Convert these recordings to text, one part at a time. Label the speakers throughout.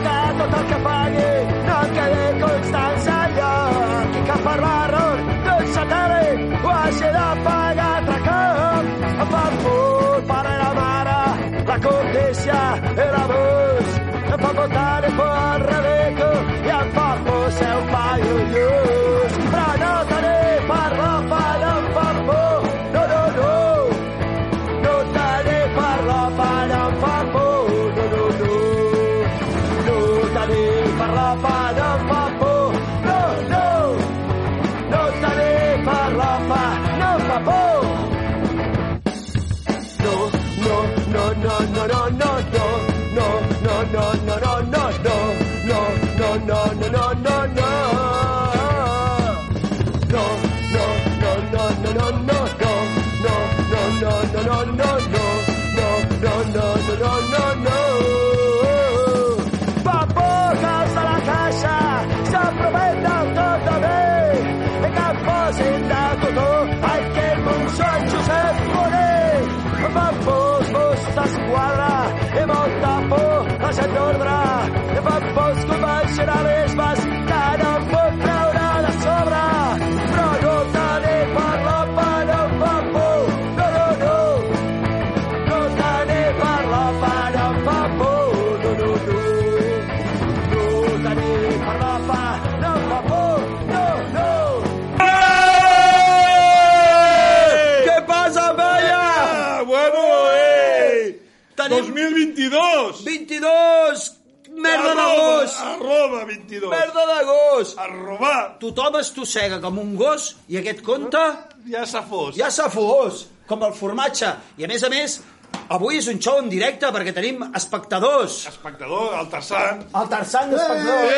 Speaker 1: que apagui, no em quede constància enlloc. I cap error no ens aterri, ho hagi de pagar altre cop. Em fan por, pare i la mare, la cobdícia i l'abús. Em fa por tenir por al ridícul i em fa por ser un paio lluç. Però no tenir perdó, fa no em fa por, no, no, no. No tenir perdó, fa no em fa por, no, no, no. No tenir perdó, fa no em fa por, no, no. No tenir perdó, fa no em fa por. No, no, no, no, no, no, no, no. No, no, no, no, no, no, no. No, no, no, no, no, no, no. No, no, no, no, no, no, no, no. No, no, no, no, no, no, no. No, no, no, no, no, no, no. Papoques de la caixa s'aprofiten tot de mi i que em posin de cotó aquell montsó Josep Bonet. Em fan por els Mossos d'Esquadra i molta por la gent d'ordre. Em fan por els convencionalismes que no em pot treure de sobre. Però no tenir per la pa, no em fa por. No, no, no. No tenir per la pa, no em fa por. No, no, no. No tenir per la pa, no em fa por. No, no.
Speaker 2: ¿Qué pasa, Maya? Ah, bueno, eh.
Speaker 1: Tenim
Speaker 2: 2022.
Speaker 1: 22! Merda
Speaker 2: Arroba,
Speaker 1: d'agost!
Speaker 2: Arroba 22.
Speaker 1: Merda d'agost!
Speaker 2: Arroba.
Speaker 1: Tothom es tossega com un gos i aquest conte
Speaker 2: Ja s'ha fos.
Speaker 1: ja s'ha fos, com el formatge. I a més a més, avui és un show en directe perquè tenim espectadors.
Speaker 2: Espectador, el Eh, Tarzán.
Speaker 1: El Tarzan d'espectadors.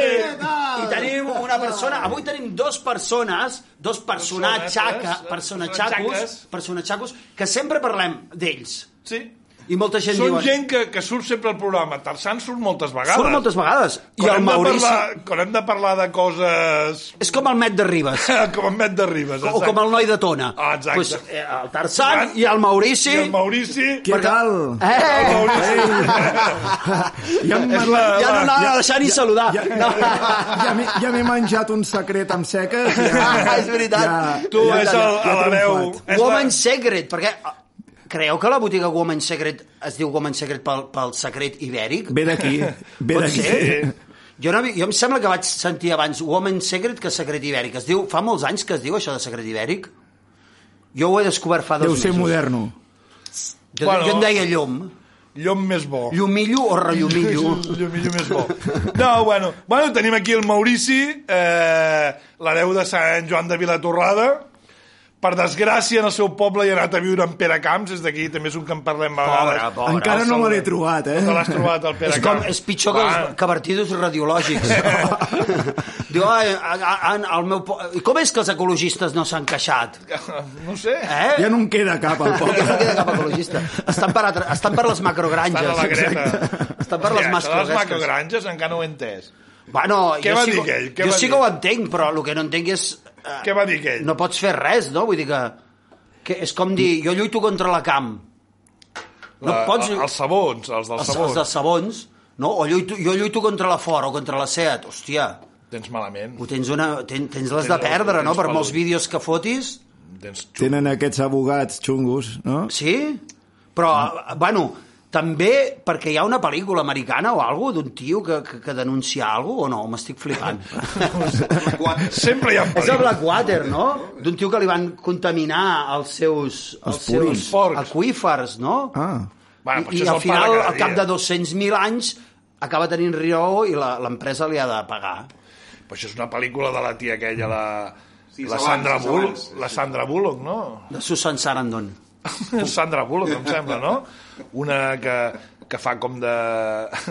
Speaker 1: Eh, I tenim una persona... Avui tenim dos persones, dos personatxaca,
Speaker 2: Personatges,
Speaker 1: personatxacos,
Speaker 2: personatxaques.
Speaker 1: personatxacos, que sempre parlem d'ells.
Speaker 2: Sí.
Speaker 1: I molta gent
Speaker 2: Són
Speaker 1: diuen...
Speaker 2: gent que, que surt sempre al programa. Tarzán surt moltes vegades.
Speaker 1: Surt moltes vegades. I
Speaker 2: Quan
Speaker 1: el
Speaker 2: hem de
Speaker 1: Maurici...
Speaker 2: Parlar, quan hem de parlar de coses
Speaker 1: És com el Met de Ribes.
Speaker 2: com en Met de Ribes.
Speaker 1: o com el noi de Tona.
Speaker 2: Ah, exacte.
Speaker 1: Pues, eh, el Tarzan i el Maurici...
Speaker 2: I el Maurici...
Speaker 3: Què tal?
Speaker 2: El
Speaker 1: Eh!
Speaker 2: Maurici...
Speaker 3: Ja em-
Speaker 2: És la-
Speaker 1: Ja no
Speaker 2: la-
Speaker 1: anava a deixar ni saludar.
Speaker 3: Ja,
Speaker 1: No.
Speaker 3: ja, m'he- ja m'he menjat un secret amb seques.
Speaker 1: Ah,
Speaker 3: Ja,
Speaker 1: és veritat.
Speaker 2: Tu és el- l'hereu. És la-
Speaker 1: Woman Secret, perquè... ah, Creieu que la botiga Woman Secret es diu Woman Secret pel, pel secret ibèric?
Speaker 3: Ve d'aquí, ve
Speaker 1: Pot
Speaker 3: d'aquí.
Speaker 1: ser? Jo, no, jo em sembla que vaig sentir abans Woman Secret que Secret Ibèric. Es diu, fa molts anys que es diu això de Secret Ibèric. Jo ho he descobert fa dos
Speaker 3: Deu ser
Speaker 1: mesos.
Speaker 3: moderno.
Speaker 1: Jo,
Speaker 2: Bueno.
Speaker 1: jo en deia llum.
Speaker 2: Llom més bo.
Speaker 1: Llumillo o rellumillo.
Speaker 2: Llumillo més bo. No, bueno, bueno, tenim aquí el Maurici, eh, l'hereu de Sant Joan de Vilatorrada. Per desgràcia, en el seu poble hi ha anat a viure en Pere Camps, és d'aquí, també és un que en parlem a
Speaker 1: Pobre,
Speaker 2: vegades.
Speaker 1: pobre.
Speaker 3: Encara no me l'he trobat, eh?
Speaker 2: No te l'has trobat, el Pere
Speaker 1: És, com,
Speaker 2: Camps. Ah.
Speaker 1: és pitjor que, els, que vertidos radiològics. Diu, ai, a, a, a, el meu... po- I com és que els ecologistes no s'han queixat?
Speaker 2: Va, no sé.
Speaker 1: Eh?
Speaker 3: Ja no en queda cap al
Speaker 1: Ja no
Speaker 3: poble.
Speaker 1: queda cap ecologista. Estan per, altre, estan per les macrogranges.
Speaker 2: Estan a la greta.
Speaker 1: Eh, Exacte. Estan per les
Speaker 2: Hòstia, això de
Speaker 1: macrogranges.
Speaker 2: les macrogranges encara no ho he entès.
Speaker 1: Bueno,
Speaker 2: Què
Speaker 1: jo
Speaker 2: va
Speaker 1: sí,
Speaker 2: dir
Speaker 1: que-
Speaker 2: aquell? Què
Speaker 1: jo
Speaker 2: va
Speaker 1: sí
Speaker 2: dir?
Speaker 1: que ho entenc, però el que no entenc és... eh,
Speaker 2: Què va dir aquell?
Speaker 1: No pots fer res, no? Vull dir que... que és com dir, jo lluito contra la camp. No
Speaker 2: La-
Speaker 1: pots...
Speaker 2: Els sabons, els dels
Speaker 1: els,
Speaker 2: sabons.
Speaker 1: els de sabons, no? O lluito, jo lluito contra la Ford o contra la Seat. Hòstia,
Speaker 2: Tens malament.
Speaker 1: ho tens, una, ten, tens les
Speaker 2: Tens-
Speaker 1: de perdre,
Speaker 2: tens
Speaker 1: no? Per
Speaker 2: pelut.
Speaker 1: molts vídeos que fotis.
Speaker 2: Tens xup.
Speaker 3: Tenen aquests abogats xungos, no?
Speaker 1: Sí? Però, bueno, també perquè hi ha una pel·lícula americana o alguna d'un tio que, que, que denuncia alguna o no? M'estic flipant.
Speaker 2: Sempre hi
Speaker 1: És
Speaker 2: ha
Speaker 1: el
Speaker 2: pel·lícules.
Speaker 1: Blackwater, no? D'un tio que li van contaminar els seus... Els,
Speaker 3: Els
Speaker 1: seus
Speaker 3: purins.
Speaker 2: Porcs.
Speaker 1: aquífers, no?
Speaker 3: Ah,
Speaker 2: Bueno,
Speaker 1: I,
Speaker 2: però això
Speaker 1: I al
Speaker 2: és el eh? pa de
Speaker 1: final,
Speaker 2: cada
Speaker 1: al cap
Speaker 2: dia.
Speaker 1: de 200.000 anys, acaba tenint raó i la- l'empresa li ha de pagar.
Speaker 2: Però això és una pel·lícula de la tia aquella, la...
Speaker 4: Sí,
Speaker 2: la
Speaker 4: és
Speaker 2: Sandra
Speaker 4: abans, és
Speaker 2: Bullock,
Speaker 4: abans, sí,
Speaker 2: la Sandra Bullock, no?
Speaker 1: De Susan Sarandon.
Speaker 2: Sandra Bullock, em sembla, no? Una que, que fa com de...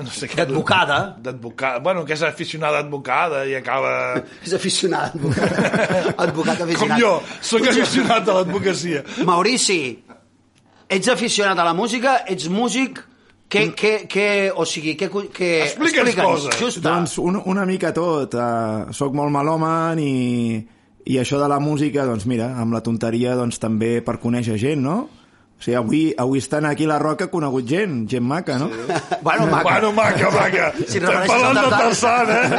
Speaker 2: No sé què.
Speaker 1: D'advocada.
Speaker 2: D'advocada. Bueno, que és aficionada advocada i acaba...
Speaker 1: És aficionat, advocat. advocat aficionat.
Speaker 2: Com jo, sóc aficionat a l'advocacia.
Speaker 1: Maurici, ets aficionat a la música, ets músic, que, que, que, o sigui, que, que
Speaker 2: Explica'ns Mm. coses.
Speaker 1: Justa.
Speaker 3: doncs un, una mica tot. Uh, soc molt malòman i, i això de la música, doncs mira, amb la tonteria doncs també per conèixer gent, no? sigui, avui, avui estan aquí a la Roca conegut gent, gent maca, no? Sí.
Speaker 4: Bueno, maca.
Speaker 2: Bueno, maca, maca.
Speaker 4: Si
Speaker 2: Estem
Speaker 4: refereixes
Speaker 2: parlant
Speaker 4: al
Speaker 2: de
Speaker 4: Tarzan.
Speaker 2: Tarzan,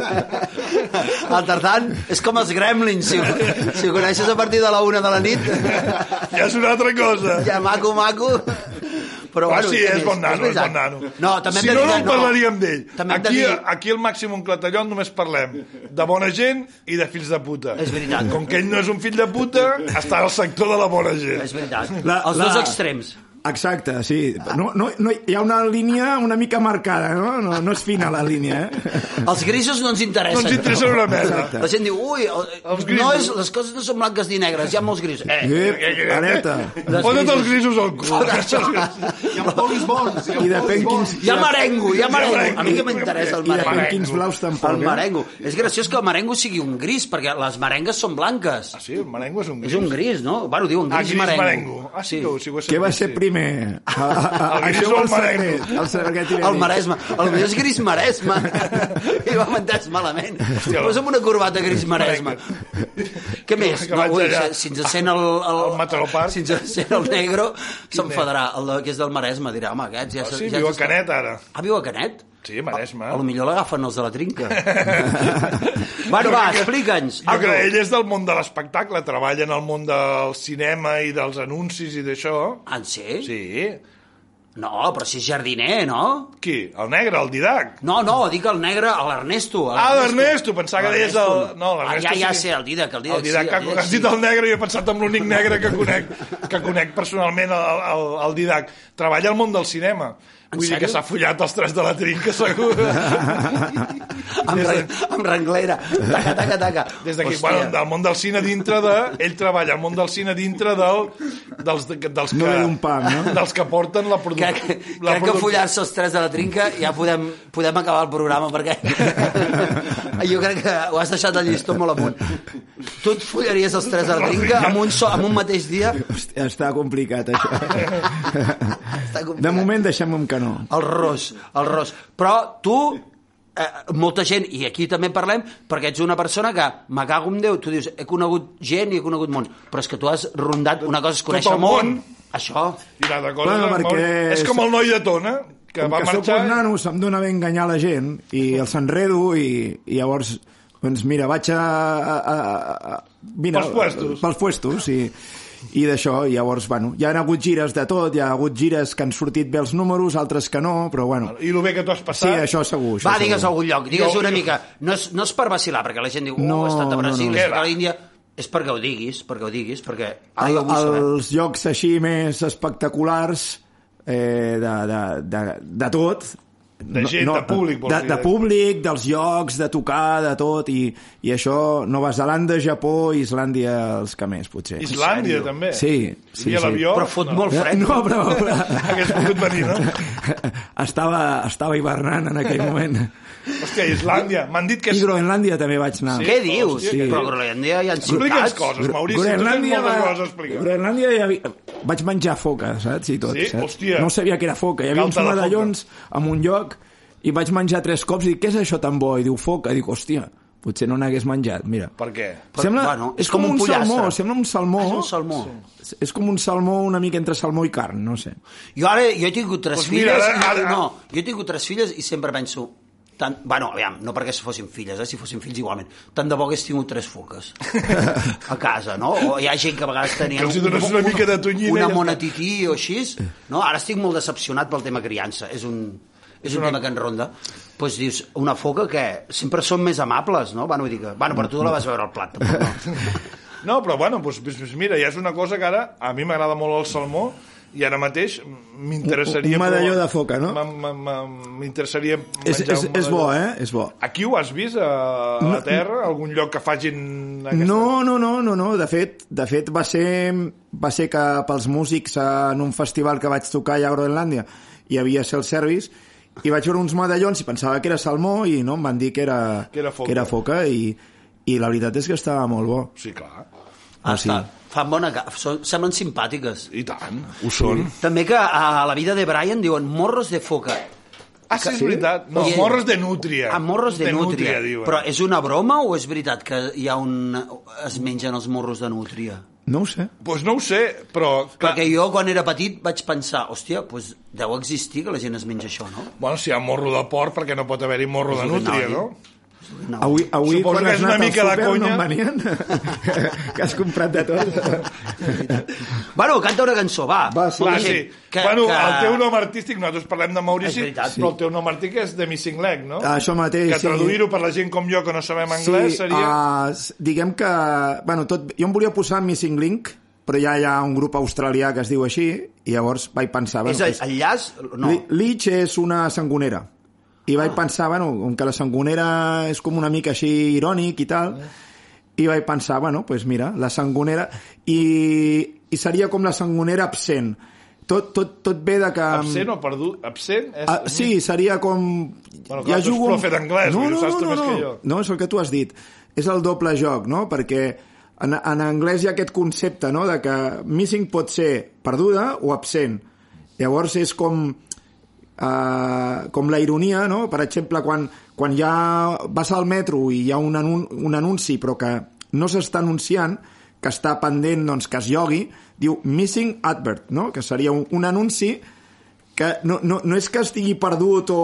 Speaker 2: eh?
Speaker 4: El Tarzan és com els gremlins, si, si ho coneixes a partir de la una de la nit,
Speaker 2: ja és una altra cosa.
Speaker 4: ja maco, maco. Però,
Speaker 2: Però
Speaker 4: bueno,
Speaker 2: Ah, sí,
Speaker 4: què
Speaker 2: és
Speaker 4: més?
Speaker 2: bon nano, és,
Speaker 4: veritat.
Speaker 2: bon nano.
Speaker 4: No, també hem
Speaker 2: si
Speaker 4: de
Speaker 2: no,
Speaker 4: dir
Speaker 2: no
Speaker 4: que
Speaker 2: en parlaríem d'ell.
Speaker 4: També hem de
Speaker 2: Aquí,
Speaker 4: dir-
Speaker 2: aquí al màxim un clatallot només parlem de bona gent i de fills de puta.
Speaker 4: És veritat.
Speaker 2: Com que ell no és un fill de puta, està al sector de la bona gent.
Speaker 4: És veritat.
Speaker 3: La-
Speaker 4: els dos
Speaker 3: la-
Speaker 4: extrems.
Speaker 3: Exacte, sí. No, no, no, hi ha una línia una mica marcada, no? No, no és fina la línia, eh?
Speaker 4: Els grisos no ens
Speaker 2: No
Speaker 4: interessen.
Speaker 2: ens interessa una merda.
Speaker 3: Exacte.
Speaker 4: La gent diu, ui, el-
Speaker 2: Els grisos.
Speaker 4: no és, les coses no són blanques ni negres, hi ha molts grisos. Eh,
Speaker 3: Ep, alerta.
Speaker 4: Les
Speaker 2: Fota't els grisos al cul.
Speaker 5: Hi ha polis bons.
Speaker 3: I depèn quins...
Speaker 4: hi ha marengo, hi ha marengo. A mi que m'interessa el
Speaker 3: I depèn
Speaker 4: marengo.
Speaker 3: quins blaus tampoc, eh?
Speaker 4: El marengo. És graciós que el marengo sigui un gris, perquè les marengues són blanques.
Speaker 2: Sí, el marengo és un
Speaker 4: És un gris, no? Bueno, diuen
Speaker 2: Ah,
Speaker 4: gris,
Speaker 2: gris
Speaker 4: marengo.
Speaker 2: marengo. Ah, sí, que ho- sí, ho he
Speaker 3: Què va
Speaker 2: sentit,
Speaker 3: ser
Speaker 2: sí.
Speaker 3: primer? A, a, a,
Speaker 2: El
Speaker 3: això
Speaker 2: gris o el
Speaker 3: el
Speaker 2: marengo?
Speaker 3: secret. El secret
Speaker 4: El Maresme. El millor és gris Maresme. I ho hem entès malament. Però és amb una corbata gris Maresme. Què més?
Speaker 2: Que
Speaker 4: No,
Speaker 2: vaig
Speaker 4: ui,
Speaker 2: allà.
Speaker 4: si- si ens sent el... El,
Speaker 2: El Metalopard.
Speaker 4: Si ens sent el negro, s'enfadarà. El de- que és del Maresme dirà, home, aquests ja...
Speaker 2: Ah,
Speaker 4: se-
Speaker 2: sí,
Speaker 4: ja
Speaker 2: viu a
Speaker 4: s'està-
Speaker 2: Canet, Ah. ara.
Speaker 4: Ah, viu a Canet?
Speaker 2: Sí, Maresme.
Speaker 4: A lo millor l'agafen els de la trinca. bueno, va, explica'ns.
Speaker 2: Jo crec que
Speaker 4: Aldo.
Speaker 2: ell és del món de l'espectacle, treballa en el món del cinema i dels anuncis i d'això.
Speaker 4: En sé?
Speaker 2: Sí.
Speaker 4: No, però si és jardiner, no?
Speaker 2: Qui? El negre, el Didac.
Speaker 4: No, no, dic el negre, a l'Ernesto. a
Speaker 2: Ah,
Speaker 4: l'Ernesto.
Speaker 2: l'Ernesto, pensava que deies el...
Speaker 4: L'Ernesto
Speaker 2: No,
Speaker 4: Ah,
Speaker 2: l'Ernesto...
Speaker 4: ja, ja
Speaker 2: sí.
Speaker 4: sé, el Didac, el Didac.
Speaker 2: El Didac,
Speaker 4: sí,
Speaker 2: que has dit el negre i he pensat en l'únic negre que conec, que conec personalment, el, el, el Didac. Treballa al món del cinema. Vull dir
Speaker 4: sèrio?
Speaker 2: que s'ha follat els tres de la trinca, segur.
Speaker 4: amb, re, amb renglera. Taca, taca, taca.
Speaker 2: Des d'aquí,
Speaker 4: Hòstia.
Speaker 2: bueno, del món del cine dintre de... Ell treballa al món del cine dintre del, dels, dels,
Speaker 3: No
Speaker 2: que,
Speaker 3: era un pam, no?
Speaker 2: dels que porten la
Speaker 4: Crec,
Speaker 2: producció.
Speaker 4: que- crec que follar-se els tres de la trinca ja podem, podem acabar el programa perquè jo crec que ho has deixat el llistó molt amunt. Tu et follaries els tres de la trinca amb un, so, amb un mateix dia?
Speaker 3: Hòstia, està complicat, això.
Speaker 4: Està complicat.
Speaker 3: De moment deixem un canó.
Speaker 4: El ros, el ros. Però tu, eh, molta gent, i aquí també parlem, perquè ets una persona que me cago en Déu, tu dius, he conegut gent i he conegut món, però és que tu has rondat, una cosa és conèixer
Speaker 2: el món.
Speaker 4: món, això,
Speaker 2: I l'altra cosa,
Speaker 3: Bueno,
Speaker 2: bueno,
Speaker 3: perquè-
Speaker 2: és com el noi de Tona, que
Speaker 3: Com
Speaker 2: va
Speaker 3: que
Speaker 2: marxar...
Speaker 3: sóc un nano, se'm dóna bé enganyar la gent i els enredo i, i llavors, doncs mira, vaig a... a, a, a vine,
Speaker 2: Pels puestos.
Speaker 3: Pels puestos i, i d'això, i llavors, bueno, hi ha hagut gires de tot, hi ha hagut gires que han sortit bé els números, altres que no, però bueno,
Speaker 2: I el bé que tu has
Speaker 3: sí,
Speaker 2: passat...
Speaker 3: això segur. Això
Speaker 4: Va,
Speaker 3: segur.
Speaker 4: digues a algun lloc, digues
Speaker 2: Jo-
Speaker 4: una
Speaker 2: jo-
Speaker 4: mica. No és, no és per vacilar, perquè la gent diu, no,
Speaker 3: No,
Speaker 4: oh, he estat
Speaker 3: no,
Speaker 4: a Brasil,
Speaker 3: no.
Speaker 4: no, he
Speaker 2: Què
Speaker 4: estat a
Speaker 2: va?
Speaker 4: l'Índia... És perquè ho diguis, perquè ho diguis, perquè...
Speaker 3: el,
Speaker 4: Ara Ah, jo vull saber.
Speaker 3: els llocs així més espectaculars eh, de, de, de, de tot
Speaker 2: De gent, de públic, vols
Speaker 3: de,
Speaker 2: dir.
Speaker 3: de públic, dels llocs, de tocar, de tot, i, i això, Nova Zelanda, Japó, Islàndia, els que més, potser.
Speaker 2: Islàndia, també.
Speaker 3: Sí, sí,
Speaker 2: I a
Speaker 3: sí.
Speaker 2: l'avió...
Speaker 4: Però fot molt fred.
Speaker 3: No, però... però...
Speaker 2: Hagués pogut venir, no?
Speaker 3: estava, estava hivernant en aquell moment.
Speaker 2: Hòstia, Islàndia. M'han dit que...
Speaker 3: I
Speaker 2: És...
Speaker 3: Groenlàndia també vaig anar.
Speaker 2: Sí?
Speaker 4: Què dius?
Speaker 2: Hòstia,
Speaker 4: Sí.
Speaker 2: què
Speaker 4: Però
Speaker 2: dius?
Speaker 4: a Groenlàndia hi ha
Speaker 2: Explica'ns
Speaker 4: ciutats.
Speaker 2: coses,
Speaker 3: Gro-
Speaker 2: Maurici. Groenlàndia
Speaker 3: Groenlàndia
Speaker 2: tu tens moltes
Speaker 3: va-
Speaker 2: coses a explicar.
Speaker 3: Groenlàndia hi havia... Vaig menjar foques, saps? I tot,
Speaker 2: Sí?
Speaker 3: saps?
Speaker 2: Hòstia.
Speaker 3: No sabia que era foca. Hi havia
Speaker 2: Calta
Speaker 3: uns
Speaker 2: de foca.
Speaker 3: medallons en un lloc i vaig menjar tres cops i dic, què és això tan bo? I diu, foca. I dic, hòstia, potser no n'hagués menjat, mira.
Speaker 2: Per què?
Speaker 4: Però,
Speaker 3: sembla,
Speaker 4: bueno,
Speaker 3: és com, un,
Speaker 4: pollastre.
Speaker 3: salmó, sembla un salmó.
Speaker 4: Ah, és un salmó.
Speaker 3: Sí. És com un salmó una mica entre salmó i carn, no sé.
Speaker 4: Jo ara, jo he tingut tres
Speaker 2: Doncs
Speaker 4: filles...
Speaker 2: mira, ara-
Speaker 4: i-
Speaker 2: ara-
Speaker 4: No, jo he tingut tres filles i sempre penso... Tant, bueno, aviam, no perquè si fossin filles, eh, si fossin fills igualment. Tant de bo hagués tingut tres foques a casa, no? O hi ha gent que a vegades tenia...
Speaker 2: Que els hi dones una mica de tonyina i ja
Speaker 4: Una
Speaker 2: està.
Speaker 4: mona tití o així. No? Ara estic molt decepcionat pel tema criança. És un, és un tema que en ronda. Doncs dius, una foca que sempre són més amables, no? Bueno, vull dir que, bueno, però tu no la vas veure al plat, tampoc, no?
Speaker 2: No, però bueno, doncs, doncs, doncs mira, ja és una cosa que ara... A mi m'agrada molt el salmó i ara mateix m'interessaria...
Speaker 3: Un- un medalló
Speaker 2: provar-
Speaker 3: de foca, no?
Speaker 2: M'm- m'm- m'm- M'interessaria menjar
Speaker 3: És, és,
Speaker 2: un
Speaker 3: és bo,
Speaker 2: medalló.
Speaker 3: eh? És bo.
Speaker 2: Aquí ho has vist, a la
Speaker 3: No.
Speaker 2: Terra? Algun lloc que facin... Aquesta...
Speaker 3: No, no, no, no, no. De fet, de fet va ser, va ser que pels músics eh, en un festival que vaig tocar allà a Groenlàndia hi havia Cell Service i vaig veure uns medallons i pensava que era salmó i no, em van dir que era,
Speaker 2: Que era foca.
Speaker 3: que era foca i, i la veritat és que estava molt bo.
Speaker 2: Sí, clar.
Speaker 3: Ah, sí.
Speaker 4: Fan bona... ca- Són, semblen simpàtiques.
Speaker 2: I tant. Ho són.
Speaker 4: També que a la vida de Brian diuen morros de foca.
Speaker 2: Ah, sí, és veritat. No,
Speaker 4: Sí.
Speaker 2: morros de nútria.
Speaker 4: A morros de, nútria.
Speaker 2: diuen.
Speaker 4: Però és una broma o és veritat que hi ha un... es mengen els morros de nútria?
Speaker 3: No ho sé.
Speaker 2: pues no ho sé, però... Clar,
Speaker 4: Perquè jo, quan era petit, vaig pensar, hòstia, doncs deu existir que la gent es menja això, no?
Speaker 2: Bueno, si hi ha morro de porc, perquè no pot haver-hi morro de nútria,
Speaker 4: Original,
Speaker 2: no?
Speaker 4: no.
Speaker 3: Avui, avui
Speaker 2: Suposo
Speaker 3: quan
Speaker 2: que
Speaker 3: has
Speaker 2: és una
Speaker 3: anat al
Speaker 2: mica la
Speaker 3: súper,
Speaker 2: conya.
Speaker 3: No en venien? que has comprat de tot.
Speaker 4: Bueno, canta una cançó, va.
Speaker 3: Va,
Speaker 2: Clar,
Speaker 4: Molta
Speaker 2: sí.
Speaker 4: gent
Speaker 2: Que, bueno, que... el teu nom artístic, nosaltres parlem de Maurici,
Speaker 4: És veritat.
Speaker 2: però el teu nom artístic és de Missing Leg, no?
Speaker 3: Ah, Això mateix,
Speaker 2: Que
Speaker 3: sí.
Speaker 2: traduir-ho per la gent com jo que no sabem anglès seria...
Speaker 3: ah, s- diguem que... Bueno, tot, jo em volia posar Missing Link, però ja hi ha un grup australià que es diu així, i llavors vaig pensar... Bueno,
Speaker 4: És el, el llaç? No. Ah.
Speaker 3: no. Leach és una sangonera. I vaig pensar, bueno, com que la sangonera és com una mica així irònic i tal, i vaig pensar, bueno, doncs pues mira, la sangonera... I, I seria com la sangonera absent. Tot, tot, tot ve de que...
Speaker 2: Absent o perdut? Absent? És...
Speaker 3: Ah, sí, seria com...
Speaker 2: Bueno, clar, tu ets profe d'anglès, vull dir, ho saps tu més
Speaker 3: no,
Speaker 2: que jo.
Speaker 3: no, és el que tu has dit. És el doble joc, no? Perquè en, en anglès hi ha aquest concepte, no?, de que missing pot ser perduda o absent. Llavors és com... Uh, com la ironia, no? Per exemple, quan, quan ja vas al metro i hi ha un, anun un anunci però que no s'està anunciant, que està pendent doncs, que es llogui, diu missing advert, no? que seria un, un anunci que no, no, no és que estigui perdut o...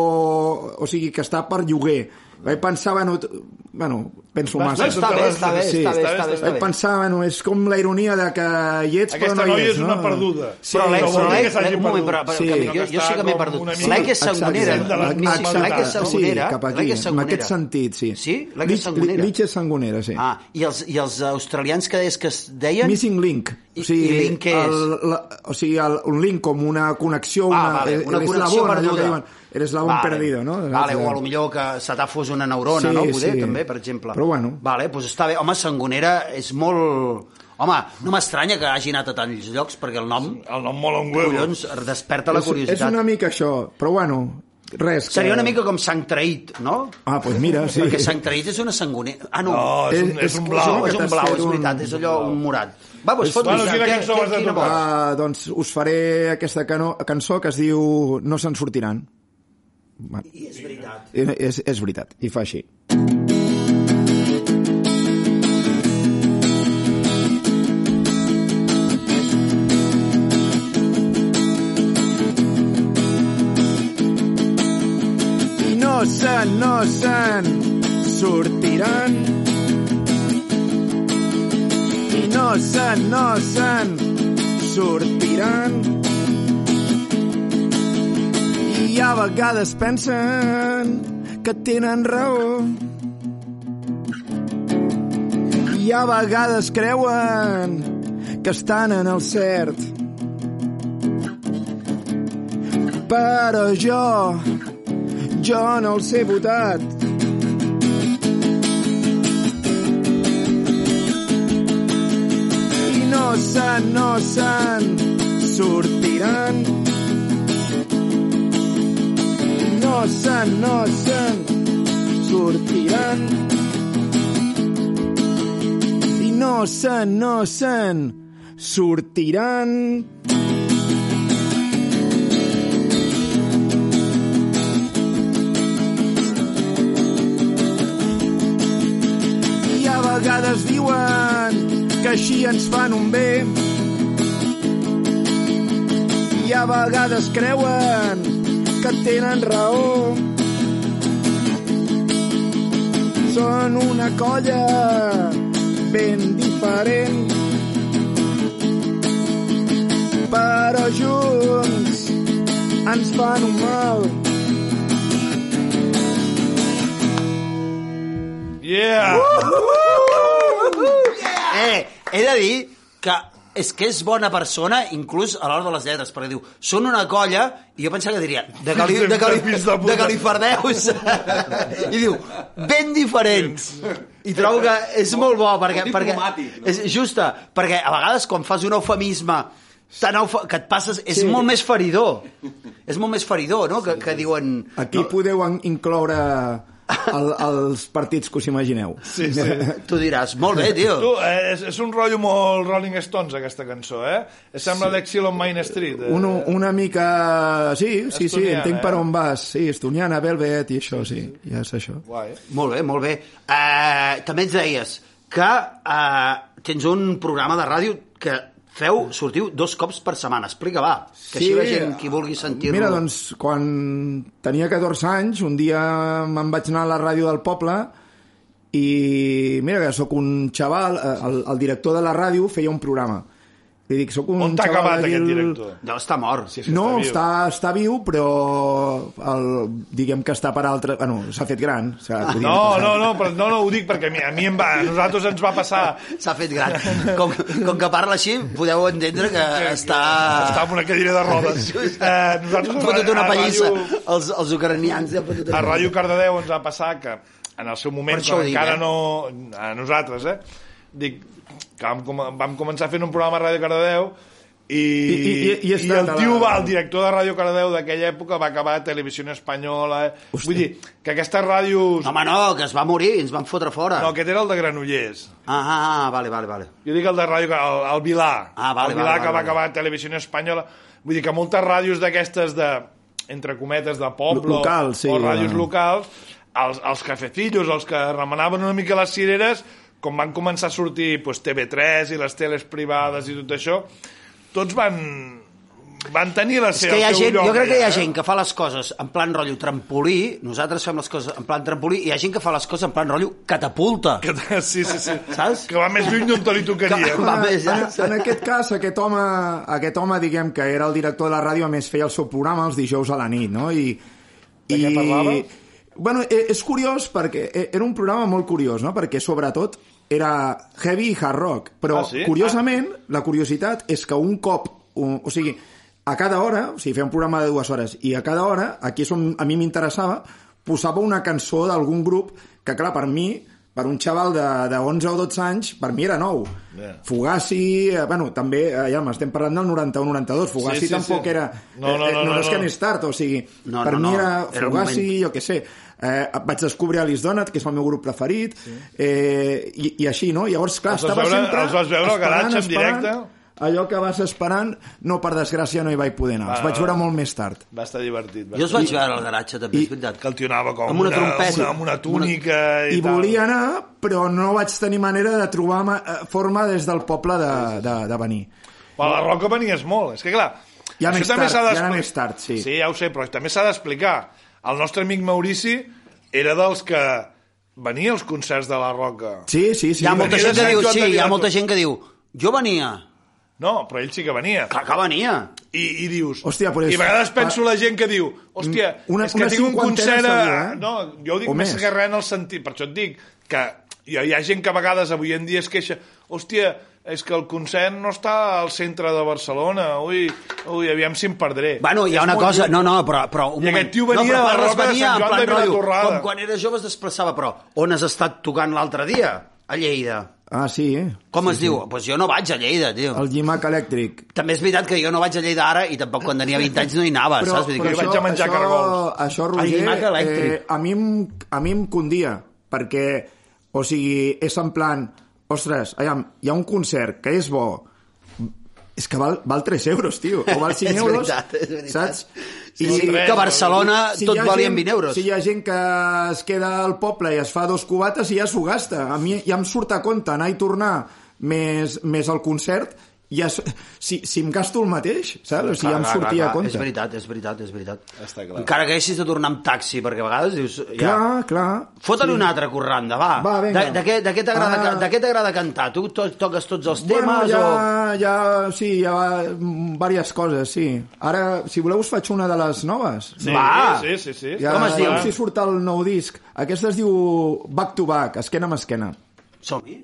Speaker 3: O sigui, que està per lloguer. Vaig pensar, bueno... t- bueno penso
Speaker 2: Vas-
Speaker 3: massa.
Speaker 2: vas-
Speaker 6: Està bé, està bé,
Speaker 3: Sí,
Speaker 6: està bé,
Speaker 2: està bé,
Speaker 6: està bé.
Speaker 2: està
Speaker 6: Està
Speaker 3: Vaig
Speaker 6: bé.
Speaker 3: pensar, bueno, és com la ironia de que hi ets,
Speaker 2: Aquesta
Speaker 3: però no hi
Speaker 2: noia
Speaker 3: ets,
Speaker 2: és una
Speaker 3: no?
Speaker 2: perduda.
Speaker 3: Sí,
Speaker 4: però
Speaker 2: no
Speaker 4: l'ec,
Speaker 2: vol dir que
Speaker 4: l'ec,
Speaker 2: s'hagi
Speaker 4: un moment, però,
Speaker 2: perdut.
Speaker 4: però
Speaker 3: Sí.
Speaker 4: sí, jo, jo sé que m'he
Speaker 2: Com
Speaker 4: perdut.
Speaker 2: una mica-
Speaker 4: L'ec és
Speaker 3: Exacte,
Speaker 4: sangonera.
Speaker 2: Exacte,
Speaker 4: L'ec
Speaker 2: la-
Speaker 4: és
Speaker 2: exacte.
Speaker 4: l'ec és sangonera.
Speaker 3: Sí, cap aquí,
Speaker 4: l'ec és
Speaker 3: en
Speaker 4: sangonera.
Speaker 3: aquest sentit, sí.
Speaker 4: Sí? L'ec és
Speaker 3: Lich-
Speaker 4: sangonera.
Speaker 3: Lich és sangonera, sí.
Speaker 4: Ah, i els, i els australians que deies que es deien...
Speaker 3: Missing link.
Speaker 4: I- i link què és?
Speaker 3: El, la, o sigui, el, un link com una connexió...
Speaker 4: Ah, vale, una
Speaker 3: eres
Speaker 4: connexió
Speaker 3: la bona, allò
Speaker 4: perduda.
Speaker 3: que diuen, eres la bon perdido, no?
Speaker 4: Vale, o a lo millor que se t'ha fos una neurona,
Speaker 3: Sí,
Speaker 4: no? Poder,
Speaker 3: sí.
Speaker 4: també, per exemple.
Speaker 3: Però bueno.
Speaker 4: Vale, doncs està bé. Home, Sangonera és molt... Home, no m'estranya que hagi anat a tants llocs, perquè el nom,
Speaker 2: El nom mola un huevo.
Speaker 4: collons, desperta la
Speaker 3: És- És
Speaker 4: curiositat.
Speaker 3: una mica això, però bueno, res.
Speaker 4: Seria una mica com sang traït, no?
Speaker 3: Ah, doncs mira, sí.
Speaker 4: Perquè sang traït és una sangonera... Ah, no.
Speaker 2: No, és, un,
Speaker 3: És-
Speaker 2: és un
Speaker 3: és-
Speaker 2: blau.
Speaker 4: és
Speaker 3: que
Speaker 4: un
Speaker 3: t'has
Speaker 4: blau,
Speaker 3: fet
Speaker 4: és
Speaker 3: un-
Speaker 4: veritat, és allò, un morat. Va, doncs fot-li.
Speaker 2: Bueno,
Speaker 4: sang,
Speaker 2: quina
Speaker 4: què-
Speaker 2: cançó
Speaker 4: què-
Speaker 2: vas a
Speaker 4: quina
Speaker 2: tocar?
Speaker 4: vols?
Speaker 3: Ah, doncs us faré aquesta cano, cançó que es diu No se'n sortiran. Va,
Speaker 4: I és veritat.
Speaker 3: És, és veritat, i fa així. I no se'n, no se'n sortiran. I no se'n, no se'n sortiran. I a vegades pensen que tenen raó. I a vegades creuen que estan en el cert. Però jo, jo no els he votat. I no se'n, no se'n sortiran no se'n, no se'n sortiran. I no se'n, no se'n sortiran. I a vegades diuen que així ens fan un bé. I a vegades creuen que tenen raó. Són una colla ben diferent. Però junts ens fan un mal.
Speaker 2: Yeah!
Speaker 4: Eh, he de dir que és que és bona persona, inclús a l'hora de les lletres, perquè diu, són una colla, i jo pensava que diria, de, cali,
Speaker 2: Fills de
Speaker 4: de, cali,
Speaker 2: puta,
Speaker 4: de,
Speaker 2: fills de puta.
Speaker 4: califardeus. I diu, ben diferents. I trobo que és molt bo, perquè...
Speaker 5: Molt
Speaker 4: perquè
Speaker 5: diplomàtic, no?
Speaker 4: és justa, perquè a vegades quan fas un eufemisme tan eufa, que et passes... És molt més feridor. És molt més feridor, no?, que, que diuen...
Speaker 3: Aquí no. podeu en- incloure el, els partits que us imagineu.
Speaker 2: Sí, sí.
Speaker 4: Tu diràs, molt bé, tio.
Speaker 2: Tu, eh, és, és un rotllo molt Rolling Stones, aquesta cançó, eh? Sembla sí. l'Exil on Main Street. Eh?
Speaker 3: Una, una mica... Sí, sí, sí,
Speaker 2: Estoniana,
Speaker 3: entenc
Speaker 2: eh?
Speaker 3: per on vas. Sí, estoniana, Velvet i això, sí. Ja és això.
Speaker 2: Guai.
Speaker 4: Eh, Molt bé, molt bé. Uh, també ens deies que uh, tens un programa de ràdio que feu, sortiu dos cops per setmana. Explica, va, que així la gent qui vulgui sentir-lo...
Speaker 3: Mira, doncs, quan tenia 14 anys, un dia me'n vaig anar a la ràdio del poble i mira que sóc un xaval, eh, el, el director de la ràdio feia un programa. Li dic, sóc un
Speaker 2: On t'ha
Speaker 3: xaval
Speaker 2: acabat
Speaker 3: aquí
Speaker 2: aquest
Speaker 3: al-
Speaker 2: director?
Speaker 4: Deu estar mort.
Speaker 2: Sí, sí,
Speaker 3: No,
Speaker 2: viu.
Speaker 3: està, està viu, però el, diguem que està per altre... Bueno, s'ha fet gran. s'ha- podríem
Speaker 2: Ah, No,
Speaker 3: passar.
Speaker 2: no, no, però no, no, ho dic perquè a mi, a mi em va, a nosaltres ens va passar
Speaker 4: S'ha fet gran. Com, com que parla així, podeu entendre que està...
Speaker 2: estar Eh, en una cadira de rodes. Eh, nosaltres
Speaker 4: Ha
Speaker 2: a
Speaker 4: fotut
Speaker 2: ra-
Speaker 4: una
Speaker 2: a
Speaker 4: pallissa.
Speaker 2: ràdio-
Speaker 4: Els, els ucranians ja fotut
Speaker 2: A
Speaker 4: una
Speaker 2: Ràdio Cardedeu ens va passar que en el seu moment,
Speaker 4: Per això
Speaker 2: quan
Speaker 4: ho dic,
Speaker 2: encara
Speaker 4: eh?
Speaker 2: no... A nosaltres, eh? Dic, que vam, com- vam començar fent un programa a Ràdio Cardedeu i,
Speaker 3: I- i- i- i és
Speaker 2: el
Speaker 3: tant,
Speaker 2: tio
Speaker 3: la-
Speaker 2: va, el director de Ràdio Cardedeu d'aquella època va acabar a Televisió Espanyola. Hosti. Vull dir, que aquestes ràdios...
Speaker 4: No, home, no, que es va morir, ens van fotre fora.
Speaker 2: No, aquest era el de Granollers.
Speaker 4: Ah, ah, ah, vale, vale, vale.
Speaker 2: Jo dic el de ràdio, el, el Vilà.
Speaker 4: Ah, vale,
Speaker 2: el Vilà
Speaker 4: vale,
Speaker 2: que
Speaker 4: vale,
Speaker 2: va acabar a Televisió Espanyola. Vull dir que moltes ràdios d'aquestes de, entre cometes, de poble
Speaker 3: Lo- local, sí,
Speaker 2: o ràdios
Speaker 3: eh.
Speaker 2: locals, els, els cafecillos, els que remenaven una mica les cireres, com van començar a sortir pues, TV3 i les teles privades i tot això, tots van, van tenir la
Speaker 4: És
Speaker 2: seva,
Speaker 4: que hi ha
Speaker 2: el seu
Speaker 4: gent,
Speaker 2: lloc
Speaker 4: jo crec que hi ha
Speaker 2: allà, eh?
Speaker 4: gent que fa les coses en plan rotllo trampolí, nosaltres fem les coses en plan trampolí, i hi ha gent que fa les coses en plan rotllo catapulta.
Speaker 2: Que, sí, sí, sí.
Speaker 4: Saps?
Speaker 2: Que va més lluny d'on te li tocaria.
Speaker 4: Que- Va, més, ja.
Speaker 3: en, en aquest cas, aquest home, aquest home, diguem que era el director de la ràdio, a més feia el seu programa els dijous a la nit, no? I,
Speaker 2: De què parlava?
Speaker 3: Bueno, e- és curiós perquè e- era un programa molt curiós, no? Perquè sobretot era heavy i hard rock, però
Speaker 2: Ah, sí?
Speaker 3: curiosament, la curiositat és que un cop, un, o sigui, a cada hora, o sigui, feia un programa de dues hores, i a cada hora, aquí és on a mi m'interessava, posava una cançó d'algun grup que, clar, per mi, per un xaval de, de 11 o 12 anys, per mi era nou.
Speaker 2: Yeah.
Speaker 3: Fugazi, eh, bueno, també, eh, ja m'estem parlant del 91-92, Fugazi
Speaker 2: Sí, sí,
Speaker 3: tampoc
Speaker 2: sí.
Speaker 3: era...
Speaker 2: No, no,
Speaker 3: eh, eh,
Speaker 2: no,
Speaker 3: no,
Speaker 2: no,
Speaker 3: és
Speaker 2: no.
Speaker 3: que anés tard, o sigui,
Speaker 4: No,
Speaker 3: per
Speaker 4: no,
Speaker 3: mi
Speaker 4: no,
Speaker 3: era
Speaker 4: era el
Speaker 3: Fugazi,
Speaker 4: moment.
Speaker 3: jo què sé. Eh, vaig descobrir Alice Donat, que és el meu grup preferit, eh, i, i així, no? Llavors, clar,
Speaker 2: Els vas
Speaker 3: estava
Speaker 2: veure-
Speaker 3: sempre...
Speaker 2: els vas veure al
Speaker 3: esperant,
Speaker 2: garatge en
Speaker 3: esperant,
Speaker 2: directe?
Speaker 3: Allò que vas esperant, no, per desgràcia, no hi vaig poder anar.
Speaker 2: Va,
Speaker 3: Els vaig
Speaker 2: va.
Speaker 3: veure molt més tard.
Speaker 2: Va estar divertit. Va
Speaker 4: Jo els vaig veure al garatge, també, és veritat.
Speaker 2: que el tio anava com
Speaker 4: Amb una trompeta.
Speaker 2: una, amb una túnica i,
Speaker 3: I
Speaker 2: tal.
Speaker 3: volia anar, però no vaig tenir manera de trobar ma- eh, forma des del poble de, de, de venir.
Speaker 2: Però la roca venies molt. És que, clar,
Speaker 3: Ja
Speaker 2: això
Speaker 3: més
Speaker 2: també
Speaker 3: tard,
Speaker 2: s'ha
Speaker 3: ja
Speaker 2: d'expli-
Speaker 3: era més tard, sí.
Speaker 2: Sí, ja ho sé, però també s'ha d'explicar. El nostre amic Maurici era dels que venia als concerts de la roca.
Speaker 3: Sí, sí, sí.
Speaker 4: Hi ha molta
Speaker 2: perquè
Speaker 4: gent
Speaker 2: de
Speaker 4: que
Speaker 2: Sant
Speaker 4: diu,
Speaker 2: Joan de
Speaker 4: sí, hi ha
Speaker 2: Vilator-
Speaker 4: molta gent que diu, jo venia,
Speaker 2: No, però ell sí que venia.
Speaker 4: clar que venia.
Speaker 2: I, i dius...
Speaker 3: Hòstia, però és- Ah. Mm,
Speaker 2: I a vegades penso la gent que diu hòstia,
Speaker 3: Una-
Speaker 2: és que
Speaker 3: una
Speaker 2: tinc un
Speaker 3: cinquantena
Speaker 2: concert... A...
Speaker 3: segur, eh?
Speaker 2: No, jo ho dic
Speaker 3: O
Speaker 2: més,
Speaker 3: més.
Speaker 2: que res en el sentit. Per això et dic que hi ha, hi ha gent que a vegades avui en dia es queixa hòstia, és que el concert no està al centre de Barcelona. Ui, ui aviam si em perdré.
Speaker 4: Bueno, hi ha
Speaker 2: És
Speaker 4: una
Speaker 2: molt
Speaker 4: cosa...
Speaker 2: lluny.
Speaker 4: No, no, però... però un
Speaker 2: I
Speaker 4: moment.
Speaker 2: aquest tio venia
Speaker 4: però
Speaker 2: de la
Speaker 4: Parles
Speaker 2: Roca de
Speaker 4: venia
Speaker 2: Sant
Speaker 4: en
Speaker 2: Joan
Speaker 4: plan
Speaker 2: de
Speaker 4: rotllo,
Speaker 2: Vilatorrada.
Speaker 4: Com quan era jove es desplaçava, però on has estat tocant l'altre dia? A Lleida.
Speaker 3: Ah, sí, eh?
Speaker 4: Com es diu? Doncs pues jo no vaig a Lleida, tio.
Speaker 3: El Gimac elèctric.
Speaker 4: També és veritat que jo no vaig a Lleida ara i tampoc quan tenia 20 anys no hi anava, Ah, saps? Vull dir
Speaker 2: però
Speaker 4: que...
Speaker 2: jo vaig a menjar cargols.
Speaker 3: Això,
Speaker 4: El
Speaker 3: Roger,
Speaker 4: llimac elèctric.
Speaker 3: eh, a, mi, em- a mi em condia, perquè, o sigui, és en plan, ostres, aviam, hi ha un concert que és bo, és que val, val 3 euros, tio, o val 5
Speaker 4: És
Speaker 3: euros,
Speaker 4: veritat, és veritat.
Speaker 3: saps?
Speaker 4: Sí,
Speaker 2: sí,
Speaker 4: que a Barcelona tot
Speaker 3: hi ha
Speaker 4: valien
Speaker 3: gent-
Speaker 4: 20 euros.
Speaker 3: Si hi ha gent que es queda al poble i es fa dos cubates i ja s'ho gasta. A mi ja em surt a compte anar i tornar més, més al concert, ja, s- si, si em gasto el mateix, saps? O sigui, ja em sortia a
Speaker 4: És
Speaker 3: compte.
Speaker 4: veritat, és veritat, és veritat.
Speaker 2: Està clar.
Speaker 4: Encara que haguessis de tornar amb taxi, perquè a vegades dius... Ja,
Speaker 3: Clar, clar.
Speaker 4: Fota-li sí. una altra corranda, va.
Speaker 3: Va, vinga.
Speaker 4: De, de, què- de què t'agrada
Speaker 3: Ah.
Speaker 4: ca- de què t'agrada cantar? Tu to toques tots els temes
Speaker 3: Bueno,
Speaker 4: o...
Speaker 3: ja, ja, sí, ja va, mm, diverses coses, sí. Ara, si voleu, us faig una de les noves.
Speaker 2: Sí,
Speaker 4: Va.
Speaker 2: sí, sí, sí.
Speaker 3: Ja,
Speaker 4: Com es diu?
Speaker 3: veurem Si surt el nou disc. Aquesta es diu Back to Back, esquena amb esquena.
Speaker 4: Som-hi.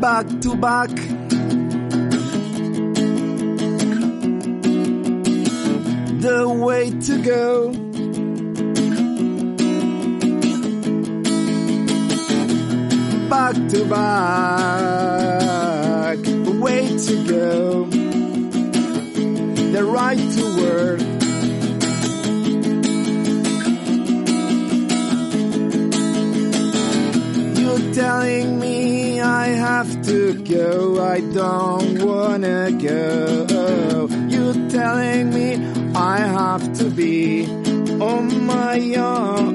Speaker 3: Back to Back. The way to go. Back to back, the way to go. The right to work. You're telling me I have
Speaker 6: have to go. I don't wanna go. You're telling me I have to be on my own.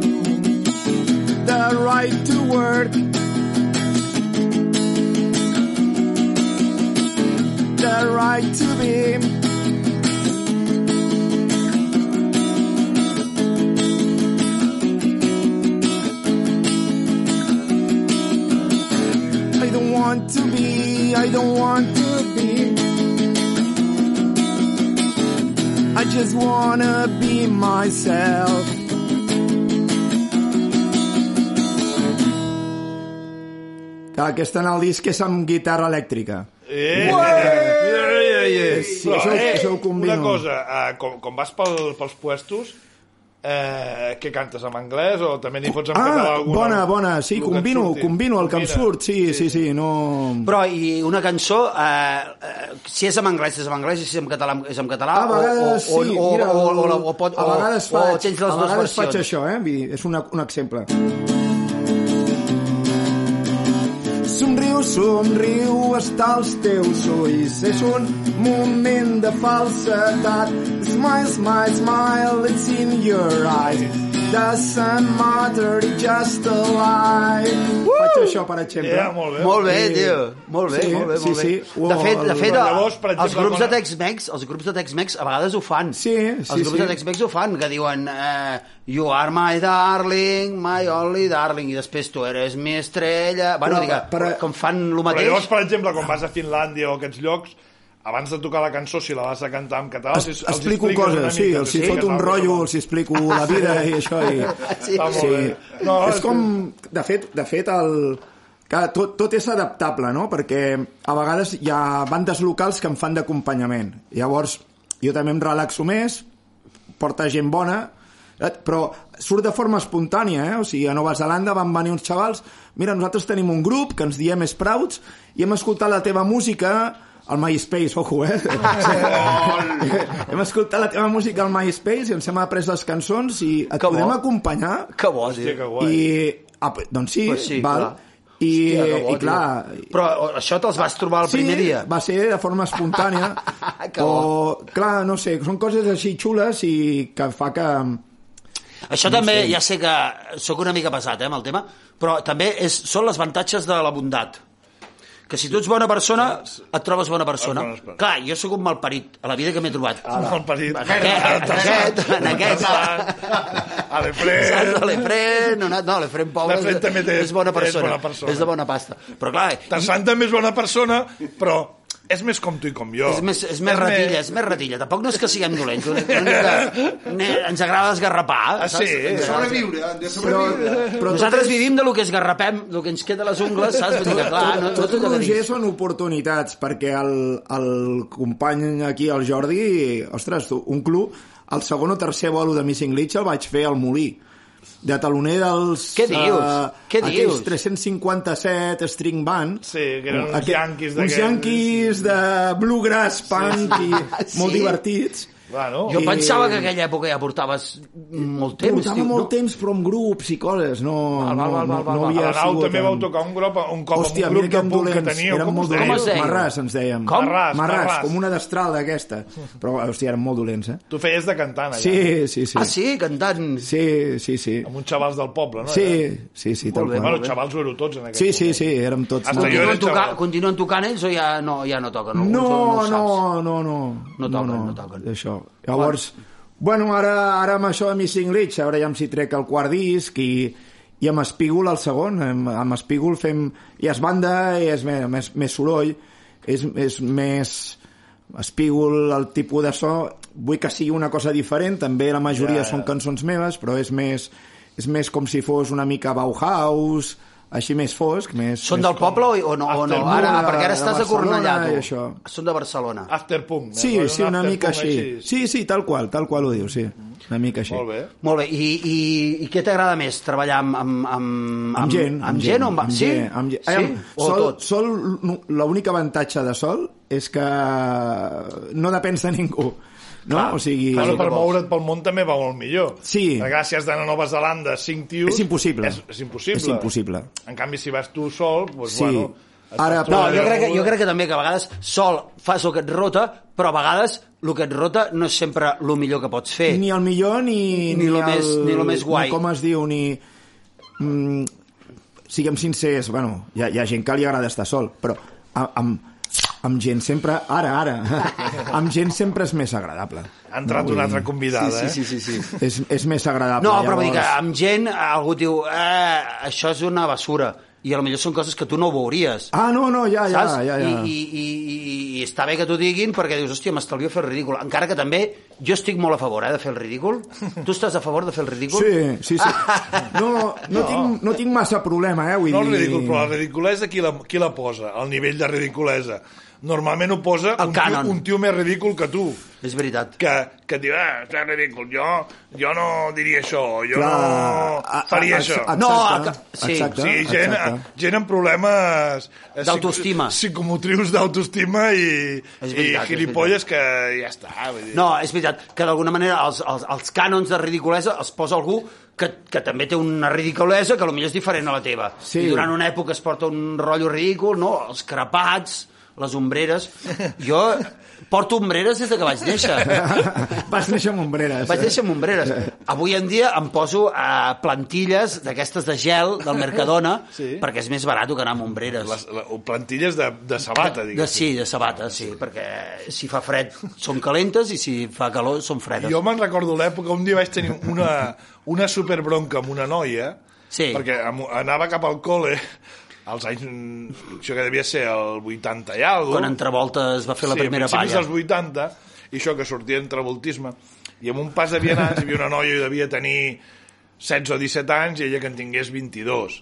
Speaker 6: The right to work. The right to be. I don't want to be, I don't want to be. I just wanna be myself.
Speaker 3: Que aquesta en el disc és amb guitarra elèctrica.
Speaker 2: Eh, eh, eh, eh.
Speaker 3: Sí,
Speaker 2: Però,
Speaker 3: això ho-
Speaker 2: eh,
Speaker 3: això ho combino.
Speaker 2: Una cosa, eh, com, com vas pel, pels puestos, eh, què cantes, en anglès o també n'hi fots en català
Speaker 3: Ah,
Speaker 2: alguna?
Speaker 3: bona, bona, sí,
Speaker 2: El que et
Speaker 3: combino,
Speaker 2: surti.
Speaker 3: combino el que em
Speaker 2: Combina.
Speaker 3: surt, sí, sí, sí, no...
Speaker 4: Però, i una cançó, eh, eh, si és en anglès, és en anglès, i si és en català, és en català,
Speaker 3: A vegades
Speaker 4: o, o,
Speaker 3: sí,
Speaker 4: o,
Speaker 3: mira,
Speaker 4: o, o, o, o, pot,
Speaker 3: a vegades
Speaker 4: o,
Speaker 3: faig,
Speaker 4: o tens
Speaker 3: a
Speaker 4: les dues
Speaker 3: vegades faig
Speaker 4: versions.
Speaker 3: això, eh? Vull dir, És una, un exemple.
Speaker 6: Somriu, somriu, està als teus ulls. És un moment de falsetat. Smile, smile, smile, it's in your eyes. Doesn't matter, it's just a lie.
Speaker 3: Faig això, per exemple.
Speaker 2: Eh, molt bé.
Speaker 4: Molt bé,
Speaker 3: Sí.
Speaker 4: tio. Molt bé,
Speaker 3: Sí,
Speaker 4: molt bé,
Speaker 3: sí,
Speaker 4: molt bé.
Speaker 3: sí.
Speaker 4: De fet, de fet
Speaker 2: Llavors, per
Speaker 4: els
Speaker 2: exemple,
Speaker 4: grups de
Speaker 2: quan-
Speaker 4: Tex-Mex, els grups de Tex-Mex a vegades ho fan.
Speaker 3: Sí, sí,
Speaker 4: Els grups
Speaker 3: sí.
Speaker 4: de Tex-Mex ho fan, que diuen eh, You are my darling, my only darling, i després tu eres mi estrella... Bueno,
Speaker 3: Però,
Speaker 4: digue,
Speaker 3: però-
Speaker 4: com fan el
Speaker 2: Però llavors,
Speaker 4: mateix...
Speaker 2: per exemple, quan vas a Finlàndia o a aquests llocs, abans de tocar la cançó, si la vas a cantar en català...
Speaker 3: Es,
Speaker 2: si- els
Speaker 3: explico
Speaker 2: expliques una
Speaker 3: coses, sí,
Speaker 2: mica
Speaker 3: els
Speaker 2: que
Speaker 3: hi fot un
Speaker 2: català,
Speaker 3: rotllo,
Speaker 2: no?
Speaker 3: els hi explico la vida i això. I...
Speaker 4: Sí. Està
Speaker 2: molt bé.
Speaker 3: No,
Speaker 2: No,
Speaker 3: és
Speaker 2: és
Speaker 3: com, de fet, de fet el... Que tot, tot és adaptable, no? Perquè a vegades hi ha bandes locals que em fan d'acompanyament. Llavors, jo també em relaxo més, porta gent bona, eh, però surt de forma espontània, eh? O sigui, a Nova Zelanda van venir uns xavals, mira, nosaltres tenim un grup que ens diem Sprouts i hem escoltat la teva música al MySpace, ojo, eh? hem escoltat la teva música al MySpace i ens hem après les cançons i et
Speaker 4: Que bo.
Speaker 3: podem acompanyar
Speaker 4: Que bo,
Speaker 2: Hòstia,
Speaker 4: tio.
Speaker 2: que guai.
Speaker 3: i... Ah, doncs sí,
Speaker 4: Pues sí,
Speaker 3: val.
Speaker 4: clar.
Speaker 3: I,
Speaker 4: Hòstia, que bo,
Speaker 3: i
Speaker 4: tio.
Speaker 3: clar...
Speaker 4: Però o, això te'ls vas trobar el primer dia?
Speaker 3: va ser de forma espontània.
Speaker 4: Que
Speaker 3: o, clar, no sé, són coses així xules i que fa que...
Speaker 4: Això també, ja sé que sóc una mica pesat eh, amb el tema, però també és, són les avantatges de la bondat. Que si tu ets bona persona, et trobes bona persona.
Speaker 2: Et trobes-
Speaker 4: Clar, jo sóc un malparit, a la vida que m'he trobat.
Speaker 2: Molt petit.
Speaker 4: En aquest, en aquest, en aquest.
Speaker 2: A l'Efrén.
Speaker 4: Saps? L'Efren, no, no, l'Efren Pou és,
Speaker 2: L'Efren també té-
Speaker 4: és bona
Speaker 2: és
Speaker 4: persona,
Speaker 2: bona persona.
Speaker 4: és de bona pasta. Però clar,
Speaker 2: Tassan també és bona persona, però és més com tu i com jo.
Speaker 4: és més, és més ratilla, és més ratilla. Tampoc no és que siguem dolents, una, una mica, ne- ens agrada esgarrapar.
Speaker 2: Ah,
Speaker 4: saps?
Speaker 2: sí?
Speaker 4: Ens agrada
Speaker 5: Sobreviure, hem de sobreviure.
Speaker 3: Però
Speaker 4: Nosaltres vivim de lo que esgarrapem, lo que ens queda a les ungles, saps? Vull dir que, clar, Ah, no, no
Speaker 3: tot
Speaker 4: tot el que
Speaker 3: Roger
Speaker 4: dius.
Speaker 3: són oportunitats, perquè el, el company aquí, el Jordi, ostres, tu, un club, el segon o tercer bolo de Missing Glitch el vaig fer al Molí, de taloner dels...
Speaker 4: Què dius?
Speaker 3: eh,
Speaker 4: Què
Speaker 3: aquells
Speaker 4: dius?
Speaker 3: 357 string band.
Speaker 2: Sí, que eren uns
Speaker 3: Aquest-
Speaker 2: yanquis
Speaker 3: Uns
Speaker 2: d'aquells.
Speaker 3: yanquis de bluegrass, punk, i
Speaker 4: Ah, Sí.
Speaker 3: molt divertits.
Speaker 2: Bueno,
Speaker 4: Jo
Speaker 3: I-
Speaker 4: pensava que aquella època ja portaves molt temps.
Speaker 3: Portava
Speaker 4: tio,
Speaker 3: molt
Speaker 4: no?
Speaker 3: temps, però amb grups i coses. No,
Speaker 4: Val, val, val,
Speaker 3: no,
Speaker 4: val,
Speaker 3: no,
Speaker 2: a
Speaker 3: no
Speaker 4: val.
Speaker 3: havia
Speaker 2: la nau
Speaker 3: sigut
Speaker 2: també
Speaker 3: en-
Speaker 2: vau tocar un grup, un cop
Speaker 3: Hòstia,
Speaker 2: amb un grup
Speaker 3: mira que
Speaker 2: de punk que
Speaker 3: dolents.
Speaker 2: teníeu.
Speaker 3: Érem
Speaker 2: Com us
Speaker 3: molt
Speaker 2: deieu?
Speaker 4: dolents. Com es deia?
Speaker 3: Marràs, ens dèiem.
Speaker 4: Com?
Speaker 2: Marràs, Marràs.
Speaker 3: com una destral d'aquesta. Però, hòstia, érem molt dolents, eh?
Speaker 2: Tu feies de cantant allà.
Speaker 3: Sí, sí, sí.
Speaker 4: Ah, sí? Cantant.
Speaker 3: Sí, sí, sí.
Speaker 2: Amb uns xavals del poble, no?
Speaker 3: Sí, sí, sí, tal
Speaker 4: Molt bé,
Speaker 3: qual.
Speaker 2: Bueno, xavals ho éreu tots en aquell
Speaker 3: Sí, sí, sí, érem tots...
Speaker 2: Hasta
Speaker 3: molt-
Speaker 2: jo era
Speaker 4: Continuen, toca,
Speaker 2: xaval.
Speaker 4: continuen tocant ells o ja no, ja no toquen? Alguns
Speaker 3: No,
Speaker 4: ho
Speaker 3: no, no, no.
Speaker 4: No toquen, no toquen.
Speaker 3: Això. Llavors, bueno, ara, ara amb això de Missing Leach, ara ja em s'hi trec el quart disc i, i amb Espígol el segon. Amb, amb Espígol fem... I es banda, i és més, més, més soroll, és, és més espígol, el tipus de so vull que sigui una cosa diferent també la majoria
Speaker 2: Ja, ja.
Speaker 3: són cançons meves però és més, és més com si fos una mica Bauhaus així més fosc més,
Speaker 4: Són
Speaker 3: més
Speaker 4: del poble o, o no? O no?
Speaker 2: Afternoon,
Speaker 4: Ara,
Speaker 3: de-
Speaker 4: perquè ara
Speaker 3: de
Speaker 4: estàs a
Speaker 3: Barcelona
Speaker 4: Cornellà,
Speaker 3: i
Speaker 4: tu.
Speaker 3: això.
Speaker 4: Són de Barcelona.
Speaker 2: Afterpunk.
Speaker 3: Sí, sí, una mica així. Sí, sí, tal qual, tal qual ho diu, sí. Una mica així.
Speaker 2: Molt bé.
Speaker 4: Molt bé, i, i, i què t'agrada més? Treballar amb, amb, amb,
Speaker 3: Amb gent,
Speaker 4: amb, gent, o amb...
Speaker 3: amb
Speaker 4: sí?
Speaker 3: gent, amb gent.
Speaker 4: sí?
Speaker 3: Em,
Speaker 4: O
Speaker 3: sol,
Speaker 4: tot?
Speaker 3: sol, no, l'únic avantatge de sol és que no depens de ningú, no?
Speaker 4: Clar.
Speaker 3: o sigui,
Speaker 2: Bueno, per
Speaker 4: vols.
Speaker 2: moure't pel món també va molt millor.
Speaker 3: Sí.
Speaker 2: Perquè ara, si has d'anar a Nova Zelanda, cinc tios...
Speaker 3: És impossible.
Speaker 2: És, és impossible.
Speaker 3: És impossible.
Speaker 2: En canvi, si vas tu sol, doncs,
Speaker 3: Sí.
Speaker 2: bueno,
Speaker 3: Ara,
Speaker 4: No,
Speaker 3: però-
Speaker 4: jo crec, que, jo crec que també que a vegades sol fas el que et rota, però a vegades el que et rota no és sempre el millor que pots fer.
Speaker 3: ni el millor ni...
Speaker 4: Ni lo més- ni lo més guai.
Speaker 3: Ni com es diu, ni... Mm, siguem sincers, bueno, hi ha, hi ha gent que li agrada estar sol, però a- amb, amb gent sempre... Ara, ara. amb gent sempre és més agradable.
Speaker 2: Ha entrat una altra convidada, sí, sí, sí, sí, sí. eh?
Speaker 3: És, és més agradable.
Speaker 4: No, però vull dir que amb gent algú et diu eh, això és una basura i a lo millor són coses que tu no veuries.
Speaker 3: Ah, no, no, ja, ja,
Speaker 4: saps?
Speaker 3: ja, ja.
Speaker 4: I, i, i, i, I està bé que t'ho diguin perquè dius, hòstia, m'estalvio fer el ridícul. Encara que també jo estic molt a favor eh, de fer el ridícul. Tu estàs a favor de fer el ridícul?
Speaker 3: Sí, sí, sí. No, no, no. Tinc, no tinc massa problema, eh? Vull
Speaker 2: No el
Speaker 3: dir-
Speaker 2: ridícul, però la ridiculesa qui la, qui la posa? El nivell de ridiculesa. Normalment ho posa un
Speaker 4: El
Speaker 2: tio,
Speaker 4: cànon.
Speaker 2: un tio més ridícul que tu.
Speaker 4: És veritat.
Speaker 2: Que, que et diu, eh, és ridícul, jo, jo no diria això, jo
Speaker 3: Clar, a-
Speaker 2: no
Speaker 3: a-
Speaker 2: faria
Speaker 3: a-
Speaker 2: això.
Speaker 3: Exacte,
Speaker 4: No, a- sí.
Speaker 3: exacte,
Speaker 2: sí, gent,
Speaker 3: exacte.
Speaker 2: gent amb problemes... eh,
Speaker 4: D'autoestima.
Speaker 2: psico- Psicomotrius d'autoestima i,
Speaker 4: És
Speaker 2: i
Speaker 4: veritat, és
Speaker 2: gilipolles que ja està. Vull dir.
Speaker 4: No, és veritat que d'alguna manera els, els, els cànons de ridiculesa els posa algú que, que també té una ridiculesa que potser és diferent a la teva.
Speaker 3: Sí.
Speaker 4: Sí. I durant una època es porta un rotllo ridícul, no? Els crepats, les ombreres... Jo porto ombreres des de que vaig néixer.
Speaker 3: Vas néixer amb ombreres.
Speaker 4: Vaig néixer amb ombreres. Avui en dia em poso a plantilles d'aquestes de gel del Mercadona sí. perquè és més barat que anar amb ombreres.
Speaker 2: Les, la, o plantilles de, de sabata,
Speaker 4: de,
Speaker 2: diguéssim.
Speaker 4: sí, de sabata, sí, perquè si fa fred són calentes i si fa calor són fredes.
Speaker 2: Jo me'n recordo l'època, un dia vaig tenir una, una superbronca amb una noia,
Speaker 4: Sí.
Speaker 2: perquè am- anava cap al col·le, als anys, mm, això que devia ser el 80 i alguna
Speaker 4: quan Entrevolta es va fer la primera
Speaker 2: a principis
Speaker 4: palla.
Speaker 2: dels 80, i això que sortia entrevoltisme, i amb un pas de vianants hi havia una noia que devia tenir 16 o 17 anys i ella que en tingués 22.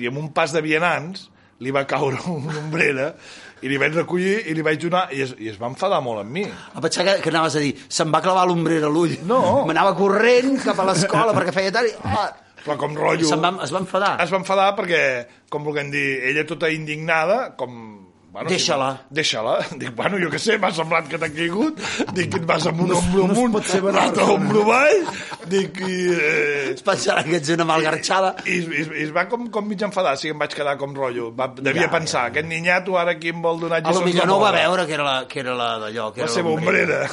Speaker 2: I amb un pas de vianants li va caure una ombrera i li vaig recollir i li vaig donar i es, i es va enfadar molt amb mi.
Speaker 4: Em pensava que, que anaves a dir, se'm va clavar l'ombrera a l'ull.
Speaker 2: No.
Speaker 4: M'anava corrent cap a l'escola perquè feia tard i... Ah,
Speaker 2: Però com rotllo...
Speaker 4: se'm va, es va enfadar.
Speaker 2: es va enfadar perquè, com vulguem dir, ella tota indignada, com... Bueno,
Speaker 4: Deixa-la.
Speaker 2: Si, Deixa-la. Dic, bueno, jo què sé, m'ha semblat que t'ha caigut. Dic, et vas amb un
Speaker 3: No es-
Speaker 2: ombro
Speaker 3: no es
Speaker 2: amunt,
Speaker 3: pot ser bona
Speaker 2: l'altre
Speaker 3: persona.
Speaker 2: ombro avall. Dic, i, eh,
Speaker 4: Es pensarà que ets una malgarxada.
Speaker 2: i, i, i es va com, com mig enfadar, sí, em vaig quedar com rotllo. Va, devia ja, pensar, ja. aquest ninyato ara qui em vol donar
Speaker 4: A
Speaker 2: lliçons
Speaker 4: lo millor no ho va veure que era la, que era la d'allò. que
Speaker 2: La
Speaker 4: era
Speaker 2: seva ombrera.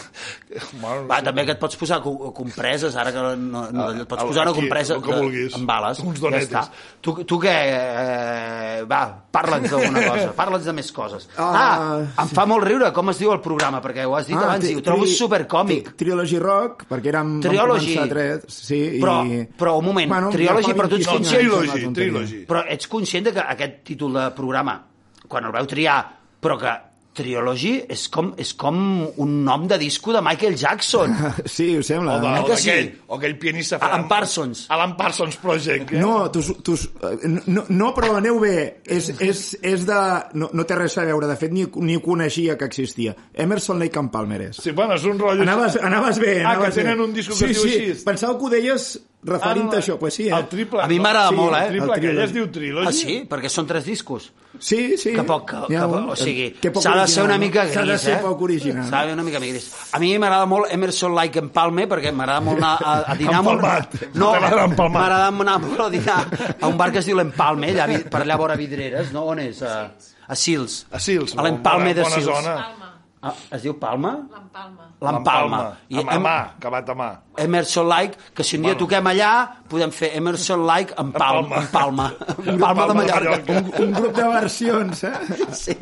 Speaker 2: Bueno,
Speaker 4: Va, també que et pots posar co- compreses, ara que no, no, et pots
Speaker 2: Al-
Speaker 4: posar una
Speaker 2: Ah, aquí,
Speaker 4: compresa
Speaker 2: el que
Speaker 4: de-
Speaker 2: vulguis.
Speaker 4: amb bales.
Speaker 2: Uns donetes.
Speaker 4: Ja està. Tu, tu què... Eh, va, parla'ns d'alguna cosa, parla'ns de més coses. Ah,
Speaker 3: Ah,
Speaker 4: em fa molt riure com es diu el programa, perquè ho has dit abans
Speaker 3: tri-
Speaker 4: i ho trobo
Speaker 3: tri-
Speaker 4: supercòmic.
Speaker 3: tri- Trilogy Rock, perquè érem...
Speaker 4: Trilogy.
Speaker 3: Vam començar a tres, sí,
Speaker 4: Però-
Speaker 3: i...
Speaker 4: però un moment, Trilogy, però tu ets
Speaker 2: no,
Speaker 4: conscient-
Speaker 2: trilogy, trilogy.
Speaker 4: Però ets conscient de que aquest títol de programa, quan el vau triar, però que Triology és com, és com un nom de disco de Michael Jackson.
Speaker 3: Sí, ho sembla.
Speaker 2: O, de, o,
Speaker 4: que sí?
Speaker 2: d'aquell, o aquell pianista...
Speaker 4: Alan Parsons.
Speaker 2: Alan Parsons Project. eh?
Speaker 3: No, tu, tu, eh, no, no, però aneu bé. És, és, és de... No, no té res a veure. De fet, ni, ni ho coneixia que existia. Emerson, Lake and Palmer és.
Speaker 2: Sí, bueno, és un rotllo...
Speaker 3: Anaves, anaves bé.
Speaker 2: Ah,
Speaker 3: Anaves
Speaker 2: que tenen
Speaker 3: bé.
Speaker 2: un disco que
Speaker 3: sí,
Speaker 2: es diu
Speaker 3: sí.
Speaker 2: així. Ah,
Speaker 3: Pensava que ho deies referint a això. Pues sí, eh?
Speaker 2: El triple...
Speaker 4: A mi m'agrada molt,
Speaker 2: El
Speaker 3: El
Speaker 4: eh?
Speaker 2: triple
Speaker 3: Trilogy.
Speaker 2: aquell es diu Trilogy.
Speaker 4: Ah, sí? Perquè són tres discos.
Speaker 3: Sí, sí.
Speaker 4: Que poc, que,
Speaker 3: N'hi ha
Speaker 4: que,
Speaker 3: un.
Speaker 4: poc- o sigui,
Speaker 3: Que poc
Speaker 4: s'ha de
Speaker 3: original,
Speaker 4: ser una mica
Speaker 3: no?
Speaker 4: gris,
Speaker 3: S'ha de ser
Speaker 4: eh?
Speaker 3: poc original.
Speaker 4: S'ha de ser una mica gris. A mi m'agrada molt Emerson Lake en Palme, perquè m'agrada molt anar a, a dinar... amb un-
Speaker 2: Empalmat.
Speaker 4: No,
Speaker 2: T'agrada empalmat.
Speaker 4: m'agrada anar molt a dinar a un bar que es diu l'Empalme, allà, vi- per allà a vora Vidreres, no? On és? A, a Sils.
Speaker 2: A Sils,
Speaker 4: A l'Empalme
Speaker 2: bona-
Speaker 4: de
Speaker 2: bona
Speaker 4: Sils.
Speaker 2: zona.
Speaker 7: Palma,
Speaker 4: Ah, es diu Palma?
Speaker 7: l'empalma.
Speaker 4: L'Empalma.
Speaker 2: I amb
Speaker 4: Em-
Speaker 2: mà, acabat a mà.
Speaker 4: Emerson Like, que si un dia toquem allà, podem fer Emerson Like en Palma. En Palma. En Palma de Mallorca.
Speaker 3: Un, un grup de versions, eh?
Speaker 4: Sí,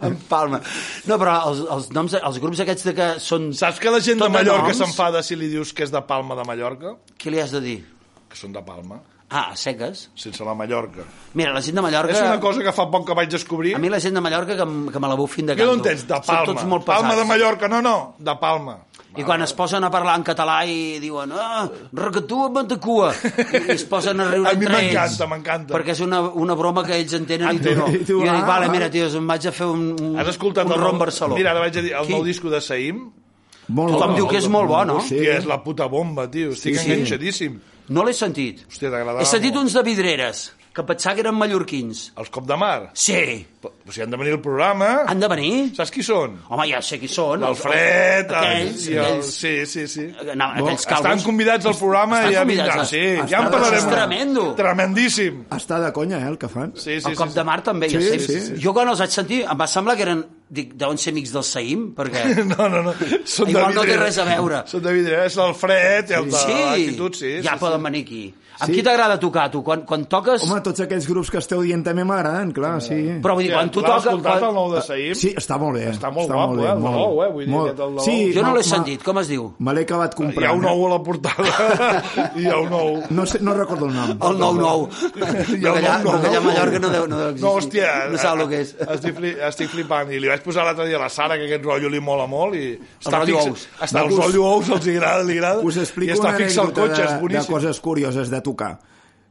Speaker 4: en Palma. No, però els, els, noms, els grups aquests de que són...
Speaker 2: Saps que la gent de
Speaker 4: Tot doncs. de
Speaker 2: Mallorca
Speaker 4: noms?
Speaker 2: s'enfada si li dius que és de Palma de Mallorca?
Speaker 4: Què li has de dir?
Speaker 2: Que són de Palma,
Speaker 4: Ah, a seques.
Speaker 2: sense la Mallorca.
Speaker 4: Mira, la gent de Mallorca...
Speaker 2: És una cosa que fa poc que vaig descobrir.
Speaker 4: A mi la gent de Mallorca que, em- que me la bufin de
Speaker 2: Que
Speaker 4: canto.
Speaker 2: no entens, de Palma.
Speaker 4: Són tots molt pesats.
Speaker 2: Palma de Mallorca, no, no, de Palma.
Speaker 4: I quan es posen a parlar en català i diuen ah, recatua, mantacua, i, i es posen a riure
Speaker 2: A mi
Speaker 4: entre ells.
Speaker 2: m'encanta, m'encanta.
Speaker 4: Perquè és una, una broma que ells entenen i tu no.
Speaker 3: Entenen.
Speaker 4: I
Speaker 3: I tu,
Speaker 4: jo dic,
Speaker 3: ah,
Speaker 4: vale,
Speaker 3: ah.
Speaker 4: mira, tios, em vaig a fer un, un,
Speaker 2: Has escoltat
Speaker 4: un
Speaker 2: el
Speaker 4: rom
Speaker 2: nou-
Speaker 4: Barcelona.
Speaker 2: Mira, ara vaig a dir, el
Speaker 4: Qui?
Speaker 2: nou disco de Saïm,
Speaker 3: Molt
Speaker 4: Tothom diu que és molt bo, no?
Speaker 2: sí. és la puta bomba, tio. Estic
Speaker 3: Sí,
Speaker 2: sí,
Speaker 3: sí.
Speaker 2: enganxadíssim.
Speaker 4: No l'he sentit.
Speaker 2: Hòstia, t'agradava
Speaker 4: He sentit
Speaker 2: molt.
Speaker 4: uns de vidreres, que que pensava que eren mallorquins.
Speaker 2: Els cop de mar.
Speaker 4: Sí,
Speaker 2: Però, o sigui, han de venir al programa.
Speaker 4: han de venir.
Speaker 2: Saps qui són?
Speaker 4: Home, ja sé qui són.
Speaker 2: L'Alfred,
Speaker 4: Aquells,
Speaker 2: els- i el...
Speaker 4: aquells.
Speaker 2: Sí, sí, sí.
Speaker 4: No, aquells
Speaker 2: Estan
Speaker 4: calvos.
Speaker 2: convidats al programa
Speaker 4: Estan
Speaker 2: i ja
Speaker 4: convidats,
Speaker 2: vindran.
Speaker 4: eh?
Speaker 2: Sí,
Speaker 4: Estan-
Speaker 2: ja en parlarem.
Speaker 4: és tremendo.
Speaker 2: Tremendíssim.
Speaker 3: Està de conya, eh, el que fan.
Speaker 2: Sí, sí,
Speaker 4: el cop
Speaker 2: sí,
Speaker 4: de mar també, ja
Speaker 3: Sí,
Speaker 4: sé.
Speaker 3: sí, sí.
Speaker 4: Jo quan els vaig sentir em va semblar que eren, dic, deuen ser amics del Saïm, perquè...
Speaker 2: sí. No, no, no. Són de
Speaker 4: Igual no té
Speaker 2: vidre.
Speaker 4: res a veure.
Speaker 2: Són de vidre, eh? és l'Alfred i el de l'actitud, sí.
Speaker 4: ja
Speaker 2: sí,
Speaker 4: poden venir aquí. Amb qui t'agrada tocar, tu? Quan, quan toques...
Speaker 3: Home, tots aquells grups que esteu dient també m'agraden, clar, sí.
Speaker 4: però vull dir, quan tu
Speaker 2: L'has
Speaker 4: toques...
Speaker 2: escoltat el
Speaker 4: Quan...
Speaker 2: nou de Saïm?
Speaker 3: Sí, està molt bé.
Speaker 2: Està molt guapo, eh, el de
Speaker 3: bé,
Speaker 2: nou, eh, vull dir,
Speaker 3: molt-
Speaker 2: aquest el de nou.
Speaker 3: Sí,
Speaker 4: Jo no
Speaker 3: ma-
Speaker 4: l'he
Speaker 3: ma-
Speaker 4: sentit, com es diu?
Speaker 3: Me l'he acabat
Speaker 2: Hi
Speaker 3: comprant.
Speaker 2: ha un
Speaker 3: eh?
Speaker 2: nou a la portada. Hi ha un nou.
Speaker 3: No, sé, no recordo el nom.
Speaker 4: El 9-9.
Speaker 2: el
Speaker 4: Perquè allà,
Speaker 2: 9-9.
Speaker 4: perquè allà a Mallorca no deu, no deu existir.
Speaker 2: No, hòstia, eh,
Speaker 4: No sap el que és.
Speaker 2: Estic, fli estic flipant. I li vaig posar l'altre dia a la Sara, que aquest rotllo li mola molt. I està
Speaker 4: rotllo
Speaker 2: fix,
Speaker 4: ous.
Speaker 2: Està, el
Speaker 3: Us-
Speaker 2: rotllo ous els hi agrada, li agrada.
Speaker 3: Us explico
Speaker 2: I està
Speaker 3: una
Speaker 2: fix al
Speaker 3: anècdota
Speaker 2: cotxe,
Speaker 3: de,
Speaker 2: és
Speaker 3: de
Speaker 2: boníssim.
Speaker 3: coses curioses de tocar.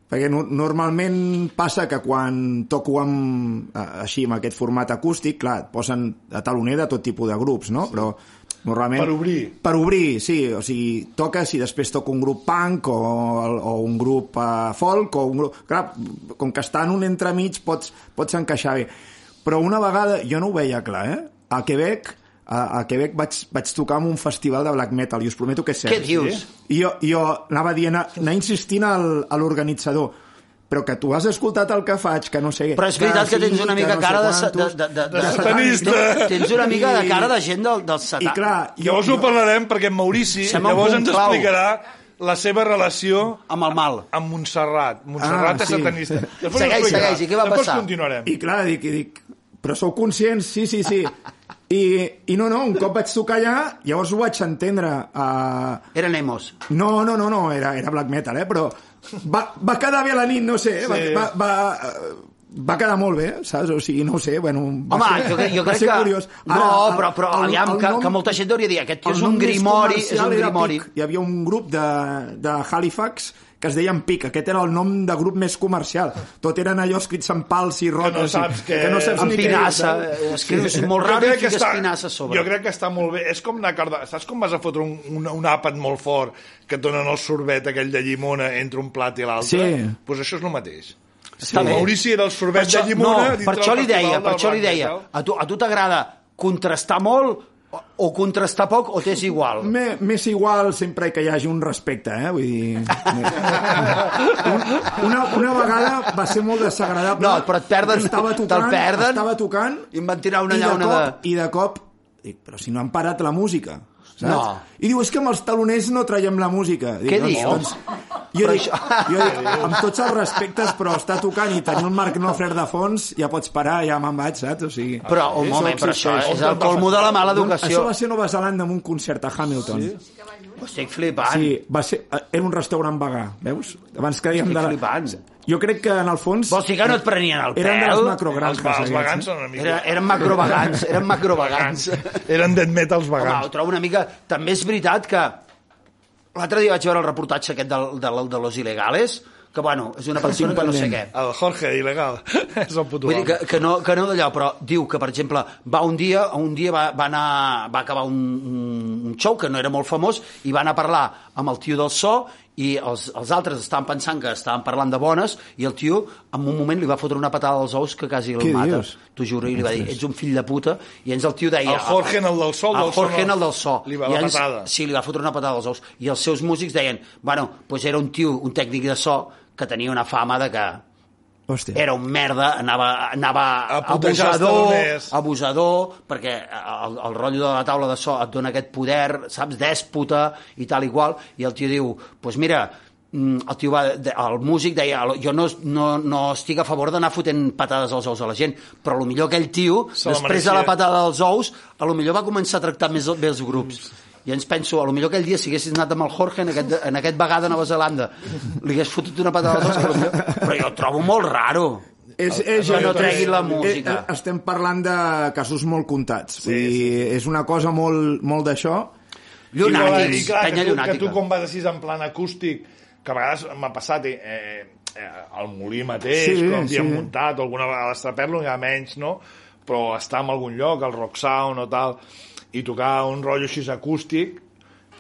Speaker 3: Perquè no, normalment passa que quan toco amb, eh, així, amb aquest format acústic, clar, et posen a taloner de tot tipus de grups, no? Però normalment...
Speaker 2: Per obrir.
Speaker 3: Per obrir, sí. O sigui, toques i després toca un grup punk o, el- o un grup eh, folk o un grup... Clar, com que està en un entremig pots, pots encaixar bé. Però una vegada, jo no ho veia clar, eh? A Quebec, a, a Quebec vaig, vaig tocar en un festival de black metal i us prometo que és cert.
Speaker 4: Què dius?
Speaker 3: I eh? jo, jo anava dient, anar insistint al, a l'organitzador, però que tu has escoltat el que faig, que no sé...
Speaker 4: Però és veritat que tens una mica cara de... sa- de, de, de, de,
Speaker 2: De satanista.
Speaker 4: Tens una mica de cara de gent del, del
Speaker 3: I
Speaker 4: satan.
Speaker 3: clar, jo,
Speaker 2: Llavors ho parlarem, perquè en Maurici
Speaker 4: Sembla un
Speaker 2: llavors
Speaker 4: punt
Speaker 2: ens
Speaker 4: clau.
Speaker 2: explicarà la seva relació
Speaker 4: Amb el mal.
Speaker 2: amb Montserrat. Montserrat
Speaker 3: Ah,
Speaker 2: és
Speaker 3: sí.
Speaker 2: satanista. Després ho
Speaker 4: Segueix,
Speaker 2: explicarà.
Speaker 4: segueix, i què va
Speaker 2: Després
Speaker 4: passar?
Speaker 2: continuarem.
Speaker 3: I clar, dic, i dic, però sou conscients? Sí, sí, sí. I, I no, no, un cop vaig tocar allà, llavors ho vaig entendre. Uh,
Speaker 4: Eren emos.
Speaker 3: no, no, no, no, era, era black metal, eh? Però va, va quedar bé a la nit, no sé, eh? va,
Speaker 2: Sí.
Speaker 3: va, va, eh, va quedar molt bé, saps? O sigui, no ho sé, bueno... va
Speaker 4: Home,
Speaker 3: ser-
Speaker 4: jo, crec- jo
Speaker 3: va
Speaker 4: crec
Speaker 3: ser
Speaker 4: que...
Speaker 3: curiós.
Speaker 4: no,
Speaker 3: Ara, el-
Speaker 4: però, però
Speaker 3: el-
Speaker 4: aviam,
Speaker 3: el
Speaker 4: que,
Speaker 3: nom-
Speaker 4: que molta gent hauria de dir aquest tio és
Speaker 3: el
Speaker 4: un
Speaker 3: nom més
Speaker 4: grimori, és
Speaker 3: comercial
Speaker 4: un
Speaker 3: era
Speaker 4: grimori.
Speaker 3: Pic. Hi havia un grup de, de Halifax que es deien Pic. Aquest era el nom de grup més comercial. Tot eren allò escrits amb pals i rotes. i-
Speaker 2: saps què
Speaker 3: que no saps
Speaker 4: Amb
Speaker 3: ni què és.
Speaker 4: pinassa.
Speaker 3: eh?
Speaker 4: eh, Escrius molt raro i fiques pinassa a sobre.
Speaker 2: jo crec que està molt bé. És com anar a Cardà. Saps com vas a fotre un, un, un àpat molt fort que et donen el sorbet aquell de llimona entre un plat i l'altre?
Speaker 3: Sí.
Speaker 2: Doncs pues això és el mateix.
Speaker 4: Està bé.
Speaker 2: Maurici era el
Speaker 4: Per
Speaker 2: sorbet
Speaker 4: això,
Speaker 2: de
Speaker 4: no,
Speaker 2: llimona... dintre
Speaker 4: per això
Speaker 2: el
Speaker 4: li
Speaker 2: festival
Speaker 4: deia,
Speaker 2: del
Speaker 4: per això li
Speaker 2: Black
Speaker 4: deia.
Speaker 2: Metal.
Speaker 4: A tu, a tu t'agrada contrastar molt o, o contrastar poc o t'és igual?
Speaker 3: M'he- M'és igual sempre que hi hagi un respecte, eh? Vull dir... Un- Una, una vegada va ser molt desagradable.
Speaker 4: No, però et perden,
Speaker 3: Estava
Speaker 4: te'l
Speaker 3: tocant,
Speaker 4: perden.
Speaker 3: estava tocant
Speaker 4: I em van tirar una
Speaker 3: i de
Speaker 4: llauna
Speaker 3: cop, de... I de cop, dic, però si no han parat la música, saps?
Speaker 4: No.
Speaker 3: I diu, és que amb els taloners no traiem la música. Dic,
Speaker 4: Què
Speaker 3: doncs,
Speaker 4: diu?
Speaker 3: Doncs, jo,
Speaker 4: Però
Speaker 3: dic,
Speaker 4: això-
Speaker 3: jo dic, amb tots els respectes, però està tocant i tenir el Marc Nofrer de fons, ja pots parar, ja me'n vaig, saps? O sigui...
Speaker 4: Però, un moment, però això és el colmo de la mala
Speaker 3: Això
Speaker 4: educació.
Speaker 3: va ser a Nova Zelanda amb un concert a Hamilton. Sí,
Speaker 4: Ho estic flipant.
Speaker 3: sí va ser, eh, era un restaurant vegà, veus? Abans que dèiem
Speaker 4: Estic
Speaker 3: de la...
Speaker 4: flipant.
Speaker 3: Jo crec que en el fons...
Speaker 4: Vols dir que no et prenien el
Speaker 3: Eren de les
Speaker 4: pèl?
Speaker 2: Els,
Speaker 3: macrogranges.
Speaker 2: va- els
Speaker 3: aquests,
Speaker 2: vegans
Speaker 3: eh?
Speaker 2: són una mica...
Speaker 4: Era, eren macrovagants, eren macrovagants.
Speaker 2: Eren dead metals
Speaker 4: Home,
Speaker 2: vegans.
Speaker 4: ho trobo una mica... També és veritat que... L'altre dia vaig veure el reportatge aquest del, del, de los ilegales, que, bueno, és una persona que no sé què.
Speaker 2: El Jorge, il·legal. és el puto
Speaker 4: Vull dir
Speaker 2: amo.
Speaker 4: que, que no, que no d'allò, però diu que, per exemple, va un dia, un dia va, va, anar, va acabar un, un- un show que no era molt famós i va anar a parlar amb el tio del so i els, els altres estaven pensant que estaven parlant de bones i el tio en un moment li va fotre una patada als ous que quasi el
Speaker 3: Què
Speaker 4: mata.
Speaker 3: dius?
Speaker 4: T'ho juro, i li va dir, ets un fill de puta. I ens el tio deia...
Speaker 2: El Jorge en el del so, el
Speaker 4: El
Speaker 2: del so
Speaker 4: Jorge en
Speaker 2: no.
Speaker 4: el del so.
Speaker 2: Li va
Speaker 4: I
Speaker 2: la
Speaker 4: ens-
Speaker 2: patada.
Speaker 4: Sí, li va fotre una patada als ous. I els seus músics deien, bueno, doncs era un tio, un tècnic de so, que tenia una fama de que
Speaker 3: Hòstia.
Speaker 4: era un merda, anava, anava
Speaker 2: A putejar els
Speaker 4: abusador,
Speaker 2: teloners.
Speaker 4: abusador, perquè eh, el, el rotllo de la taula de so et dona aquest poder, saps, dèspota i tal i qual, i el tio diu, doncs pues mira, mm, el, tio va, de- el músic deia jo no, no, no estic a favor d'anar fotent patades als ous a la gent, però a lo millor aquell tio,
Speaker 2: Se la
Speaker 4: després
Speaker 2: mereixia.
Speaker 4: de la patada als ous, a lo millor va començar a tractar més bé els grups.
Speaker 2: Mm.
Speaker 4: I ens penso, a lo millor aquell dia si haguessis anat amb el Jorge en aquest, en aquest vegada a Nova Zelanda, li hagués fotut una patada als ous, però, millor... però jo ho trobo molt raro.
Speaker 3: És, és,
Speaker 4: Que no
Speaker 3: és-
Speaker 4: tregui la
Speaker 3: eh,
Speaker 4: música.
Speaker 3: eh, estem parlant de casos molt comptats. Sí, Vull dir, és una cosa molt, molt d'això.
Speaker 2: Llunàtics,
Speaker 4: Llunàtics,
Speaker 2: clar, que
Speaker 4: penya
Speaker 2: tu, que
Speaker 4: llunàtica.
Speaker 2: tu quan vas així en plan acústic, que a vegades m'ha passat eh, eh, eh, al molí mateix,
Speaker 3: Sí,
Speaker 2: sí, quan havíem
Speaker 3: sí.
Speaker 2: muntat, o alguna vegada a l'Estraperlo, ja menys, no? Però estar en algun lloc, al Rock Sound o tal, i tocar un rotllo així acústic,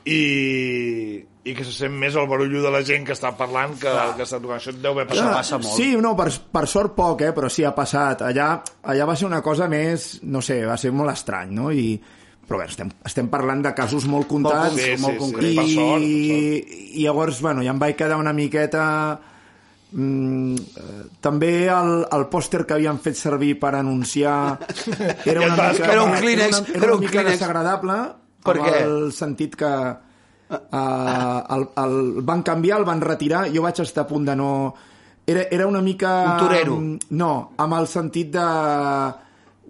Speaker 2: i, i que se sent més el barullo de la gent que està parlant que el que està tocant. Això et deu haver passat.
Speaker 4: passa molt.
Speaker 3: Sí, no, per, per sort poc, eh, però sí, ha passat. Allà, allà va ser una cosa més, no sé, va ser molt estrany, no? I, però bé, estem, estem parlant de casos molt comptats.
Speaker 2: Sí, sí,
Speaker 4: molt
Speaker 2: sí.
Speaker 4: concret.
Speaker 2: Per sort, per sort.
Speaker 3: I, I llavors, bueno, ja em vaig quedar una miqueta... Mm, eh, també el, el pòster que havien fet servir per anunciar era
Speaker 2: Ja
Speaker 3: una
Speaker 2: et vas
Speaker 3: mica,
Speaker 2: escapar. Era un
Speaker 4: Kleenex,
Speaker 3: era una,
Speaker 4: era
Speaker 3: era
Speaker 4: un
Speaker 3: una mica
Speaker 4: Kleenex.
Speaker 3: desagradable
Speaker 4: Per
Speaker 3: amb
Speaker 4: què?
Speaker 3: el sentit que eh, el, el, van canviar, el van retirar jo vaig estar a punt de no era, era una mica Mm,
Speaker 4: Un torero.
Speaker 3: no, amb el sentit de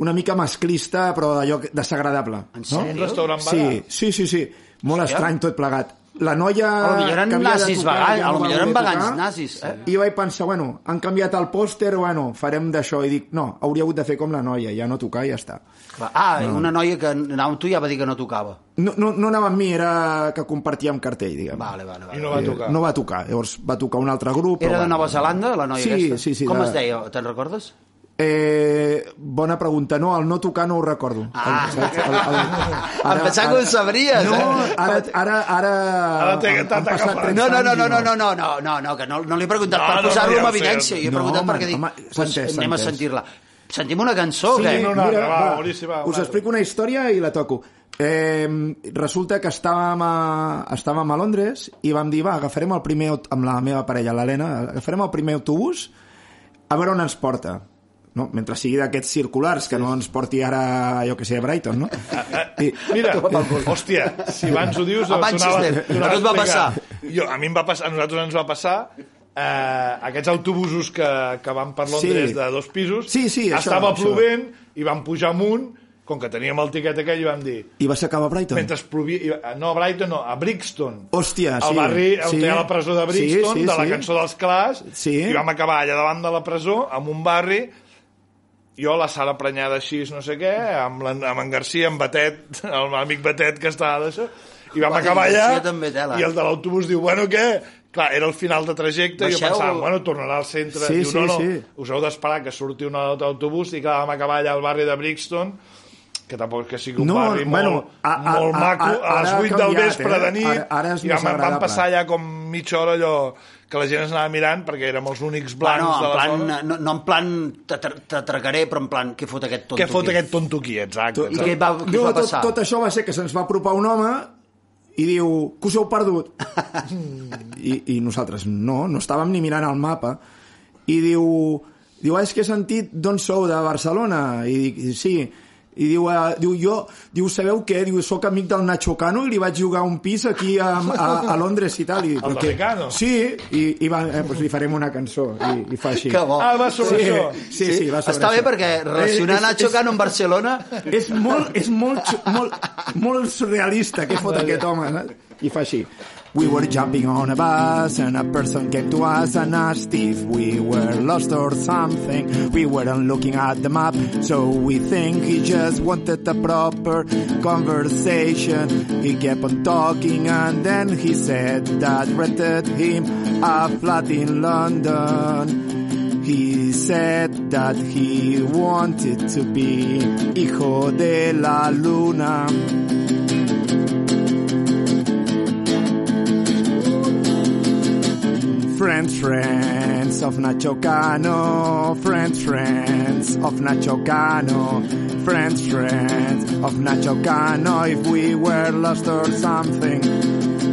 Speaker 3: una mica masclista però d'allò que- desagradable
Speaker 4: En
Speaker 3: no?
Speaker 2: Un
Speaker 4: sèrio?
Speaker 2: restaurant vegà.
Speaker 3: Sí, sí, sí, sí. Molt estrany tot plegat. La noia...
Speaker 4: A lo millor eren
Speaker 3: que havia de
Speaker 4: nazis
Speaker 3: tocar,
Speaker 4: vegans,
Speaker 3: que no
Speaker 4: a lo
Speaker 3: va
Speaker 4: millor eren
Speaker 3: voler
Speaker 4: vegans
Speaker 3: tocar,
Speaker 4: nazis, eh?
Speaker 3: I vaig pensar, bueno, han canviat el pòster, bueno, farem d'això. I dic, no, hauria hagut de fer com la noia, ja no tocar i ja està.
Speaker 4: Clar. Ah, no. una noia que anava amb tu ja va dir que no tocava.
Speaker 3: No, no, no anava amb mi, era que compartíem cartell, diguem. Eh,
Speaker 4: Vale, vale, vale.
Speaker 2: I no va tocar.
Speaker 3: No va tocar, llavors va tocar un altre grup.
Speaker 4: Era
Speaker 3: però
Speaker 4: de
Speaker 3: bueno.
Speaker 4: Nova Zelanda, la noia
Speaker 3: Sí,
Speaker 4: aquesta?
Speaker 3: sí, sí,
Speaker 4: Com
Speaker 3: de-
Speaker 4: es deia? Te'n recordes?
Speaker 3: Eh, bona pregunta. No, el no tocar no ho recordo.
Speaker 4: Ah. Em pensava que ho
Speaker 3: ara-
Speaker 4: sabries,
Speaker 3: No,
Speaker 4: eh?
Speaker 3: ara... Ara, ara,
Speaker 2: Ara t'he- t'ha- t'ha agafat.
Speaker 4: No, no, no, no, no, no, no, no, no, no que no, no li he preguntat
Speaker 2: No,
Speaker 4: per
Speaker 2: no,
Speaker 4: posar-ho
Speaker 2: ja
Speaker 4: en
Speaker 2: ho sé,
Speaker 4: evidència. Jo he
Speaker 3: no,
Speaker 4: preguntat
Speaker 3: home,
Speaker 4: perquè dic,
Speaker 3: home, s'ha
Speaker 4: pues,
Speaker 3: entès, s'ha
Speaker 4: anem a
Speaker 3: entès.
Speaker 4: sentir-la. Sentim una cançó o
Speaker 3: Sí,
Speaker 4: què?
Speaker 2: no, no.
Speaker 3: mira,
Speaker 2: va,
Speaker 3: va,
Speaker 2: Maurici, va,
Speaker 3: us
Speaker 2: va.
Speaker 3: explico una història i la toco. Eh, resulta que estàvem a, estàvem a Londres i vam dir, va, agafarem el primer, aut- amb la meva parella, l'Helena, agafarem el primer autobús a veure on ens porta. No? Mentre sigui d'aquests circulars, que no ens porti ara, jo que sé, a Brighton, no? I,
Speaker 2: Mira, hòstia, si abans ho dius...
Speaker 4: A
Speaker 2: sonava
Speaker 4: Manchester, a tu et va
Speaker 2: explicat.
Speaker 4: passar.
Speaker 2: Jo, a mi em va passar, a nosaltres ens va passar eh, aquests autobusos que, que van per Londres
Speaker 3: Sí.
Speaker 2: de dos pisos,
Speaker 3: Sí, sí, això,
Speaker 2: estava
Speaker 3: això.
Speaker 2: plovent i vam pujar amunt, com que teníem el tiquet aquell i vam dir...
Speaker 3: I vas acabar a Brighton?
Speaker 2: Mentre plovia... i- No, a Brighton no, a Brixton.
Speaker 3: Hòstia, sí.
Speaker 2: Al barri on
Speaker 3: sí.
Speaker 2: hi ha la presó de Brixton, sí, sí, de la sí. cançó dels Clars,
Speaker 3: Sí.
Speaker 2: i vam acabar allà davant de la presó, en un barri, jo, la Sara Prenyada així, no sé què, amb, la, amb en Garcia, amb Batet, el meu amic Batet que estava d'això, i vam
Speaker 4: Home,
Speaker 2: acabar
Speaker 4: en
Speaker 2: allà,
Speaker 4: Garcia també tela.
Speaker 2: i el de l'autobús diu, bueno, què? Clar, era el final de trajecte, i jo
Speaker 4: Baixeu-
Speaker 2: pensava, bueno, tornarà al centre,
Speaker 3: Sí,
Speaker 2: diu,
Speaker 3: sí,
Speaker 2: no, no,
Speaker 3: sí.
Speaker 2: us heu d'esperar que surti un altre autobús, i clar, vam acabar allà al barri de Brixton, que tampoc és que sigui un
Speaker 3: No,
Speaker 2: barri
Speaker 3: bueno,
Speaker 2: molt,
Speaker 3: a- a-
Speaker 2: molt
Speaker 3: a-
Speaker 2: maco,
Speaker 3: a-
Speaker 2: a, les
Speaker 3: ara ha
Speaker 2: 8
Speaker 3: canviat,
Speaker 2: del vespre
Speaker 3: eh?
Speaker 2: de nit,
Speaker 3: Ara- ara és
Speaker 2: i
Speaker 3: més
Speaker 2: vam, vam
Speaker 3: agradable.
Speaker 2: passar allà com mitja hora allò que la gent es anava mirant perquè érem els únics blancs
Speaker 4: Bueno,
Speaker 2: de
Speaker 4: en
Speaker 2: la
Speaker 4: plan,
Speaker 2: zona.
Speaker 4: no, no en plan t'atra- t'atracaré, però en plan, què fot aquest tonto
Speaker 2: Què fot
Speaker 4: aquí?
Speaker 2: aquest tonto aquí, exacte.
Speaker 4: I què va, què
Speaker 3: no,
Speaker 4: va
Speaker 3: tot,
Speaker 4: passar?
Speaker 3: tot això va ser que se'ns va apropar un home i diu, que us heu perdut? I, I nosaltres, no, no estàvem ni mirant el mapa. I diu, diu "Ah, és que he sentit d'on sou, de Barcelona? I dic, sí. I diu, uh, diu, jo, diu, sabeu què? Diu, sóc amic del Nacho Cano i li vaig jugar un pis aquí a, a, a Londres i tal. I, dic,
Speaker 2: El
Speaker 3: "Però
Speaker 2: de
Speaker 3: què?"
Speaker 2: Cano?
Speaker 3: Sí, i, i va, eh, doncs li farem una cançó. I, i fa així.
Speaker 4: Que bo.
Speaker 2: Ah, va sobre
Speaker 3: Sí,
Speaker 2: això.
Speaker 3: sí, sí, va sobre
Speaker 4: Està bé
Speaker 3: això.
Speaker 4: perquè relacionar
Speaker 3: Eh, és-
Speaker 4: Nacho
Speaker 3: és-
Speaker 4: Cano amb Barcelona...
Speaker 3: és molt, és molt, xu- molt, molt surrealista que fot aquest home, no? I fa així. We were jumping on a bus and a person came to us and asked if we were lost or something. We weren't looking at the map, so we think he just wanted a proper conversation. He kept on talking and then he said that rented him a flat in London. He said that he wanted to be hijo de la luna. Friends, friends of Nacho Cano. Friends, friends of Nacho Cano. Friends, friends of Nacho Cano. If we were lost or something,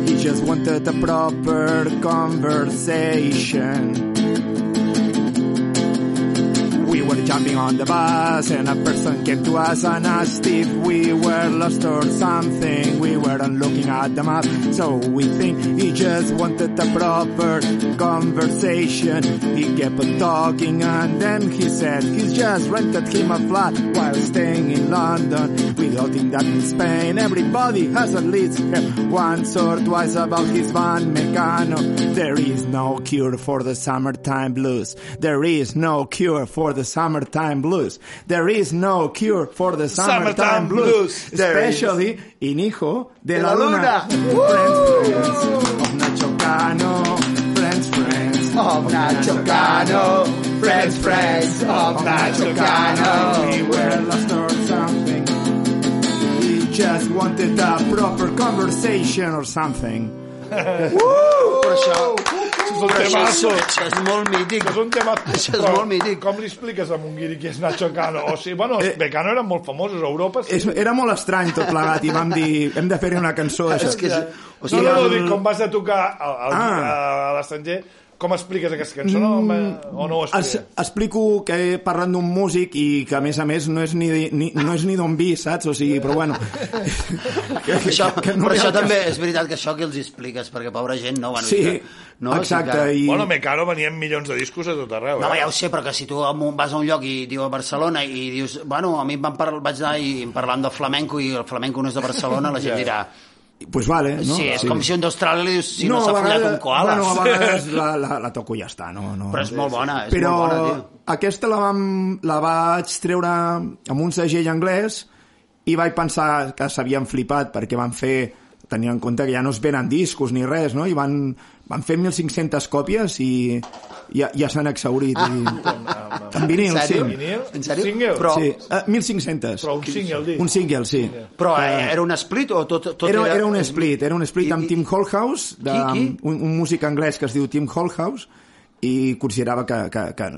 Speaker 3: he just wanted a proper conversation. We were jumping on the bus and a person came to us and asked if we were lost or something. We weren't looking at the map, so we think he just wanted a proper conversation. He kept on talking and then he said he's just rented him a flat while staying in London. We all think that in Spain everybody has at least heard once or twice about his Van Meccano. There is no cure for the summertime blues. There is no cure for the summertime blues. There is no cure for the summertime,
Speaker 2: Summertime
Speaker 3: blues.
Speaker 2: blues. There is.
Speaker 3: Especially in Hijo de,
Speaker 4: De
Speaker 3: la,
Speaker 4: la
Speaker 3: Luna.
Speaker 4: Luna.
Speaker 3: Friends, friends of Nacho Cano. Friends, friends
Speaker 4: Of Nacho Cano, friends, friends of Nacho Cano.
Speaker 3: We were lost or something. He just wanted a proper conversation or something.
Speaker 4: Per això,
Speaker 2: És un
Speaker 4: per això, és,
Speaker 2: temazo.
Speaker 4: això és molt mític.
Speaker 2: És un tema...
Speaker 4: Això és
Speaker 2: Però
Speaker 4: molt mític.
Speaker 2: Com li expliques a Monguiri qui és Nacho Cano? O sigui, bueno,
Speaker 3: Eh,
Speaker 2: els Becano eren molt famosos a Europa. Sí.
Speaker 3: És, era molt estrany tot plegat i vam dir hem de fer-hi una cançó d'això.
Speaker 4: És que és, o
Speaker 2: No,
Speaker 4: sigui,
Speaker 2: no, no,
Speaker 4: el-
Speaker 2: dic, com vas de tocar a, a, a,
Speaker 3: Ah. Mm,
Speaker 2: a l'estranger, com expliques aquesta cançó? No, o no ho
Speaker 3: Es,
Speaker 2: expliques?
Speaker 3: explico que parlen d'un músic i que a més a més no és ni, ni, no és ni d'on vi, saps? O sigui, però bueno... que,
Speaker 4: Per això,
Speaker 3: hi ha
Speaker 4: per això
Speaker 3: el cas.
Speaker 4: també és veritat que això que els hi expliques, perquè pobra gent no... Bueno,
Speaker 3: Sí,
Speaker 4: és que- no,
Speaker 3: exacte.
Speaker 4: Sí,
Speaker 3: I...
Speaker 2: Bueno, Mecano venia amb milions de discos a tot arreu.
Speaker 4: No,
Speaker 2: eh?
Speaker 4: ja ho sé, però que si tu a un- vas a un lloc i diu a Barcelona i dius, bueno, a mi em van parlar, vaig anar i em parlant de flamenco i el flamenco no és de Barcelona, la gent dirà,
Speaker 3: pues vale, no?
Speaker 4: sí, és com si un d'Austràlia li dius, si no, s'ha
Speaker 3: a
Speaker 4: follat
Speaker 3: vegades-
Speaker 4: un koala.
Speaker 3: Bueno, a vegades la, la, la toco i ja està, no? no
Speaker 4: Però és molt bona, és
Speaker 3: Però
Speaker 4: molt bona, tio.
Speaker 3: aquesta la, vam, la vaig treure amb un segell anglès i vaig pensar que s'havien flipat perquè van fer tenint en compte que ja no es venen discos ni res, no? I van, van fer 1.500 còpies i ja, ja s'han exhaurit. I... en vinil, sí.
Speaker 4: Ah. En
Speaker 2: Vinil?
Speaker 4: En sèrio?
Speaker 2: Single?
Speaker 4: Però,
Speaker 3: sí. Eh, 1.500.
Speaker 2: Però un single, dic.
Speaker 3: Un single, sí.
Speaker 4: però eh, era un split o tot, tot
Speaker 3: Era, era un split, era un split
Speaker 4: I-
Speaker 3: amb
Speaker 4: i-
Speaker 3: Tim Holhouse, de,
Speaker 4: Qui, qui?
Speaker 3: Un, un músic anglès que es diu Tim Holhouse, i considerava que, que, que,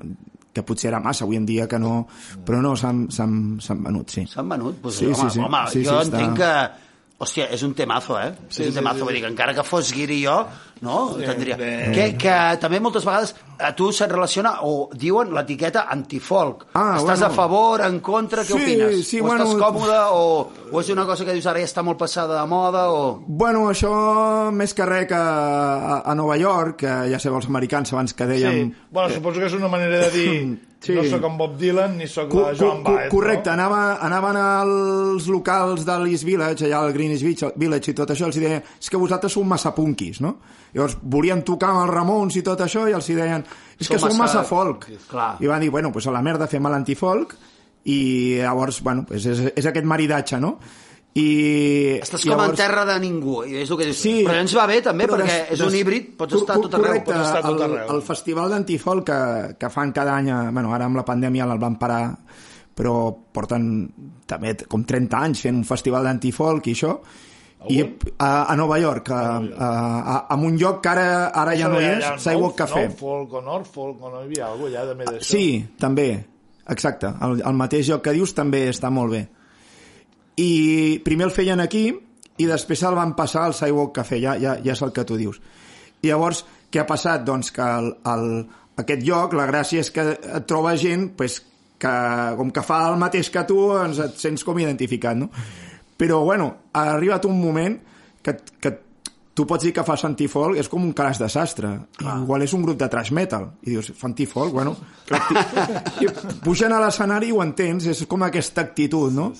Speaker 3: que potser era massa avui en dia, que no... Però no, s'han s'han- s'han venut, sí.
Speaker 4: S'han venut? Pues,
Speaker 3: Sí,
Speaker 4: home,
Speaker 3: sí, sí.
Speaker 4: home
Speaker 3: Sí,
Speaker 4: jo
Speaker 3: sí,
Speaker 4: entenc
Speaker 3: està.
Speaker 4: que... Hòstia, és un temazo, eh? Sí, és un temazo, sí, sí. vull dir que encara que fos Guiri i jo, no? Sí, tindria...
Speaker 2: bé.
Speaker 4: Que, que també moltes vegades a tu se't relaciona o diuen l'etiqueta antifolk.
Speaker 3: Ah,
Speaker 4: estàs
Speaker 3: bueno.
Speaker 4: a favor, en contra, què
Speaker 3: Sí,
Speaker 4: opines?
Speaker 3: sí,
Speaker 4: o estàs
Speaker 3: bueno.
Speaker 4: còmode o, o és una cosa que dius ara ja està molt passada de moda o...
Speaker 3: Bueno, això més que res que a, a Nova York, que ja sabeu els americans abans que dèiem...
Speaker 2: Sí. Bueno, suposo que és una manera de dir
Speaker 3: Sí.
Speaker 2: no sóc en Bob Dylan ni sóc
Speaker 3: Co-
Speaker 2: la
Speaker 3: co-
Speaker 2: Joan
Speaker 3: co-
Speaker 2: Baez.
Speaker 3: correcte,
Speaker 2: No?
Speaker 3: anava, anaven als locals de l'East Village, allà al Greenwich Village- Village i tot això, els hi deien, és que vosaltres sou massa punquis, no? Llavors volien tocar amb els Ramons i tot això i els hi deien, és
Speaker 4: Sou
Speaker 3: que sou
Speaker 4: massa-
Speaker 3: massa folk.
Speaker 4: Clar.
Speaker 3: I van dir, bueno, pues a la merda fem l'antifolk i llavors, bueno, pues és, és aquest maridatge, no? I,
Speaker 4: Estàs
Speaker 3: i
Speaker 4: com
Speaker 3: llavors-
Speaker 4: en terra de ningú, i és el que dius.
Speaker 3: Sí.
Speaker 4: Però ens va bé també,
Speaker 3: Però
Speaker 4: perquè
Speaker 3: des-
Speaker 4: és un
Speaker 3: des-
Speaker 4: híbrid, pots
Speaker 3: cor-
Speaker 4: estar a
Speaker 3: cor-
Speaker 4: tot arreu.
Speaker 3: correcte,
Speaker 2: pots estar a tot
Speaker 3: el-
Speaker 2: arreu.
Speaker 3: El festival d'antifol que, que fan cada any, a- bueno, ara amb la pandèmia el van parar, però porten també t- com 30 anys fent un festival d'antifolk i això, i a, a Nova York, a, a, a, a un lloc que ara, ara ja no hi és, Sidewalk Café.
Speaker 2: No, folk o Norfolk, o no hi havia alguna cosa allà també d'això.
Speaker 3: Sí, també, exacte. El, el mateix lloc que dius també està molt bé. I primer el feien aquí i després el van passar al Sidewalk Café, ja, ja, ja és el que tu dius. I llavors, què ha passat? Doncs que el, el, aquest lloc, la gràcia és que et troba gent pues, que, com que fa el mateix que tu, ens et sents com identificat, no? Però, bueno, ha arribat un moment que, que tu pots dir que fas antifolk, és com un calaix de sastre. Igual és un grup de trash metal. I dius, fa antifolk, bueno... crec que- I pugen a l'escenari i ho entens, és com aquesta actitud, no?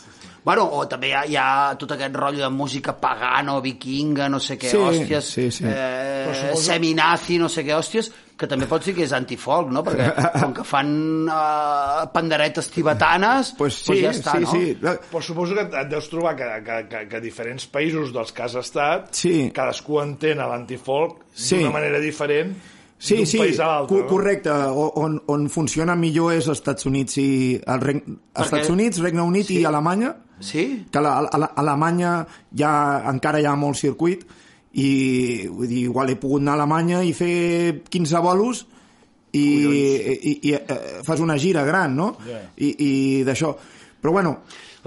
Speaker 4: Bueno, o també hi ha, hi ha tot aquest rotllo de música pagano, vikinga, no sé què,
Speaker 3: Sí,
Speaker 4: hòsties,
Speaker 3: sí, sí.
Speaker 4: Eh, seminazi, no sé què, hòsties, que també pots dir que és antifolk, no? Perquè com que fan eh, panderetes tibetanes,
Speaker 3: Pues sí,
Speaker 4: doncs ja està,
Speaker 3: sí,
Speaker 4: no?
Speaker 3: sí. La-
Speaker 2: Però suposo que et deus trobar que, que, que, que diferents països dels que has estat,
Speaker 3: Sí.
Speaker 2: cadascú entén a l'antifolk
Speaker 3: Sí.
Speaker 2: d'una manera diferent
Speaker 3: Sí,
Speaker 2: d'un
Speaker 3: sí,
Speaker 2: país a l'altre.
Speaker 3: co- correcte. O- On, on funciona millor és als Estats Units i... Al Reg... Estats Units, Regne Unit sí. i Alemanya.
Speaker 4: Sí?
Speaker 3: Que la, a, la, a Alemanya ja, encara hi ha molt circuit i vull dir, igual he pogut anar a Alemanya i fer 15 bolos i, i, i, i eh, fas una gira gran, no?
Speaker 2: Ja.
Speaker 3: I, i d'això. Però bueno,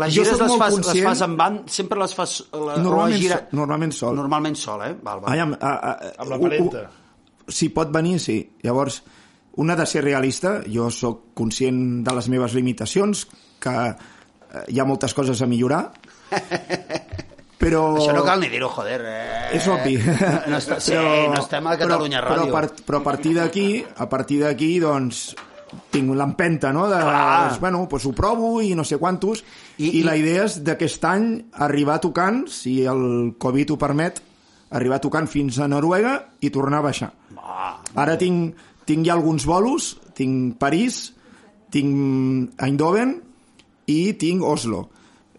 Speaker 4: Les
Speaker 3: jo
Speaker 4: gires
Speaker 3: soc
Speaker 4: les
Speaker 3: molt
Speaker 4: fas, les
Speaker 3: conscient-
Speaker 4: fas en van, sempre les fas... La,
Speaker 3: Normalment
Speaker 4: la gira...
Speaker 3: sol- normalment sol.
Speaker 4: Normalment sol, eh? Val, val.
Speaker 3: Aviam, a, a,
Speaker 2: Amb la
Speaker 3: u- u-
Speaker 2: paleta.
Speaker 3: Si pot venir, sí. Llavors, un ha de ser realista. Jo sóc conscient de les meves limitacions, que eh, hi ha moltes coses a millorar, però...
Speaker 4: Això no cal ni dir-ho, joder. Eh?
Speaker 3: És obvi.
Speaker 4: No, està, sí, no estem a Catalunya
Speaker 3: però,
Speaker 4: Ràdio.
Speaker 3: Però, per, però a partir d'aquí, a partir d'aquí, doncs, tinc l'empenta, no? De,
Speaker 4: Clar.
Speaker 3: doncs, bueno, doncs ho provo i no sé quantos. I,
Speaker 4: I-
Speaker 3: i,
Speaker 4: i-
Speaker 3: la idea és d'aquest any arribar tocant, si el Covid ho permet, arribar tocant fins a Noruega i tornar a baixar.
Speaker 4: Ah,
Speaker 3: Ara tinc, tinc ja alguns bolos, tinc París, tinc Eindhoven i tinc Oslo.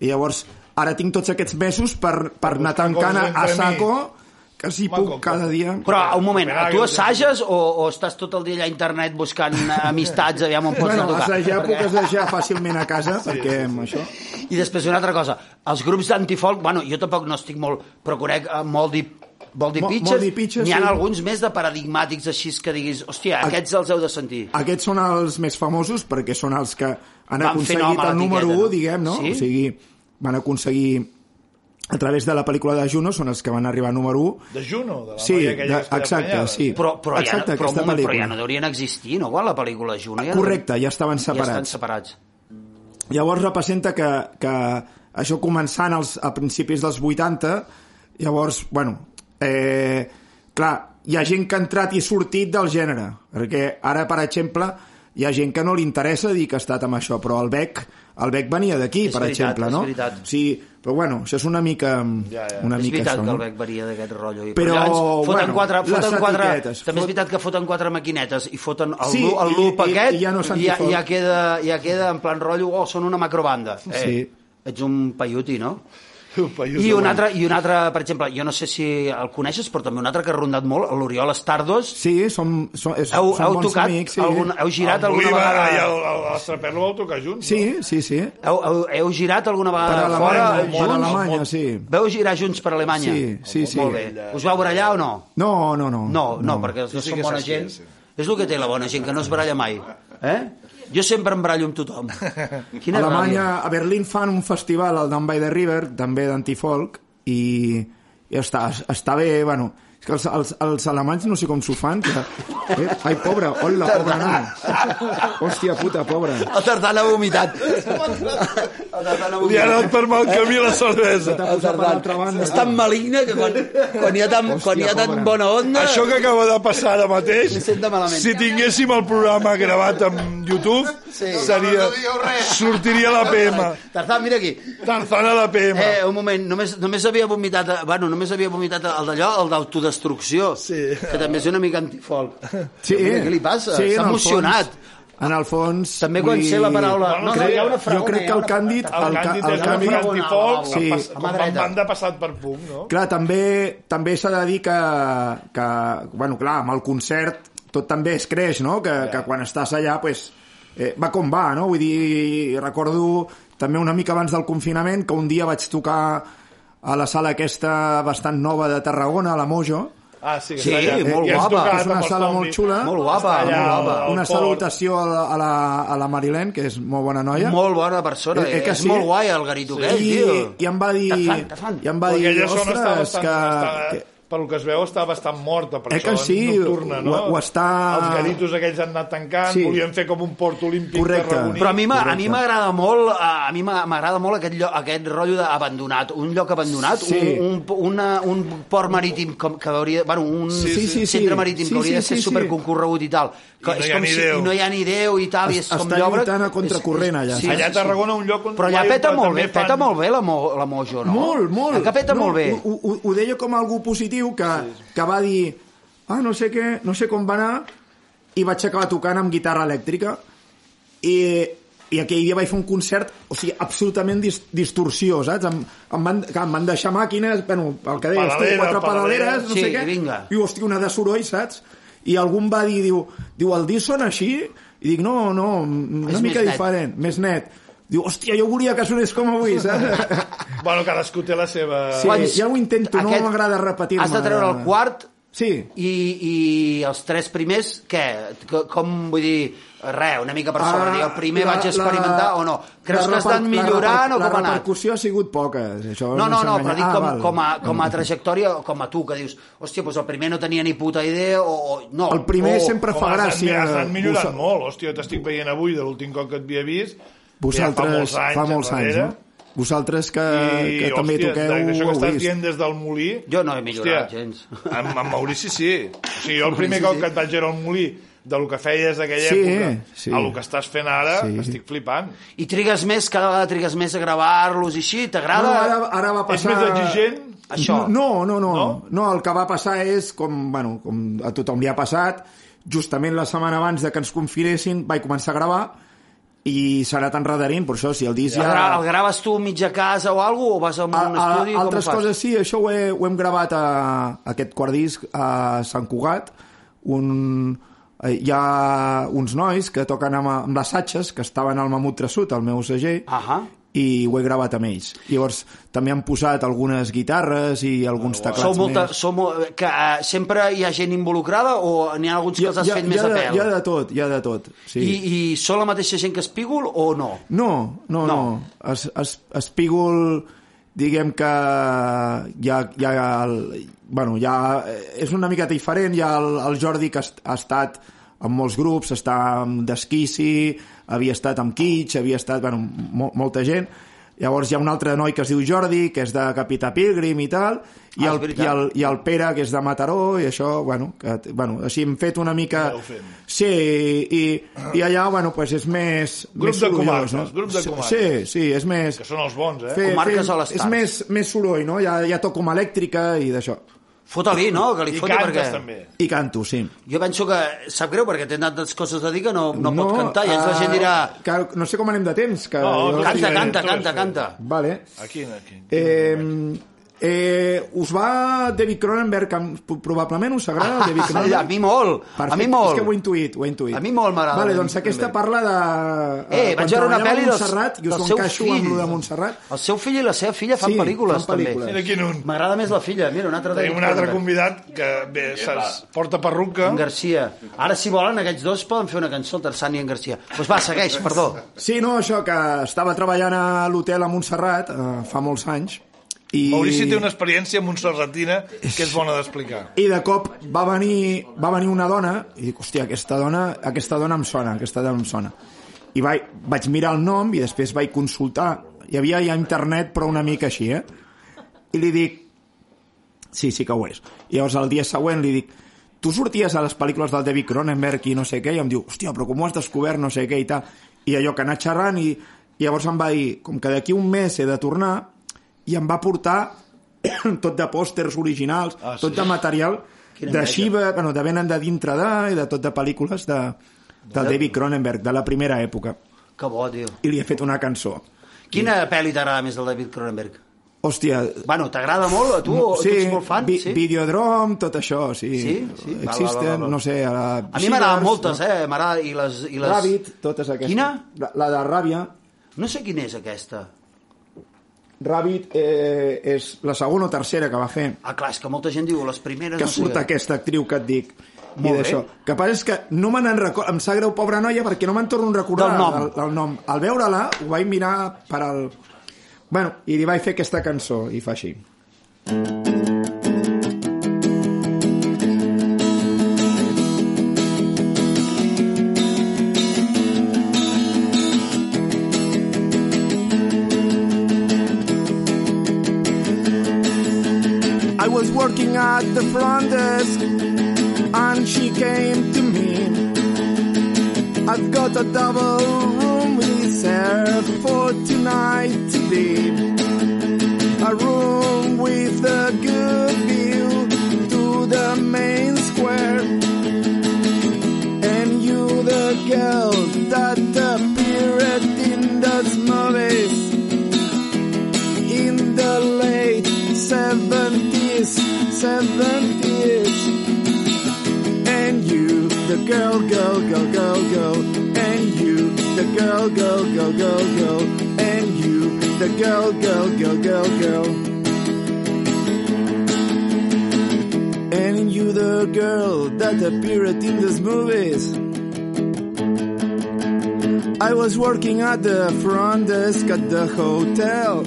Speaker 3: I llavors, ara tinc tots aquests mesos per, per anar
Speaker 2: buscar
Speaker 3: tancant
Speaker 2: coses
Speaker 3: a, a
Speaker 2: entre
Speaker 3: saco,
Speaker 2: mig.
Speaker 3: que si
Speaker 2: Maco,
Speaker 3: puc cada
Speaker 2: maco.
Speaker 3: dia...
Speaker 4: Però, un moment,
Speaker 2: Copenhague,
Speaker 4: tu assages o, o estàs tot el dia allà a internet buscant eh, amistats, aviam on pots
Speaker 3: Bueno,
Speaker 4: tocar?
Speaker 3: assajar
Speaker 4: Perquè-
Speaker 3: puc assajar fàcilment a casa, perquè amb això...
Speaker 4: I després una altra cosa, els grups d'antifolk, bueno, jo tampoc no estic molt, però conec eh, molt di, molt di
Speaker 3: Mo-
Speaker 4: pitxes,
Speaker 3: molt di pitxes,
Speaker 4: n'hi ha
Speaker 3: sí.
Speaker 4: alguns més de paradigmàtics així que diguis, hòstia, aquests els heu de sentir.
Speaker 3: Aquests són els més famosos perquè són els que han
Speaker 4: Van fer nom
Speaker 3: aconseguit
Speaker 4: a
Speaker 3: el número
Speaker 4: l'etiqueta,
Speaker 3: 1,
Speaker 4: no?
Speaker 3: diguem, no?
Speaker 4: Sí?
Speaker 3: O sigui, van aconseguir a través de la pel·lícula de Juno són els que van arribar número 1
Speaker 2: De Juno, de la
Speaker 3: Sí,
Speaker 2: noia aquella que
Speaker 3: de-
Speaker 2: es queda
Speaker 3: exacte,
Speaker 2: prenyada.
Speaker 3: sí.
Speaker 4: Però, però,
Speaker 3: Exacte,
Speaker 4: ja, no- però,
Speaker 3: aquesta
Speaker 4: un moment, però
Speaker 3: pel·lícula.
Speaker 4: ja no deurien existir, no? Quan la pel·lícula Juno ja...
Speaker 3: Correcte, ja estaven
Speaker 4: Ja estan
Speaker 3: separats.
Speaker 4: separats.
Speaker 3: Llavors representa que, que això començant als, a principis dels 80, llavors, bueno, eh, clar, hi ha gent que ha entrat i sortit del gènere, perquè ara, per exemple, hi ha gent que no li interessa dir que ha estat amb això, però el Beck, el Beck venia d'aquí,
Speaker 4: És
Speaker 3: per
Speaker 4: veritat,
Speaker 3: exemple,
Speaker 4: és
Speaker 3: no?
Speaker 4: veritat.
Speaker 3: Sí, però bueno, això és una mica... Ja, ja. Una
Speaker 4: és
Speaker 3: mica
Speaker 4: veritat
Speaker 3: això,
Speaker 4: que
Speaker 3: no?
Speaker 4: el Beck varia d'aquest rotllo. I
Speaker 3: Però,
Speaker 4: llavors foten
Speaker 3: bueno,
Speaker 4: quatre,
Speaker 3: les
Speaker 4: foten quatre,
Speaker 3: etiquetes.
Speaker 4: també
Speaker 3: Fot-
Speaker 4: és veritat que foten quatre maquinetes i foten el,
Speaker 3: Sí,
Speaker 4: sí, el
Speaker 3: i-
Speaker 4: loop
Speaker 3: i-
Speaker 4: aquest
Speaker 3: i ja no és
Speaker 4: ja,
Speaker 3: antifolk.
Speaker 4: ja, queda, ja queda en plan rotllo, oh, són una macrobanda. Eh,
Speaker 3: Sí.
Speaker 4: Ets un paiuti, no?
Speaker 2: Un paio
Speaker 4: I un,
Speaker 2: de-
Speaker 4: altre, I un altre, per exemple, jo no sé si el coneixes, però també un altre que ha rondat molt, l'Oriol Estardos.
Speaker 3: Sí, som, som, és,
Speaker 4: Heu,
Speaker 3: són
Speaker 4: heu
Speaker 3: bons
Speaker 4: tocat,
Speaker 3: amics. Sí.
Speaker 4: algun, heu girat
Speaker 2: el
Speaker 4: alguna
Speaker 2: Bolívar
Speaker 4: vegada...
Speaker 2: I el, el, el Straper ho vau tocar junts.
Speaker 3: sí, sí, sí.
Speaker 4: Heu, heu, heu girat alguna
Speaker 3: Per
Speaker 4: vegada fora,
Speaker 3: Alemanya, per
Speaker 4: junts?
Speaker 3: Alemanya, sí.
Speaker 4: Veu girar junts per Alemanya?
Speaker 3: Sí, sí, sí.
Speaker 4: Molt bé. Us vau barallar o no?
Speaker 3: No, no, no.
Speaker 4: No, no, perquè els dos són bona gent. És el que té la bona gent, que no es baralla mai. Eh? Jo sempre em barallo amb tothom.
Speaker 3: A
Speaker 4: Quina
Speaker 3: Alemanya,
Speaker 4: ràbia.
Speaker 3: a Berlín fan un festival al Down by the River, també d'antifolk, i, i està, està bé, bueno, és que els, els, els alemanys no sé com s'ho fan, que... Eh? Ai, pobre, hola, pobre nen. Hòstia puta, pobre.
Speaker 4: El Tardana ha vomitat. El Tardana ha
Speaker 2: Li ha
Speaker 4: vomitat.
Speaker 2: anat per
Speaker 3: Eh,
Speaker 2: mal camí la cervesa.
Speaker 3: T'ha posat per l'altra banda.
Speaker 4: És tan maligne que quan, quan hi ha tan, quan hi ha tan
Speaker 3: pobra.
Speaker 4: bona onda...
Speaker 2: Això que acaba de passar ara mateix,
Speaker 4: Em sento malament.
Speaker 2: si tinguéssim el programa gravat amb YouTube,
Speaker 4: Sí.
Speaker 2: seria,
Speaker 5: No, no dieu res.
Speaker 2: sortiria la PM.
Speaker 4: Tarzan, mira aquí.
Speaker 2: Tarzana la PM.
Speaker 4: Eh, un moment, només, només havia vomitat, eh, bueno, només havia vomitat el d'allò, el d'autodestrucció,
Speaker 2: Sí.
Speaker 4: que també és una mica antifolc.
Speaker 3: Sí,
Speaker 4: Mira, què li passa?
Speaker 3: Sí,
Speaker 4: S'ha
Speaker 3: en el
Speaker 4: emocionat.
Speaker 3: Fons, en el fons...
Speaker 4: També quan
Speaker 3: vull
Speaker 4: sé la paraula... eh?
Speaker 2: No, no, hi ha una
Speaker 3: jo crec que el Càndid...
Speaker 2: El
Speaker 3: ca-
Speaker 2: càndid és una
Speaker 3: Càndid-
Speaker 2: mica
Speaker 4: Càndid-
Speaker 2: antifoc,
Speaker 3: Sí.
Speaker 2: sí.
Speaker 4: A mà
Speaker 2: com van,
Speaker 4: dreta.
Speaker 2: van de passat per punt, no?
Speaker 3: Clar, també també s'ha de dir que, que, bueno, clar, amb el concert tot també es creix, no? Que, que quan estàs allà, pues, eh, va com va, no? Vull dir, recordo també una mica abans del confinament que un dia vaig tocar a la sala aquesta bastant nova de Tarragona, a la Mojo, Eh,
Speaker 2: Ah, sí, que
Speaker 4: Sí,
Speaker 2: està allà.
Speaker 4: molt
Speaker 2: I ens
Speaker 4: guapa.
Speaker 2: toca
Speaker 3: és una
Speaker 2: amb els
Speaker 3: sala
Speaker 2: zombies.
Speaker 3: molt xula.
Speaker 4: Molt
Speaker 2: Està
Speaker 4: guapa,
Speaker 2: allà,
Speaker 4: molt guapa.
Speaker 2: al
Speaker 3: Una
Speaker 2: port.
Speaker 3: salutació a la, a la, a la Marilén, que és molt bona noia.
Speaker 4: Molt bona persona,
Speaker 3: Eh, eh,
Speaker 4: eh,
Speaker 3: que
Speaker 4: és
Speaker 3: sí?
Speaker 4: molt guai el garito sí. aquest,
Speaker 3: I,
Speaker 4: tio.
Speaker 3: I em va dir...
Speaker 4: Tafan, tafan.
Speaker 3: I em va
Speaker 2: Però
Speaker 3: dir,
Speaker 2: aquella zona està
Speaker 3: ostres,
Speaker 2: bastant...
Speaker 3: que,
Speaker 2: està-
Speaker 3: que,
Speaker 2: pel que es veu està bastant morta per
Speaker 3: Eh
Speaker 2: això,
Speaker 3: que sí,
Speaker 2: nocturna, no?
Speaker 3: ho- ho està-
Speaker 2: Els garitos aquells han anat tancant,
Speaker 3: Sí.
Speaker 2: volien fer com un port olímpic
Speaker 3: Correcte.
Speaker 2: tarragoní.
Speaker 4: Però a mi m'a- a mi m'agrada molt, a, a mi m'a- m'agrada molt aquest lloc, aquest rotllo d'abandonat, un lloc abandonat,
Speaker 3: Sí.
Speaker 4: un, un, una, un port marítim com, que hauria, bueno, un
Speaker 3: Sí, sí, sí,
Speaker 4: centre
Speaker 3: sí.
Speaker 4: marítim
Speaker 3: Sí,
Speaker 4: que hauria
Speaker 3: sí,
Speaker 4: de
Speaker 3: sí,
Speaker 4: ser
Speaker 3: sí.
Speaker 4: superconcorregut i tal. Que
Speaker 2: I no
Speaker 4: és
Speaker 2: hi ha
Speaker 4: com
Speaker 2: ni
Speaker 4: si
Speaker 2: Déu.
Speaker 4: i no hi ha ni Déu i tal, i és
Speaker 3: Es-
Speaker 4: com
Speaker 3: està
Speaker 4: llòbrec.
Speaker 3: lluitant a
Speaker 4: És-
Speaker 3: contracorrent, allà.
Speaker 4: Sí,
Speaker 2: Allà
Speaker 4: sí,
Speaker 2: a
Speaker 4: sí.
Speaker 2: Tarragona un lloc on...
Speaker 4: Però allà
Speaker 2: guai,
Speaker 4: peta molt
Speaker 2: també
Speaker 4: bé, peta
Speaker 2: fan-
Speaker 4: molt bé la, mo, la Mojo, no?
Speaker 3: Molt, molt.
Speaker 4: Allà peta molt bé.
Speaker 3: Ho, ho, ho deia com algú positiu que, que va dir ah, no sé què, no sé com va anar i vaig acabar tocant amb guitarra elèctrica i, i aquell dia vaig fer un concert o sigui, absolutament dis, distorsió, saps? Em, em, van, que em van deixar màquines, bueno, el que deies, tu,
Speaker 2: Pedalera,
Speaker 3: quatre
Speaker 2: pedalera.
Speaker 3: pedaleres, no
Speaker 4: Sí,
Speaker 3: sé què,
Speaker 4: vinga.
Speaker 3: i hòstia, una de soroll, saps? I algú em va dir, diu, diu el disc sona així? I dic, no, no, una
Speaker 4: És
Speaker 3: mica
Speaker 4: més net."
Speaker 3: diferent, més net. Diu, hòstia, jo volia que sonés com avui, saps?
Speaker 2: Bueno, cadascú té la seva...
Speaker 3: Sí. ja ho intento, no m'agrada repetir-me.
Speaker 4: Has de treure el quart
Speaker 3: Sí,
Speaker 4: i, i els tres primers, què? Co- Com, vull dir, res, una mica per sobre.
Speaker 3: Ah,
Speaker 4: Ah, el primer la, vaig experimentar la, o no? Creus
Speaker 3: la
Speaker 4: que
Speaker 3: reper-
Speaker 4: estan millorant
Speaker 3: la,
Speaker 4: o
Speaker 3: reper- La
Speaker 4: com ha anat?
Speaker 3: repercussió ah, ha sigut poca. Això
Speaker 4: No, no,
Speaker 3: s'ha
Speaker 4: no, però
Speaker 3: enganyat.
Speaker 4: dic com,
Speaker 3: val.
Speaker 4: com, a, com a trajectòria, o com a tu, que dius, hòstia, doncs el primer no tenia ni puta idea, o... o no,
Speaker 3: El primer
Speaker 4: o,
Speaker 3: sempre
Speaker 2: Com
Speaker 3: fa
Speaker 2: Oh, has anat-
Speaker 3: gràcia.
Speaker 2: Has anat millorant
Speaker 3: Vos-
Speaker 2: molt, hòstia, t'estic veient avui de l'últim cop que et havia vist.
Speaker 3: Vosaltres,
Speaker 2: ja
Speaker 3: fa molts anys,
Speaker 2: enrere.
Speaker 3: no? Vosaltres que,
Speaker 2: I,
Speaker 3: que també
Speaker 2: hòstia,
Speaker 3: toqueu,
Speaker 2: Això
Speaker 3: ho
Speaker 2: que
Speaker 3: heu
Speaker 2: estàs
Speaker 3: vist.
Speaker 2: dient des del molí...
Speaker 4: Jo no he millorat gens.
Speaker 2: Amb, amb Maurici sí. O sigui, jo el primer cop que et vaig veure al molí de lo que feies d'aquella
Speaker 3: Sí,
Speaker 2: època
Speaker 3: sí.
Speaker 2: a lo que estàs fent ara,
Speaker 3: Sí.
Speaker 2: estic flipant.
Speaker 4: I trigues més, cada vegada trigues més a gravar-los i així,
Speaker 3: No,
Speaker 4: t'agrada?
Speaker 3: ara, ara va passar...
Speaker 2: És més exigent?
Speaker 4: Això.
Speaker 3: No, no, no,
Speaker 2: No?
Speaker 3: no. No, el que va passar és, com, bueno, com a tothom li ha passat, justament la setmana abans de que ens confinessin vaig començar a gravar i s'ha anat enredarint, per això, si el disc
Speaker 4: El,
Speaker 3: ja...
Speaker 4: gra el graves tu mitja casa o alguna o vas a un
Speaker 3: A, a,
Speaker 4: estudi? com
Speaker 3: altres
Speaker 4: ho fas?
Speaker 3: coses sí, això ho, he, ho hem gravat a, a aquest quart disc a Sant Cugat un, eh, hi
Speaker 4: Ah.
Speaker 3: ha uns nois que toquen amb, amb les Satges que estaven al Mamut Trassut, al meu segell
Speaker 4: Ahà.
Speaker 3: i ho he gravat amb ells. Llavors, també han posat algunes guitarres i alguns teclats
Speaker 4: Sou molta,
Speaker 3: més.
Speaker 4: sou molt, que, eh, sempre hi ha gent involucrada o n'hi ha alguns que els has fet
Speaker 3: hi,
Speaker 4: més
Speaker 3: ha
Speaker 4: a
Speaker 3: de,
Speaker 4: pèl?
Speaker 3: hi ha de tot, hi ha de tot. Sí.
Speaker 4: I, I són la mateixa gent que Espígol o no?
Speaker 3: No, no, no.
Speaker 4: No.
Speaker 3: Es, es, Espígol, diguem que ja, ja el, bueno, ja és una mica diferent, ja el, el Jordi que ha est- ha estat en molts grups, està amb Desquici, havia estat amb Kitsch, havia estat, bueno, mo, molta gent. Llavors hi ha un altre noi que es diu Jordi, que és de Capità Pilgrim i tal, i,
Speaker 4: Ah, és
Speaker 3: el, i,
Speaker 4: veritat.
Speaker 3: el, i el Pere, que és de Mataró, i això, bueno, que, t- bueno així hem fet una mica...
Speaker 2: Aneu fent.
Speaker 3: Sí, i, i allà, bueno, pues és més,
Speaker 2: Grup
Speaker 3: més
Speaker 2: de
Speaker 3: sorollós,
Speaker 2: comarques, grup de
Speaker 3: Sí,
Speaker 2: comarques.
Speaker 3: Sí, sí, és més...
Speaker 2: Que són els bons, eh?
Speaker 3: fer-
Speaker 4: Comarques
Speaker 3: fer-
Speaker 4: a l'estat.
Speaker 3: És més, més soroll, no? Ja, ja toco amb elèctrica i d'això.
Speaker 4: Fota-li, no? Que li
Speaker 2: I
Speaker 4: foti
Speaker 2: cantes,
Speaker 4: perquè...
Speaker 2: també.
Speaker 3: I canto, sí.
Speaker 4: Jo penso que sap greu perquè té tantes coses a dir que no, no, pot cantar i llavors la
Speaker 3: ah,
Speaker 4: gent dirà
Speaker 3: Que, no sé com anem de temps. Que
Speaker 2: No,
Speaker 3: jo-
Speaker 2: sí,
Speaker 4: canta,
Speaker 2: eh,
Speaker 4: canta,
Speaker 2: tu
Speaker 4: canta,
Speaker 2: ves,
Speaker 4: canta.
Speaker 3: Vale.
Speaker 2: Aquí, aquí.
Speaker 3: Eh, eh, us va David Cronenberg, que em- probablement us agrada el David Cronenberg?
Speaker 4: Ah, a mi molt, a mi
Speaker 3: Perfecte,
Speaker 4: molt.
Speaker 3: És que ho he intuït, ho he intuït.
Speaker 4: A mi molt m'agrada
Speaker 3: Vale,
Speaker 4: el
Speaker 3: doncs
Speaker 4: David
Speaker 3: aquesta
Speaker 4: Cronenberg.
Speaker 3: parla de...
Speaker 4: Eh,
Speaker 3: quan
Speaker 4: vaig veure una
Speaker 3: treballava a
Speaker 4: pel·li dels,
Speaker 3: Montserrat, jo us
Speaker 4: del
Speaker 3: ho
Speaker 4: seu
Speaker 3: encaixo
Speaker 4: fill.
Speaker 3: amb lo de Montserrat.
Speaker 4: El seu fill i la seva filla fan
Speaker 3: Sí,
Speaker 4: pel·lícules,
Speaker 3: fan pel·lícules.
Speaker 2: Mira quin un.
Speaker 4: també. M'agrada més la filla. Mira, un altre...
Speaker 2: Tenim un altre convidat que bé, se'ls porta perruca.
Speaker 4: En Garcia. Ara, si volen, aquests dos poden fer una cançó, el Tarzan i en Garcia. Doncs pues va, segueix, perdó.
Speaker 3: Sí, no, això, que estava treballant a l'hotel a Montserrat eh, fa molts anys i,
Speaker 2: Maurici té una experiència montserratina que és bona d'explicar.
Speaker 3: i de cop va venir, va venir una dona i dic, hòstia, aquesta dona, aquesta dona em sona, aquesta dona em sona. I vaig, vaig mirar el nom i després vaig consultar. Hi havia ja internet, però una mica així, eh? I li dic, sí, sí que ho és. I llavors el dia següent li dic, tu sorties a les pel·lícules del David Cronenberg i no sé què, i em diu, hòstia, però com ho has descobert, no sé què i tal. I allò que anar xerrant i, i llavors em va dir, com que d'aquí un mes he de tornar, i em va portar tot de pòsters originals, ah, sí. tot de material
Speaker 4: Quina
Speaker 3: de
Speaker 4: imatge.
Speaker 3: Shiva, bueno, de venen de dintre de, i de tot de pel·lícules de, del David Cronenberg, de la primera època.
Speaker 4: Que bo, tio.
Speaker 3: I li he fet una cançó.
Speaker 4: Quina pel·li t'agrada més del David Cronenberg?
Speaker 3: Hòstia,
Speaker 4: Bueno, t'agrada molt a tu? o tu ets molt fan?
Speaker 3: vi
Speaker 4: sí?
Speaker 3: Videodrom, tot això, sí.
Speaker 4: Sí? Sí? Val,
Speaker 3: Existen,
Speaker 4: val, val, val.
Speaker 3: no sé... A, la...
Speaker 4: A mi m'agraden
Speaker 3: Sears,
Speaker 4: moltes, eh? M'agrada... I les... I les...
Speaker 3: Ràbit, totes aquestes.
Speaker 4: Quina?
Speaker 3: La, la de Ràbia.
Speaker 4: No sé quina és aquesta.
Speaker 3: Ràbit eh, és la segona o tercera que va fer,
Speaker 4: Ah, clar, és que molta gent diu les primeres...
Speaker 3: que
Speaker 4: no sé
Speaker 3: surt
Speaker 4: què.
Speaker 3: aquesta actriu que et dic.
Speaker 4: Molt
Speaker 3: I d'això.
Speaker 4: bé.
Speaker 3: Que passa és que no me n'en record... Em sap greu, pobra noia, perquè no me'n torno a recordar
Speaker 4: Del nom.
Speaker 3: El, el nom. Al veure-la, ho vaig mirar per al... Bueno, i li vaig fer aquesta cançó, i fa així. I was working at the front desk and she came to me. I've got a double room reserved for tonight to be. A room with a good view to the main square. And you, the girl that appeared in those movies in the late 70s, 70s. And you, the girl, girl, girl, girl, girl. And you, the girl, girl, girl, girl, girl. And you, the girl, girl, girl, girl, girl. And you, the girl that appeared in those movies. I was working at the front desk at the hotel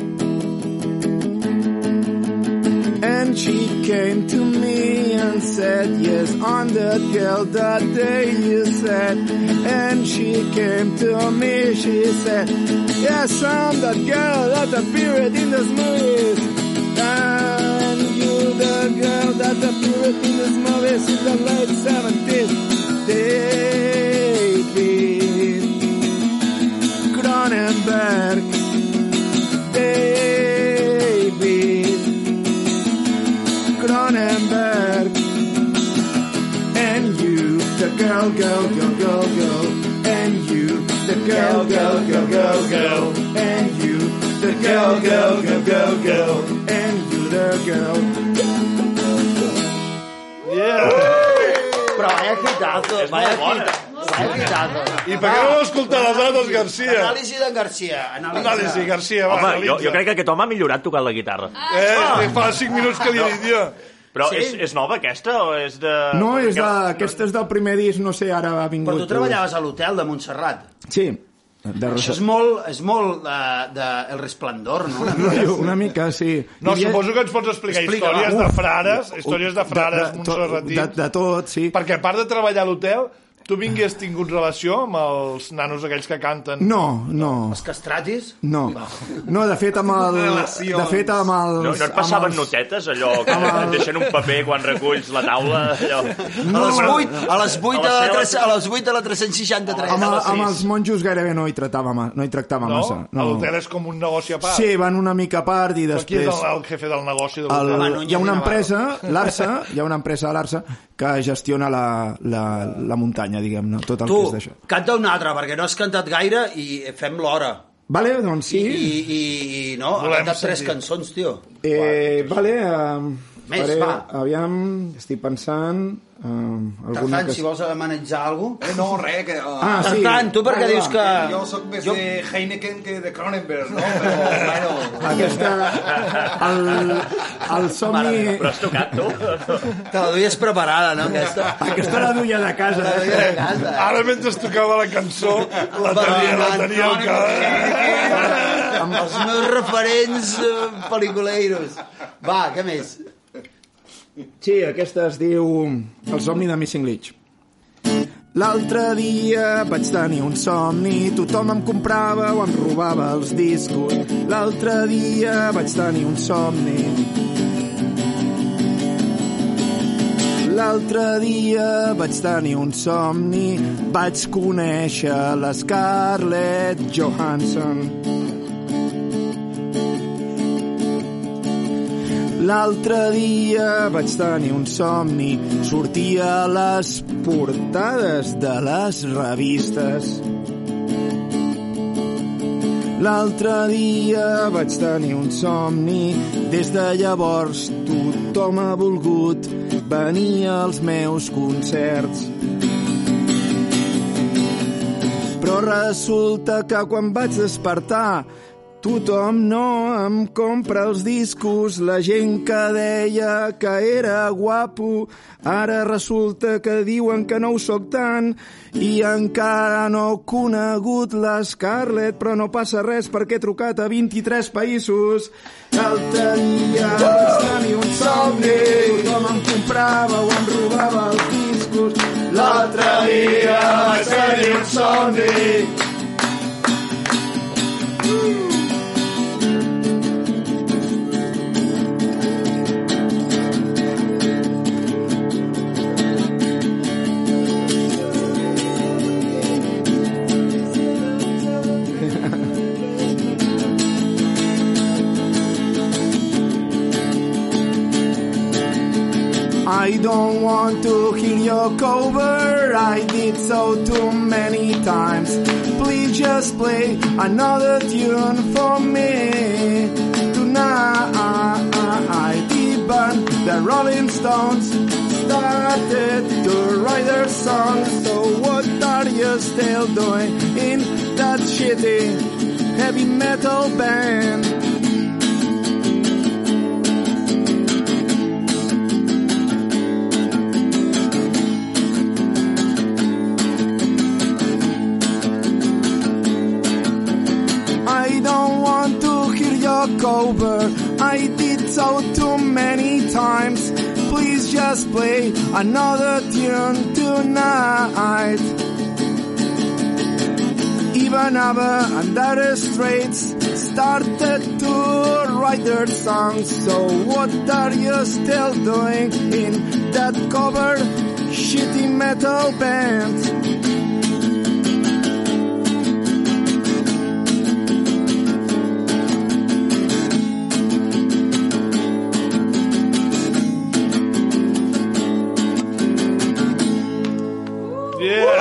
Speaker 3: and she came to me and said yes on that girl that day you said and she came to me she said yes I'm that girl that appeared in those movies and you the girl that appeared in those movies in the late 70s David Cronenberg David Cronenberg. And you, the girl, girl, girl, girl, girl. And you, the girl, girl, girl, girl, girl. And you, the girl, girl, girl, girl, girl. And you, the girl.
Speaker 2: Yeah!
Speaker 4: Però vaya quitazo, vaya,
Speaker 2: bona.
Speaker 4: quita-
Speaker 2: I per què no vam escoltar les altres, Garcia?
Speaker 4: Anàlisi d'en Garcia. Anàlisi,
Speaker 2: Anàlisi, Garcia, va,
Speaker 7: Home, jo,
Speaker 2: analitza.
Speaker 7: jo crec que aquest home ha millorat tocant la guitarra.
Speaker 2: Eh, ah, fa 5 minuts que li he dit jo.
Speaker 7: Però sí? és, és nova aquesta o és de...
Speaker 3: No, és de,
Speaker 7: d'aquella-
Speaker 3: aquesta és del primer disc, no sé, ara ha vingut...
Speaker 4: Però tu treballaves a l'hotel de Montserrat.
Speaker 3: Sí, de
Speaker 4: Això
Speaker 3: Rosa...
Speaker 4: és molt, és molt de, de El Resplendor, no? Una mica.
Speaker 3: Rotllo, Una mica, sí.
Speaker 2: No,
Speaker 3: Hi havia-
Speaker 2: suposo que ens pots explicar
Speaker 4: Explica, va.
Speaker 2: històries de frares, històries de frares
Speaker 3: de-
Speaker 2: montserratins.
Speaker 3: De, de tot, sí.
Speaker 2: Perquè a part de treballar a l'hotel, tu vingués tingut relació amb els nanos aquells que canten...
Speaker 3: No, no,
Speaker 4: Els castratis?
Speaker 3: no. No, de fet, amb el...
Speaker 5: Relacions.
Speaker 3: De fet, amb els...
Speaker 7: No, no et passaven
Speaker 3: amb els-
Speaker 7: notetes, allò, que et deixen un paper quan reculls la taula, allò...
Speaker 4: No, a les 8, a les 8 de la,
Speaker 7: A les
Speaker 4: 3, a les 8 de la 363.
Speaker 3: Amb, el,
Speaker 7: les sis.
Speaker 3: amb els monjos gairebé no hi tractava, ma- no hi tractava
Speaker 2: No?
Speaker 3: massa.
Speaker 2: no. L'hotel és com un negoci a part.
Speaker 3: Sí, van una mica a part i
Speaker 2: Però Qui és
Speaker 3: després...
Speaker 2: el, el jefe del negoci de
Speaker 3: El,
Speaker 2: l'hotel?
Speaker 4: Home, no hi
Speaker 3: hi ha una
Speaker 4: havia
Speaker 3: empresa, l'Arsa, hi ha una empresa de l'Arsa que gestiona la, la, la muntanya, diguem-ne, tot el
Speaker 4: Tu,
Speaker 3: que és d'això.
Speaker 4: canta un altre, perquè no has cantat gaire i fem l'hora.
Speaker 3: Vale, doncs sí.
Speaker 4: I, i, i no, ha
Speaker 2: Volem
Speaker 4: cantat tres
Speaker 2: sentir.
Speaker 4: cançons, tio.
Speaker 3: Eh, vale, eh,
Speaker 4: Més,
Speaker 3: faré,
Speaker 4: va.
Speaker 3: aviam, estic pensant... Eh, alguna
Speaker 4: Tartan,
Speaker 3: que...
Speaker 4: si vols manejar alguna cosa.
Speaker 5: Eh, No, res, que... Uh,
Speaker 3: Ah, sí.
Speaker 4: Tartan, tu per què
Speaker 3: Vale,
Speaker 4: dius
Speaker 3: va.
Speaker 4: que...
Speaker 5: Jo sóc més
Speaker 4: Ah. Jo-
Speaker 5: de Heineken que de Cronenberg, no? Però, bueno...
Speaker 3: Aquesta... El, el somni...
Speaker 7: Però has tocat, tu?
Speaker 4: Te la duies preparada, no, aquesta?
Speaker 3: Aquesta la duia de casa.
Speaker 2: Ara, mentre es tocava la cançó, la
Speaker 4: Va,
Speaker 2: tenia, la
Speaker 4: va,
Speaker 2: tenia al cap.
Speaker 4: Amb els meus referents eh, pel·liculeiros. Va, què més?
Speaker 3: Sí, aquesta es diu El somni de Missing Leach. L'altre dia vaig tenir un somni, tothom em comprava o em robava els discos. L'altre dia vaig tenir un somni. L'altre dia vaig tenir un somni, vaig conèixer la Scarlett Johansson. L'altre dia vaig tenir un somni, sortia a les portades de les revistes. L'altre dia vaig tenir un somni, des de llavors tothom ha volgut venir als meus concerts. Però resulta que quan vaig despertar tothom no em compra els discos, la gent que deia que era guapo, ara resulta que diuen que no ho sóc tant i encara no he conegut l'Scarlett, però no passa res perquè he trucat a 23 països. L'altre dia vaig tenir un somni, tothom em comprava o em robava els discos. L'altre dia vaig tenir un somni, I don't want to hear your cover. I did so too many times. Please just play another tune for me tonight. Even the Rolling Stones started to write their songs. So what are you still doing in that shitty heavy metal band? I don't want to hear your cover. I did so too many times. Please just play another tune tonight. Even Abba and Dire Straits started to write their songs. So what are you still doing in that cover shitty metal band?
Speaker 7: Yeah!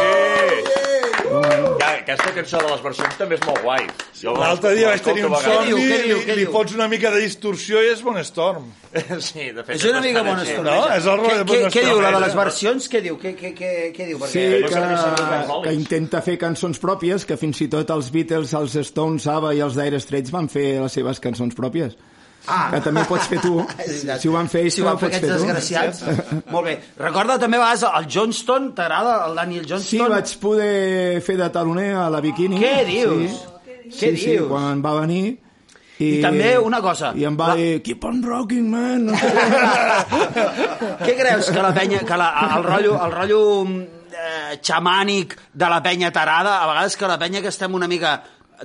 Speaker 7: Yeah! Que, aquesta cançó de les versions també és molt guai. Jo
Speaker 2: L'altre dia vaig
Speaker 7: l'escolto
Speaker 2: tenir un
Speaker 7: a
Speaker 2: somni,
Speaker 4: diu? Què
Speaker 2: li,
Speaker 4: diu? Què
Speaker 2: li
Speaker 4: diu?
Speaker 2: fots una mica de distorsió i és Bon Storm.
Speaker 7: vegades. Sí, de fet...
Speaker 4: És una mica bona
Speaker 7: bastant així.
Speaker 4: estona.
Speaker 2: No? És el
Speaker 4: Què,
Speaker 2: rotllo de
Speaker 4: què,
Speaker 2: Bon
Speaker 4: què diu,
Speaker 2: Storm.
Speaker 4: la de les versions? Què diu? Què, què, què, què diu? Perquè...
Speaker 3: Sí,
Speaker 7: Eh,
Speaker 3: que,
Speaker 7: no sé si són
Speaker 3: Ah, que
Speaker 7: Rollins.
Speaker 3: intenta fer cançons pròpies, que fins i tot els Beatles, els Stones, ABBA i els Dire Straits van fer les seves cançons pròpies. Ah. Que també pots fer tu.
Speaker 4: És veritat.
Speaker 3: si ho van fer ells,
Speaker 4: si ho van
Speaker 3: també
Speaker 4: fer
Speaker 3: ho
Speaker 4: aquests
Speaker 3: pots fer tu.
Speaker 4: desgraciats. Molt bé. Recorda també a vegades el Johnston, t'agrada el Daniel
Speaker 3: Sí,
Speaker 4: Johnston?
Speaker 3: vaig poder fer de taloner a la Bikini.
Speaker 4: Què dius?
Speaker 3: Sí.
Speaker 4: Què
Speaker 3: sí, Sí,
Speaker 4: dius?
Speaker 3: quan va venir... I,
Speaker 4: I també una cosa,
Speaker 3: I em va
Speaker 4: la-
Speaker 3: la... dir, keep on rocking, man. No sé què.
Speaker 4: Què creus que la penya, que la, el rotllo, el rotllo eh, xamànic de la penya tarada, a vegades que la penya que estem una mica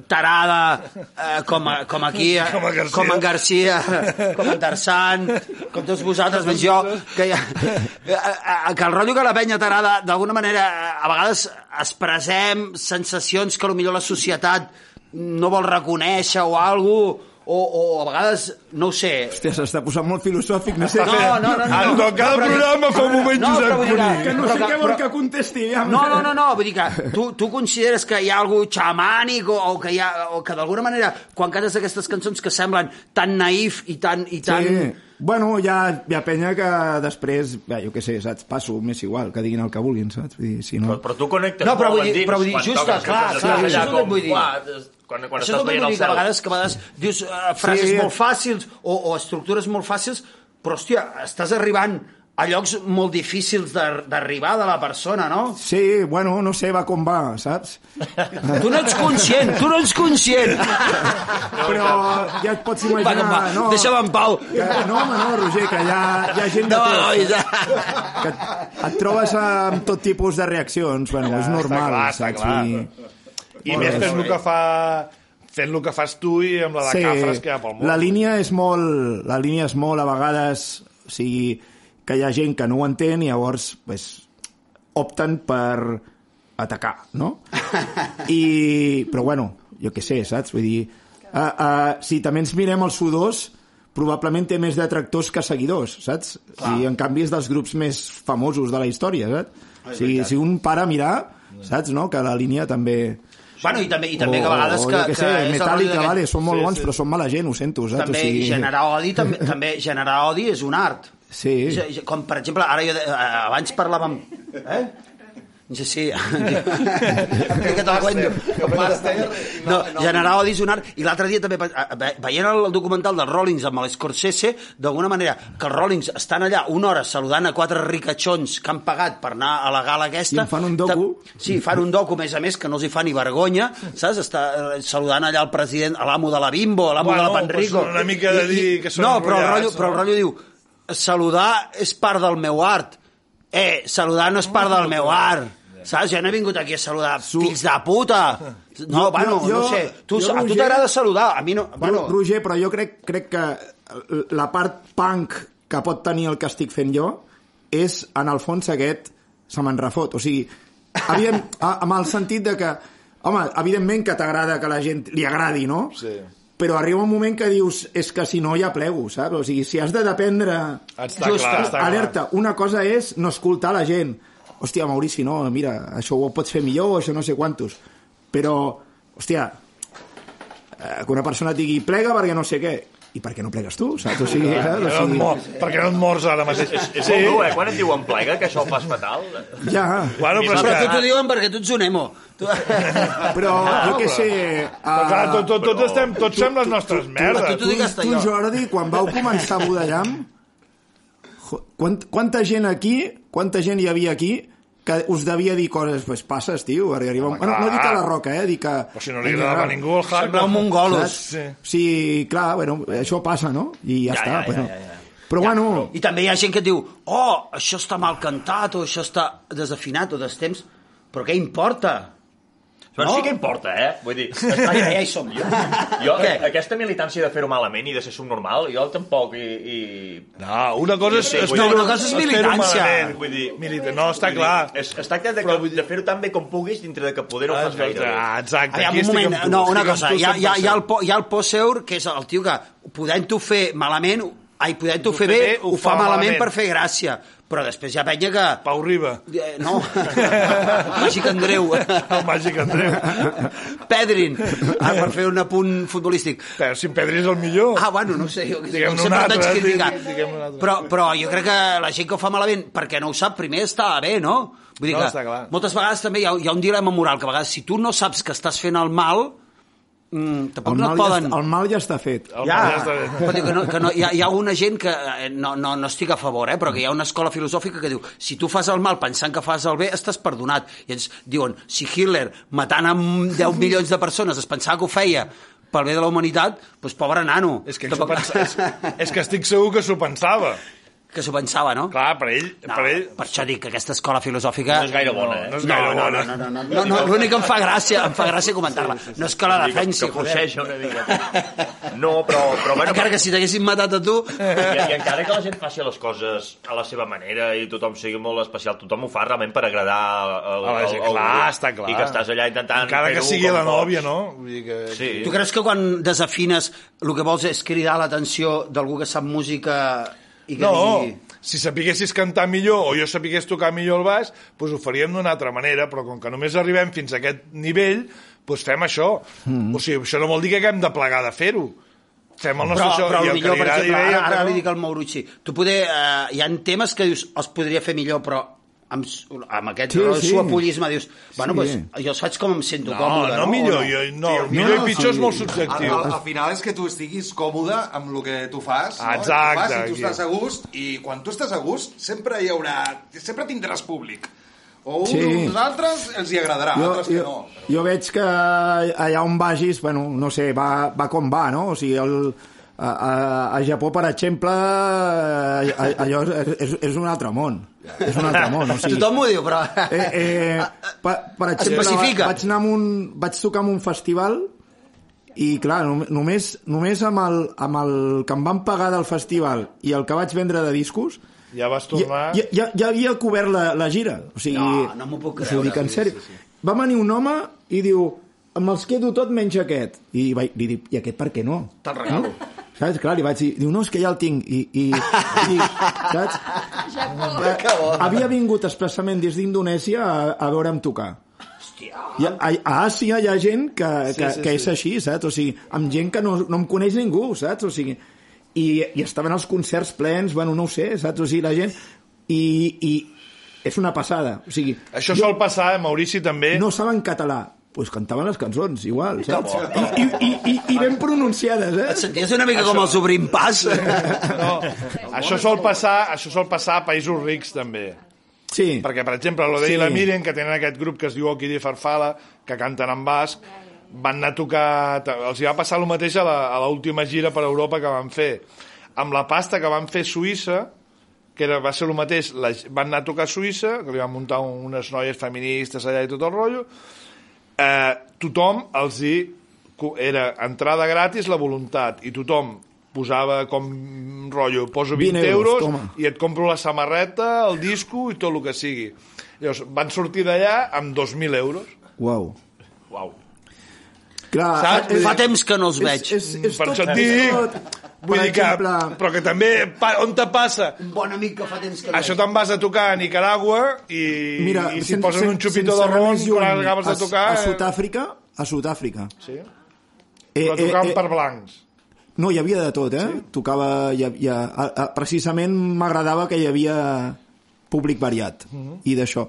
Speaker 4: tarada, eh, com, a, com aquí, eh,
Speaker 2: Com a Garcia.
Speaker 4: com en Garcia, com en Tarzan, com tots vosaltres, menys jo, que, ja, eh, eh, que el rotllo que la penya tarada, d'alguna manera, eh, a vegades expressem sensacions que millor la societat no vol reconèixer o alguna cosa, o, o a vegades, no ho sé,
Speaker 3: Hòstia, s'està posant molt filosòfic, no sé.
Speaker 4: no, no, no, no.
Speaker 2: En cada
Speaker 4: però-
Speaker 2: programa fa un moment
Speaker 4: no,
Speaker 2: Josep
Speaker 4: però vull dir
Speaker 2: Cuní.
Speaker 3: Que no
Speaker 4: però
Speaker 3: sé què vol
Speaker 4: però-
Speaker 3: que contesti. Ja.
Speaker 4: No, no, no, no, vull dir que tu, tu consideres que hi ha algú xamànic o, o que, hi ha, o que d'alguna manera, quan cantes aquestes cançons que semblen tan naïf i tan... I tan...
Speaker 3: Sí. Bueno, hi ha, hi ha penya que després, ja, jo què sé, saps, passo, m'és igual, que diguin el que vulguin, saps? Vull dir, si no...
Speaker 7: Però, però tu connectes
Speaker 4: No, però
Speaker 7: molt
Speaker 4: vull dir-
Speaker 7: amb dins
Speaker 4: però vull dir,
Speaker 7: quan
Speaker 4: justa,
Speaker 7: toques,
Speaker 4: clar,
Speaker 7: que estàs
Speaker 4: clar, això
Speaker 7: allà
Speaker 4: és el que
Speaker 7: com,
Speaker 4: vull dir.
Speaker 7: uah, des- Quan, quan
Speaker 4: Això és
Speaker 7: estàs
Speaker 4: el que
Speaker 7: veient
Speaker 4: vull
Speaker 7: el
Speaker 4: dir, que a
Speaker 7: cel.
Speaker 4: vegades, que a vegades dius uh, frases
Speaker 3: Sí.
Speaker 4: molt fàcils o, o estructures molt fàcils, però, hòstia, estàs arribant a llocs molt difícils d'ar- d'arribar de la persona, no?
Speaker 3: Sí, bueno, no sé, va com va, saps?
Speaker 4: Tu no ets conscient, tu no ets conscient.
Speaker 3: Però ja et pots
Speaker 4: Va,
Speaker 3: imaginar...
Speaker 4: com va,
Speaker 3: no,
Speaker 4: deixa'm en pau.
Speaker 3: Que, no, home, no, Roger, que hi ha, hi ha gent de
Speaker 4: No,
Speaker 3: tot.
Speaker 4: nois.
Speaker 3: saps? Que et, et trobes amb tot tipus de reaccions. Bueno, és normal,
Speaker 2: clar, està
Speaker 3: saps?
Speaker 2: clar.
Speaker 3: Vull dir-
Speaker 2: I més fent el que fa fent el que fas tu i amb la de sí, Cafres que hi ha pel món.
Speaker 3: La línia és molt, la línia és molt a vegades, o sigui, que hi ha gent que no ho entén i llavors pues, opten per atacar, no? I, però bueno, jo què sé, saps? Vull dir, uh, uh, si també ens mirem els sudors, probablement té més detractors que seguidors, saps? I en canvi és dels grups més famosos de la història, saps? O sigui, si un para a mirar, saps, no? Que la línia també...
Speaker 4: Bueno, i també, i també que a vegades
Speaker 3: o,
Speaker 4: que...
Speaker 3: jo què sé,
Speaker 4: és el rotllo
Speaker 3: Metallica,
Speaker 4: d'aquest-
Speaker 3: vale, són molt bons, però són mala gent, ho sento, saps?
Speaker 4: també,
Speaker 3: o sigui...
Speaker 4: generar odi també, també generar odi és un art
Speaker 3: Sí.
Speaker 4: Ja- ja- com per exemple ara jo de, eh, abans parlàvem eh? Sí, sí. que te'l guanyo. No, generar odi és un art. I l'altre dia també, pe- eh, ve- veient el documental dels Rollins amb l'Scorsese, d'alguna manera, que els Rollins estan allà una hora saludant a quatre ricachons que han pagat per anar a la gala aquesta...
Speaker 3: I en fan un docu.
Speaker 4: Ta- Sí, fan un docu, a més a més, que no els hi fa ni vergonya, saps? Està eh, saludant allà el president, a l'amo de la Bimbo, a l'amo
Speaker 2: Bueno,
Speaker 4: de la Panrico.
Speaker 2: pues una mica de
Speaker 4: I- i-
Speaker 2: dir que són
Speaker 4: No, però el,
Speaker 2: enrotllats,
Speaker 4: rotllo,
Speaker 2: no?
Speaker 4: però el rotllo diu, saludar és part del meu art. Eh, saludar no és part del meu art. Saps? Jo no he vingut aquí a saludar fills de puta. No,
Speaker 3: Jo-
Speaker 4: bueno,
Speaker 3: jo-
Speaker 4: no sé. Tu,
Speaker 3: jo,
Speaker 4: a tu
Speaker 3: Roger-
Speaker 4: t'agrada saludar, a mi no...
Speaker 3: Bueno,
Speaker 4: Bueno,
Speaker 3: Roger, però jo crec, crec que la part punk que pot tenir el que estic fent jo és, en el fons, aquest se me'n refot. O sigui, havíem, a, amb el sentit de que, home, evidentment que t'agrada que la gent li agradi, no?
Speaker 2: Sí.
Speaker 3: Però arriba un moment que dius, és que si no ja plego, saps? O sigui, si has de dependre...
Speaker 2: Està
Speaker 4: Just,
Speaker 2: clar, està
Speaker 3: Alerta, una cosa és no escoltar la gent. Hòstia, Maurici, no, mira, això ho pots fer millor, això no sé quantos. Però, hòstia, eh, que una persona et digui plega perquè no sé què, i per què no plegues tu, saps? O sigui, saps?
Speaker 2: Clar.
Speaker 3: O
Speaker 2: No et mor,
Speaker 3: sigui,
Speaker 2: perquè no et mors ara mateix.
Speaker 7: És molt dur, eh? Quan et diuen plega, que això ho fas fatal.
Speaker 3: ja,
Speaker 2: Bueno, però, és
Speaker 4: però a tu
Speaker 2: que...
Speaker 4: t'ho diuen perquè tu ets un emo. Tu...
Speaker 3: però jo què sé...
Speaker 2: Però, clar, tot, tot, tots
Speaker 7: Però-
Speaker 2: estem, tots fem les nostres merdes.
Speaker 4: a tu
Speaker 3: tu,
Speaker 4: digues
Speaker 3: tu,
Speaker 4: allò.
Speaker 3: Jordi, quan vau començar a Budallam, jo- quant, quanta gent aquí, quanta gent hi havia aquí que us devia dir coses, pues passes, tio, perquè arriba... un-
Speaker 2: Home,
Speaker 3: no, no dic a la
Speaker 2: clar.
Speaker 3: roca, eh, dic que...
Speaker 2: Però si no li agradava a ningú el
Speaker 4: Sembleu
Speaker 2: hardcore.
Speaker 4: mongolos.
Speaker 2: Sí.
Speaker 3: Sí, clar, bueno, això passa, no? I ja,
Speaker 4: Ja,
Speaker 3: està.
Speaker 4: ja, ja,
Speaker 3: però,
Speaker 4: ja, ja.
Speaker 3: però bueno,
Speaker 4: I també hi ha gent que et diu, oh, això està mal cantat, o això està desafinat, o destemps, però què importa?
Speaker 7: Però
Speaker 4: No.
Speaker 7: sí que importa, eh? Vull dir, està,
Speaker 4: Ja, ja, ja hi som.
Speaker 7: Jo, jo eh,
Speaker 4: Què?
Speaker 7: aquesta militància de fer-ho malament i de ser subnormal, jo tampoc i... i...
Speaker 2: No, una cosa és...
Speaker 7: Sí, vull
Speaker 2: espero-
Speaker 7: dir-
Speaker 4: No, una cosa és
Speaker 2: espero
Speaker 4: militància.
Speaker 2: malament, Vull dir, milita... No, està clar.
Speaker 7: Es, es tracta de, que, de fer-ho tan bé com puguis dintre de que poder no ho fas gaire bé.
Speaker 2: Ah, Exacte.
Speaker 4: Aviam,
Speaker 2: aquí
Speaker 4: un
Speaker 2: estic
Speaker 4: moment,
Speaker 2: amb tu,
Speaker 4: no, una
Speaker 2: estic amb
Speaker 4: cosa,
Speaker 2: tu
Speaker 4: hi ha, hi, ha, hi, ha el,
Speaker 2: 100%.
Speaker 4: po- hi ha el Poseur, que és el tio que, podent-ho fer malament, ai, podent-ho fer bé, ho fa malament per fer gràcia. Però després hi ha penya que...
Speaker 2: Pau Riba.
Speaker 4: Eh, No, Màgic Andreu.
Speaker 2: El màgic Andreu.
Speaker 4: Pedrin, ah, per fer un apunt futbolístic.
Speaker 2: Però Eh, si en Pedri és el millor.
Speaker 4: Ah, bueno, no ho sé, jo que
Speaker 2: Diguem-ne un
Speaker 4: sempre
Speaker 2: altre,
Speaker 4: vaig criticar.
Speaker 2: diguem- diguem-ne un altre.
Speaker 4: Però, però jo crec que la gent que ho fa malament, perquè no ho sap, primer està bé, no? Vull dir
Speaker 5: No,
Speaker 4: que
Speaker 5: està clar.
Speaker 4: moltes vegades també hi ha, hi ha un dilema moral, que a vegades si tu no saps que estàs fent el mal, mm, tampoc
Speaker 3: El
Speaker 4: no
Speaker 3: mal,
Speaker 4: et poden...
Speaker 3: ja, està- el mal ja està fet.
Speaker 2: El
Speaker 4: Ja,
Speaker 2: Pedri està bé.
Speaker 4: però dic que no, que no, hi, ha, hi ha una gent que eh, no, no, no estic a favor, eh, però que hi ha una escola filosòfica que diu si tu fas el mal pensant que fas el bé, estàs perdonat. I ens diuen, si Hitler, matant amb 10 milions de persones, es pensava que ho feia pel bé de la humanitat, doncs pobre nano.
Speaker 2: És que, s'ho pensa, és, és que estic segur que s'ho pensava.
Speaker 4: que s'ho pensava, no?
Speaker 2: Clar, per ell...
Speaker 4: no,
Speaker 2: Per ell...
Speaker 4: per això dic que aquesta escola filosòfica...
Speaker 7: No és gaire bona, eh?
Speaker 2: No és gaire
Speaker 4: no,
Speaker 2: bona.
Speaker 4: no, no, no, no, no, l'únic que em fa gràcia, em fa gràcia comentar-la. No és que la
Speaker 7: Vull dir,
Speaker 4: defensi,
Speaker 7: que, que
Speaker 4: joder.
Speaker 7: forceja una mica. No, però, però bueno,
Speaker 4: Encara que si t'haguessin matat a tu...
Speaker 7: I, I encara que la gent faci les coses a la seva manera i tothom sigui molt especial, tothom ho fa realment per agradar al,
Speaker 2: A la gent,
Speaker 7: al- al-
Speaker 2: Ah, clar, està clar.
Speaker 7: I que estàs allà intentant
Speaker 2: Encara que
Speaker 7: fer-ho
Speaker 2: sigui
Speaker 7: com
Speaker 2: la
Speaker 7: pots.
Speaker 2: nòvia, no? Vull dir que...
Speaker 7: Sí.
Speaker 4: Tu creus que quan desafines el que vols és cridar l'atenció d'algú que sap música i que
Speaker 2: No,
Speaker 4: digui...
Speaker 2: si sapiguessis cantar millor o jo sapigués tocar millor el baix, doncs ho faríem d'una altra manera, però com que només arribem fins a aquest nivell, doncs fem això. O sigui, això no vol dir que haguem de plegar de fer-ho. Fem el nostre...
Speaker 4: Mm. Però,
Speaker 2: això,
Speaker 4: però
Speaker 2: i el
Speaker 4: el
Speaker 2: que
Speaker 4: millor,
Speaker 2: li
Speaker 4: per
Speaker 2: agradi bé
Speaker 4: exemple,
Speaker 2: i el
Speaker 4: ara,
Speaker 2: que
Speaker 4: ara
Speaker 2: no.
Speaker 4: li dic al Maurucci, tu poder, eh, hi ha temes que dius, els podria fer millor, però amb, s- amb aquest
Speaker 3: Sí,
Speaker 4: sí,
Speaker 3: sí.
Speaker 4: sí. suapollisme dius, bueno,
Speaker 3: Sí.
Speaker 4: pues, jo els faig com em sento
Speaker 2: No,
Speaker 4: còmode,
Speaker 2: no,
Speaker 4: no?
Speaker 2: millor,
Speaker 4: O no?
Speaker 2: jo, no, millor i pitjor és molt
Speaker 5: Al,
Speaker 2: subjectiu.
Speaker 5: al, al final és que tu estiguis còmode amb el que tu fas, no?
Speaker 2: Exacte,
Speaker 5: I tu, fas, i tu
Speaker 2: aquí.
Speaker 5: estàs a gust, i quan tu estàs a gust sempre hi haurà... sempre tindràs públic. O uns,
Speaker 3: Sí.
Speaker 5: uns altres els hi agradarà, jo, Ah, altres que
Speaker 3: jo,
Speaker 5: no. Però...
Speaker 3: jo veig que allà on vagis, bueno, no sé, va, va com va, no? O sigui, el, a, a, a Japó, per exemple, eh, a- allò és, és, és un altre món. És un altre món, o sigui...
Speaker 4: Tothom ho diu, però...
Speaker 3: Eh, eh, per, per exemple,
Speaker 4: pacifica.
Speaker 3: va- vaig, anar amb un, vaig tocar en un festival i, clar, nom, només, només amb, el, amb el que em van pagar del festival i el que vaig vendre de discos,
Speaker 2: Ja vas tornar...
Speaker 3: ja, ja, ja, ja havia cobert la, la gira. O sigui,
Speaker 4: No, no m'ho puc
Speaker 3: us ho
Speaker 4: creure.
Speaker 3: dic en sèrio. Va venir un home i diu em els quedo tot menys aquest. I vaig, li dic, i aquest per què no?
Speaker 4: Te'l regalo.
Speaker 3: Saps? Clar, li vaig dir, diu, no, és que ja el tinc. I, i, i saps?
Speaker 4: Que bo.
Speaker 3: Havia vingut expressament des d'Indonèsia a, a veure'm tocar.
Speaker 4: Hòstia.
Speaker 3: I a, a Àsia hi ha gent que, que, sí, sí, que és així, saps? O sigui, amb gent que no, no em coneix ningú, saps? O sigui, i, I estaven els concerts plens, bueno, no ho sé, saps? O sigui, la gent... I, i és una passada. O sigui,
Speaker 2: Això sol passar, eh, Maurici, també.
Speaker 3: no saben català, doncs cantaven les cançons, igual, saps? I, i, i, i, i ben pronunciades, eh?
Speaker 4: Et senties una mica com els obrim pas?
Speaker 2: No, això sol passar, això sol passar a països rics, també.
Speaker 3: Sí.
Speaker 2: Perquè, per exemple, lo de
Speaker 3: Sí.
Speaker 2: sí. la Miriam, que tenen aquest grup que es diu Okiri Farfala, que canten en basc, van anar a tocar... Els hi va passar el mateix a la- a l'última gira per Europa que van fer. Amb la pasta que van fer a Suïssa, que era, va ser el mateix, la, van anar a tocar a Suïssa, que li van muntar un, unes noies feministes allà i tot el rotllo, eh, tothom els hi... co- Era entrada gratis, la voluntat, i tothom posava com rotllo, poso 20,
Speaker 3: 20 euros,
Speaker 2: euros,
Speaker 3: toma.
Speaker 2: i et compro la samarreta, el disco i tot el que sigui. Llavors, van sortir d'allà amb 2.000 euros.
Speaker 3: Uau.
Speaker 7: Uau.
Speaker 3: Clar, eh,
Speaker 2: Saps?
Speaker 3: és-
Speaker 4: Fa temps que no els
Speaker 3: és-
Speaker 4: veig.
Speaker 3: És, és,
Speaker 2: per
Speaker 3: tot,
Speaker 2: això et
Speaker 3: és
Speaker 2: dic...
Speaker 3: tot.
Speaker 2: Vull
Speaker 3: per
Speaker 2: dir que,
Speaker 3: exemple,
Speaker 2: però que també, pa, on te passa?
Speaker 4: Un bon amic que fa temps que no
Speaker 2: Això te'n vas a tocar a Nicaragua i,
Speaker 3: Mira,
Speaker 2: i si
Speaker 3: sen-
Speaker 2: et posen
Speaker 3: sen-
Speaker 2: un xupito
Speaker 3: sense
Speaker 2: de
Speaker 3: anar
Speaker 2: ron
Speaker 3: més lluny,
Speaker 2: quan acabes de
Speaker 3: a-
Speaker 2: tocar... eh?
Speaker 3: A Sud-àfrica, a Sud-àfrica. Eh,
Speaker 2: Sí? Però tocant per blancs.
Speaker 3: No, hi havia de tot, eh? Sí? Tocava... Hi havia, a, a, precisament m'agradava que hi havia públic variat mm
Speaker 4: Mhm.
Speaker 3: -hmm. i d'això.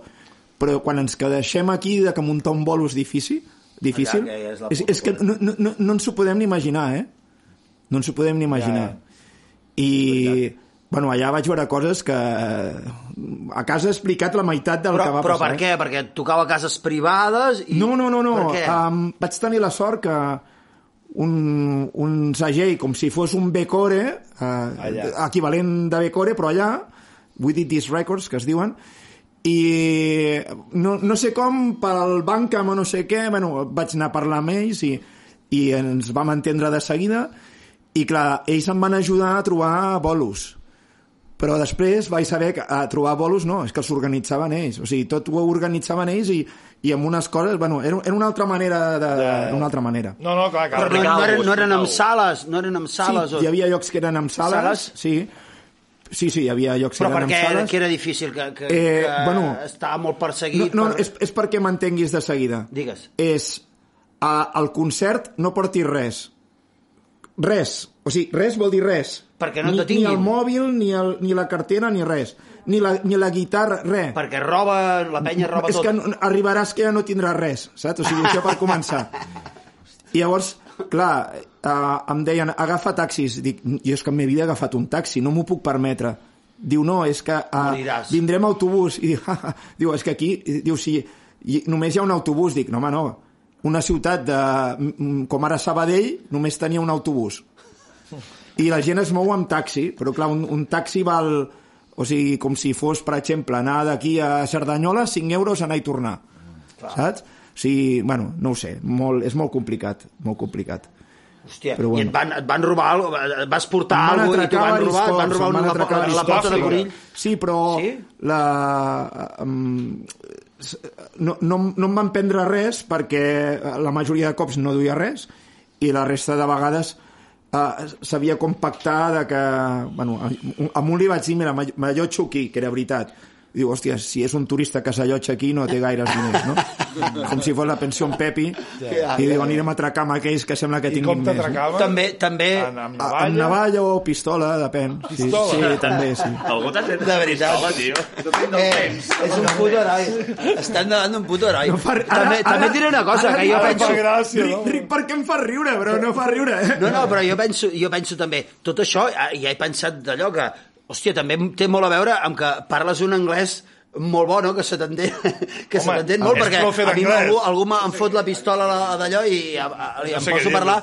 Speaker 3: Però quan ens quedem aquí de que muntar un bolo és difícil, difícil
Speaker 4: Ja, ja, ja és la
Speaker 3: és,
Speaker 4: puta
Speaker 3: és que no, no, no, no ens ho podem ni imaginar, eh? No ens ho podem ni imaginar. I, bueno, allà vaig veure coses que... eh, A casa he explicat la meitat del que
Speaker 4: Però,
Speaker 3: va
Speaker 4: però
Speaker 3: passar.
Speaker 4: per
Speaker 3: eh?
Speaker 4: què? Perquè tocava a cases privades i...
Speaker 3: No, no, no, no.
Speaker 4: Per què?
Speaker 3: Um, vaig tenir la sort que un, un segell, com si fos un Becore, uh, equivalent de Becore, però allà, We Did These Records, que es diuen, i no, no sé com, pel Bancam o no sé què, bueno, vaig anar a parlar amb ells i, i ens vam entendre de seguida, i clar, ells em van ajudar a trobar bolos. Però després vaig saber que a trobar bolos no, és que s'organitzaven ells. O sigui, tot ho organitzaven ells i, i amb unes coses... Bueno, era, era una altra manera de... Era una altra manera.
Speaker 2: No, no, clar,
Speaker 4: Però
Speaker 2: clar.
Speaker 4: no, no, eren, no eren
Speaker 7: Hospital.
Speaker 4: amb sales, no eren amb sales.
Speaker 3: Sí, hi havia llocs que eren amb sales,
Speaker 4: Sales?
Speaker 3: sí, Sí, sí, hi havia llocs
Speaker 4: Però
Speaker 3: que eren
Speaker 4: perquè
Speaker 3: amb
Speaker 4: era,
Speaker 3: sales.
Speaker 4: que era difícil, que, que,
Speaker 3: Eh,
Speaker 4: que
Speaker 3: bueno,
Speaker 4: estava molt perseguit.
Speaker 3: No, no,
Speaker 4: per-
Speaker 3: és, és perquè m'entenguis de seguida.
Speaker 4: Digues.
Speaker 3: És a, al concert no portis res. Res. O sigui, res vol dir res.
Speaker 4: Perquè no
Speaker 3: ni,
Speaker 4: t'ho tinguin.
Speaker 3: Ni el mòbil, ni, el, ni la cartera, ni res. Ni la, ni la guitarra, res.
Speaker 4: Perquè roba, la penya roba
Speaker 3: és
Speaker 4: tot.
Speaker 3: que no- arribaràs que ja no tindràs res, saps? O sigui, això per començar. I llavors, clar, eh, em deien, agafa taxis. Dic, jo és que en mi vida he agafat un taxi, no m'ho puc permetre. Diu, no, és que eh,
Speaker 4: Moriràs.
Speaker 3: vindrem a autobús. I diu, diu, és que aquí, diu, si hi, només hi ha un autobús. Dic, no, home, no. Una ciutat de, mm, com ara Sabadell només tenia un autobús. I la gent es mou amb taxi, però clar, un, un taxi val... O sigui, com si fos, per exemple, anar d'aquí a Cerdanyola, 5 euros, anar i tornar. Saps? O sigui, bueno, no ho sé, molt, és molt complicat, molt complicat.
Speaker 4: Hòstia,
Speaker 3: Però
Speaker 4: i
Speaker 3: bueno.
Speaker 4: et van, et van robar, algo, eh, vas portar
Speaker 3: Em van
Speaker 4: alguna
Speaker 3: atracar
Speaker 4: cosa i t'ho van
Speaker 3: varis
Speaker 4: robar, et van
Speaker 3: cops,
Speaker 4: robar
Speaker 3: em van
Speaker 4: una, la,
Speaker 3: atracar
Speaker 4: la, la
Speaker 3: varis
Speaker 4: pota
Speaker 3: cops,
Speaker 4: de
Speaker 3: sí.
Speaker 4: conill.
Speaker 3: Sí, però...
Speaker 4: Sí?
Speaker 3: La, um, no, no, no em van prendre res perquè la majoria de cops no duia res i la resta de vegades uh, sabia com pactar de que... Bueno, a- a un li vaig dir, mira, m'all- m'allotjo aquí, que era veritat. Diu, hòstia, si és un turista que s'allotja aquí no té gaires diners, no? Com si fos la pensió en Pepi.
Speaker 4: Ja,
Speaker 3: I
Speaker 4: ja,
Speaker 3: diu, anirem a atracar amb aquells que sembla que
Speaker 2: I com
Speaker 3: tinguin més. eh? no?
Speaker 2: t'atracaven?
Speaker 4: També, també,
Speaker 2: Amb, amb
Speaker 3: Ah,
Speaker 2: navalla?
Speaker 3: Amb navalla o pistola, depèn.
Speaker 2: Pistola?
Speaker 3: Sí, sí, també, sí.
Speaker 7: Algú t'ha fet
Speaker 4: De veritat.
Speaker 7: Hola, tio.
Speaker 4: eh, és un puto heroi. Estem davant d'un puto heroi.
Speaker 3: No fa- ara-
Speaker 4: també,
Speaker 3: ara-
Speaker 4: també et diré una cosa,
Speaker 3: ara-
Speaker 4: que jo
Speaker 2: ara
Speaker 4: penso...
Speaker 2: fa gràcia,
Speaker 3: Ric,
Speaker 2: no?
Speaker 3: ric perquè em fa riure, però no fa riure.
Speaker 4: No, no, però jo penso, jo penso també, tot això, eh, ja he pensat d'allò que, hòstia, també té molt a veure amb que parles un anglès molt bo, no?, que se t'entén que se
Speaker 2: Home,
Speaker 4: t'entén molt,
Speaker 2: és
Speaker 4: perquè
Speaker 2: profe
Speaker 4: a mi
Speaker 2: d'anglès.
Speaker 4: algú, algú me- em fot la pistola a la- d'allò i a, a, a, em
Speaker 2: sé què
Speaker 4: poso a parlar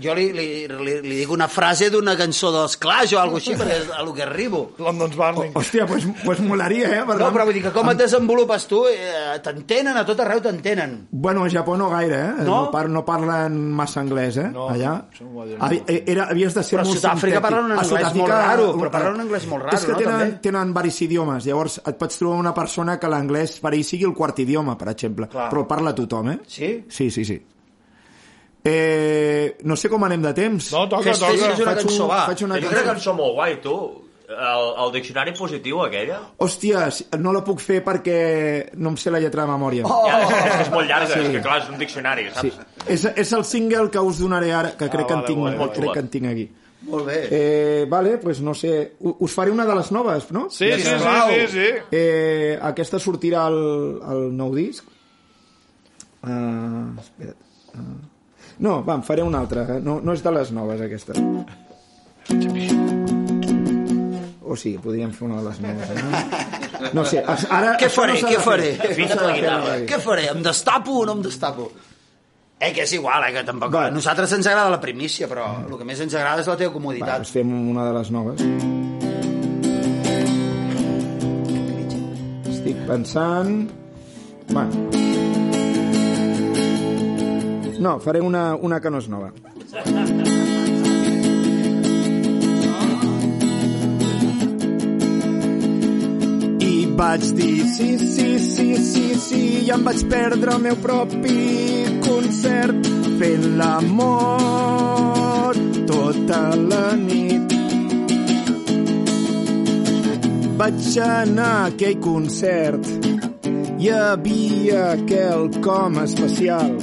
Speaker 4: jo li, li, li, li dic una frase d'una cançó dels Clash o alguna així, perquè és a lo que arribo.
Speaker 2: London's Burning.
Speaker 3: Hòstia, doncs pues, pues molaria, eh? Per
Speaker 4: No,
Speaker 3: tant-
Speaker 4: però vull dir que com et desenvolupes tu, eh, t'entenen, a tot arreu t'entenen.
Speaker 3: Bueno, a Japó no gaire, eh?
Speaker 4: No?
Speaker 3: No, par no parlen massa anglès, eh?
Speaker 2: No,
Speaker 3: Allà.
Speaker 2: això no ho va dir
Speaker 3: Havi- eh, Era, havies de ser
Speaker 4: Però a
Speaker 3: molt
Speaker 4: Sud-àfrica
Speaker 3: sintètic.
Speaker 4: parlen un
Speaker 3: A
Speaker 4: anglès molt
Speaker 3: Sud-àfrica,
Speaker 4: raro,
Speaker 3: un-
Speaker 4: però parlen un anglès molt
Speaker 3: És
Speaker 4: raro,
Speaker 3: que
Speaker 4: no,
Speaker 3: tenen,
Speaker 4: també?
Speaker 3: tenen varis idiomes, llavors et pots trobar una persona que l'anglès per ell sigui el quart idioma, per exemple,
Speaker 4: Clar.
Speaker 3: però el parla tothom, eh?
Speaker 4: Sí?
Speaker 3: Sí, sí, sí. Eh, no sé com anem de temps.
Speaker 2: No, toca,
Speaker 4: Fes- fes-nos
Speaker 2: toca.
Speaker 4: una
Speaker 3: Faig un-
Speaker 4: cançó, va.
Speaker 3: faig una
Speaker 7: Jo crec que en som molt guai, tu. El, el diccionari positiu, aquella.
Speaker 3: Hòsties, no la puc fer perquè no em sé la lletra de memòria.
Speaker 7: Oh. Ja, és que és molt llarga, sí. és que clar, és un diccionari, saps? Sí.
Speaker 3: És, és el single que us donaré ara, que crec, que, en
Speaker 2: Ah, vale,
Speaker 3: tinc,
Speaker 2: vale,
Speaker 7: vale.
Speaker 3: crec que en tinc aquí.
Speaker 4: Molt bé.
Speaker 3: Eh, vale, pues no sé, u- us faré una de les noves, no?
Speaker 2: Sí, sí, sí, sí, sí.
Speaker 3: Eh, aquesta sortirà al, al nou disc. Uh, espera't. Uh, no, va, en faré una altra. eh? No, no és de les noves, aquesta. O sí, podríem fer una de les noves. Eh? No sé, es- ara...
Speaker 4: Què
Speaker 3: això
Speaker 4: faré,
Speaker 3: s'ha
Speaker 4: què
Speaker 3: de fer.
Speaker 4: faré?
Speaker 3: No s'ha de fer mai.
Speaker 4: Què faré? Em destapo o no em destapo? Eh, que és igual, eh, que tampoc...
Speaker 3: Va.
Speaker 4: A nosaltres ens agrada la primícia, però el que més ens agrada és la teva
Speaker 3: Va,
Speaker 4: comoditat.
Speaker 3: doncs fem una de les noves. Estic pensant... Bueno. No, faré una, una que no és nova. I vaig dir sí, sí, sí, sí, sí, i em vaig perdre el meu propi concert fent l'amor tota la nit. Vaig anar a aquell concert, hi havia quelcom especial.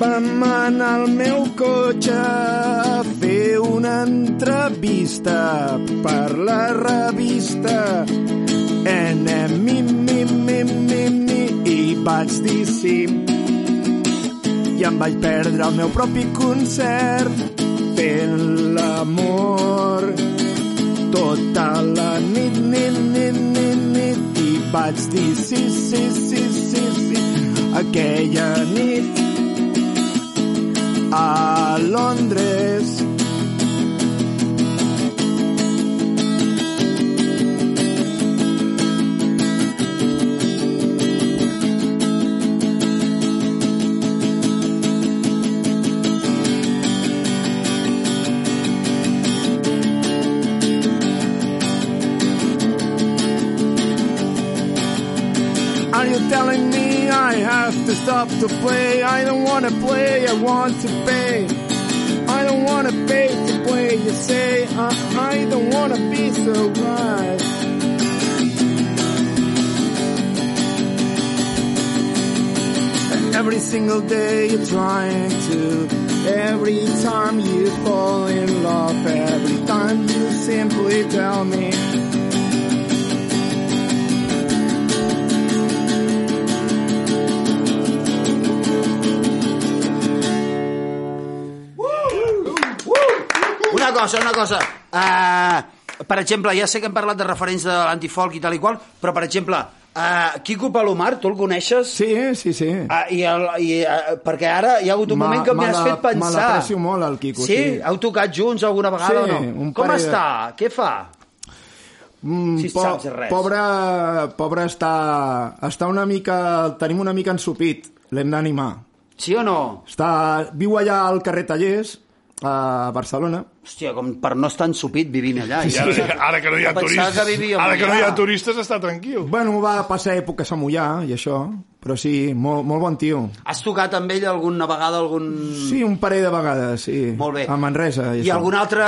Speaker 3: Vam anar al meu cotxe a fer una entrevista per la revista Enemy, mi, mi, mi, mi, i vaig dir sí. I em vaig perdre el meu propi concert fent l'amor tota la nit, nit, nit, nit, nit, i vaig dir sí, sí, sí, sí, sí, aquella nit a Londres.
Speaker 6: Are you telling me I have to stop to play? I don't wanna play, I want to pay. I don't wanna pay to play, you say. Uh, I, I don't wanna be so wise. Every single day you're trying to. Every time you fall in love, every time you simply tell me.
Speaker 4: Una cosa, una cosa. Uh, per exemple, ja sé que hem parlat de referents de l'antifolk i tal i qual, però, per exemple, uh, Quico Palomar, tu el coneixes?
Speaker 3: Sí, sí, sí.
Speaker 4: Ah, i el, i, uh, perquè ara hi ha hagut un
Speaker 3: Ma-
Speaker 4: moment que m'has
Speaker 3: me la-
Speaker 4: fet pensar.
Speaker 3: me l'aprecio molt, el Quico,
Speaker 4: Sí?
Speaker 3: sí.
Speaker 4: Heu tocat junts alguna vegada
Speaker 3: Sí,
Speaker 4: o no?
Speaker 3: un
Speaker 4: Com
Speaker 3: parell de-
Speaker 4: està? Què fa?
Speaker 3: Mm,
Speaker 4: Si saps res.
Speaker 3: Pobre, pobre està, està una mica... el Tenim una mica ensupit. L'hem d'animar.
Speaker 4: Sí o no?
Speaker 3: Està, viu allà al carrer Tallers, a Barcelona.
Speaker 4: Hòstia, com per no estar ensupit vivint allà.
Speaker 2: I ara, ara que no hi ha
Speaker 4: Pensava
Speaker 2: turistes,
Speaker 4: que vivíem
Speaker 2: ara que no hi ha
Speaker 4: allà.
Speaker 2: turistes està tranquil.
Speaker 3: Bueno, va passar èpoques a Mollà i això, però sí, molt, molt bon tio.
Speaker 4: Has tocat amb ell alguna vegada algun...
Speaker 3: Sí, un parell de vegades, sí.
Speaker 4: Mm. Molt bé.
Speaker 3: A Manresa.
Speaker 4: I
Speaker 3: això.
Speaker 4: algun altre...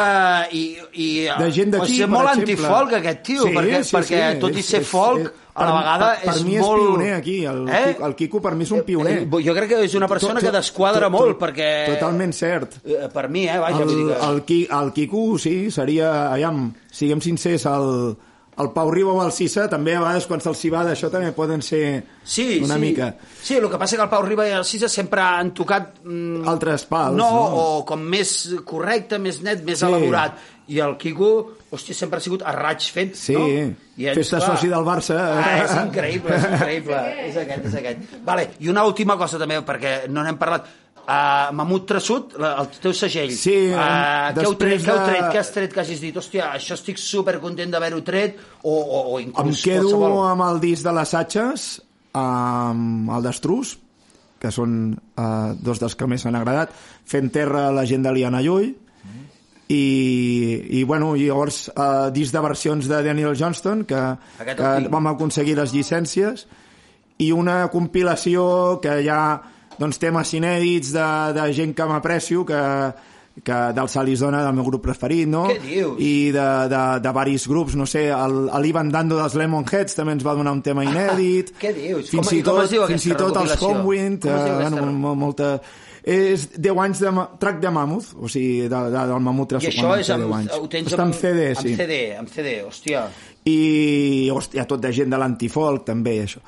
Speaker 4: I, i,
Speaker 3: De gent d'aquí,
Speaker 4: o sigui,
Speaker 3: per
Speaker 4: molt
Speaker 3: exemple.
Speaker 4: antifolk, aquest tio,
Speaker 3: Sí,
Speaker 4: perquè,
Speaker 3: sí,
Speaker 4: perquè
Speaker 3: sí,
Speaker 4: tot i
Speaker 3: és-
Speaker 4: ser
Speaker 3: és-
Speaker 4: folk,
Speaker 3: és-
Speaker 4: a la
Speaker 3: per-
Speaker 4: vegada
Speaker 3: per, per
Speaker 4: és
Speaker 3: mi
Speaker 4: molt...
Speaker 3: és pioner, aquí. El, eh? Quico, el Quico per mi és un pioner.
Speaker 4: Eh, jo crec que és una persona
Speaker 3: To- to-
Speaker 4: que desquadra
Speaker 3: to- to-
Speaker 4: molt, perquè...
Speaker 3: Totalment cert.
Speaker 4: Eh, Per mi, eh, vaja, vull
Speaker 3: El,
Speaker 4: dir que...
Speaker 3: el, Qui- el Quico, sí, seria... Aviam, siguem sincers, el, el Pau Riba o el Cissa, també a vegades quan se'ls hi va d'això també poden ser
Speaker 4: Sí,
Speaker 3: una
Speaker 4: sí.
Speaker 3: mica
Speaker 4: Sí, el que passa que el Pau Riba i el Cisa sempre han tocat... mm,
Speaker 3: altres pals.
Speaker 4: no,
Speaker 3: no?
Speaker 4: o com més correcte, més net, més
Speaker 3: Sí.
Speaker 4: elaborat. I el Quico, hòstia, sempre ha sigut a raig fent,
Speaker 3: Sí,
Speaker 4: no? ets,
Speaker 3: festa
Speaker 4: clar,
Speaker 3: soci del Barça.
Speaker 4: Ah, és increïble, és increïble. és aquest, és aquest. Vale, I una última cosa també, perquè no n'hem parlat. Uh, Mamut Trassut, la, el teu segell.
Speaker 3: Sí,
Speaker 4: Ah, què, heu tret,
Speaker 3: després
Speaker 4: què heu
Speaker 3: de-
Speaker 4: tret? Què has tret que hagis dit? Hòstia, això estic supercontent d'haver-ho tret, o, o, o
Speaker 3: Em
Speaker 4: inclús
Speaker 3: quedo
Speaker 4: qualsevol...
Speaker 3: amb el disc de les Satges, amb el d'Estrus, que són eh, dos dels que més m'han agradat, Fent Terra, la gent de Liana Llull,
Speaker 4: Mm.
Speaker 3: i, i, bueno, i llavors eh, disc de versions de Daniel Johnston, que,
Speaker 4: Aquest
Speaker 3: que
Speaker 4: el tinc.
Speaker 3: vam aconseguir les llicències, i una compilació que hi ha doncs, temes inèdits de, de gent que m'aprecio, que, que del Salis Dona, del meu grup preferit, no?
Speaker 4: Què dius?
Speaker 3: I de, de, de varis grups, no sé, el- el Ivan Dando dels Lemonheads també ens va donar un tema inèdit.
Speaker 4: Ah, què dius?
Speaker 3: Fins
Speaker 4: Com-
Speaker 3: i
Speaker 4: i com
Speaker 3: tot,
Speaker 4: es diu
Speaker 3: fins i
Speaker 4: aquesta
Speaker 3: tot els
Speaker 4: recopilació?
Speaker 3: Homewind,
Speaker 4: Com es diu
Speaker 3: eh,
Speaker 4: aquesta
Speaker 3: bueno,
Speaker 4: re-
Speaker 3: mo- molta... És 10 anys de ma- track de Mammoth, o sigui, de, de, del Mammoth
Speaker 4: I
Speaker 3: Trash-
Speaker 4: això
Speaker 3: bueno,
Speaker 4: és
Speaker 3: fa 10
Speaker 4: amb,
Speaker 3: anys.
Speaker 4: ho tens
Speaker 3: Està en CD,
Speaker 4: amb
Speaker 3: sí.
Speaker 4: CD, amb CD, hòstia.
Speaker 3: I, hòstia, tot de gent de l'antifolk, també, això.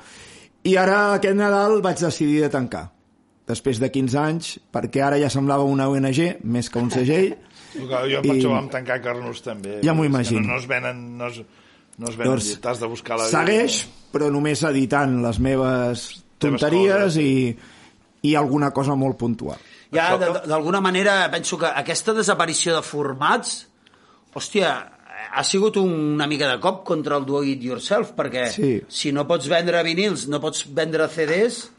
Speaker 3: I ara, aquest Nadal, vaig decidir de tancar. Després de 15 anys, perquè ara ja semblava una ONG, més que un segell,
Speaker 2: Clar, Jo
Speaker 3: I-
Speaker 2: per això vam tancar Carnús també.
Speaker 3: Ja m'ho
Speaker 2: És que
Speaker 3: imagino.
Speaker 2: No, no es venen... No es, no es venen
Speaker 3: Llavors,
Speaker 2: llit, T'has de buscar la vida.
Speaker 3: segueix, però només editant les meves tonteries
Speaker 2: coses.
Speaker 3: i, i alguna cosa molt puntual.
Speaker 4: Ja,
Speaker 2: Això
Speaker 4: d-
Speaker 2: que-
Speaker 4: d- d'alguna manera, penso que aquesta desaparició de formats, hòstia, ha sigut una mica de cop contra el do it yourself, perquè
Speaker 3: Sí.
Speaker 4: si no pots vendre vinils, no pots vendre CDs,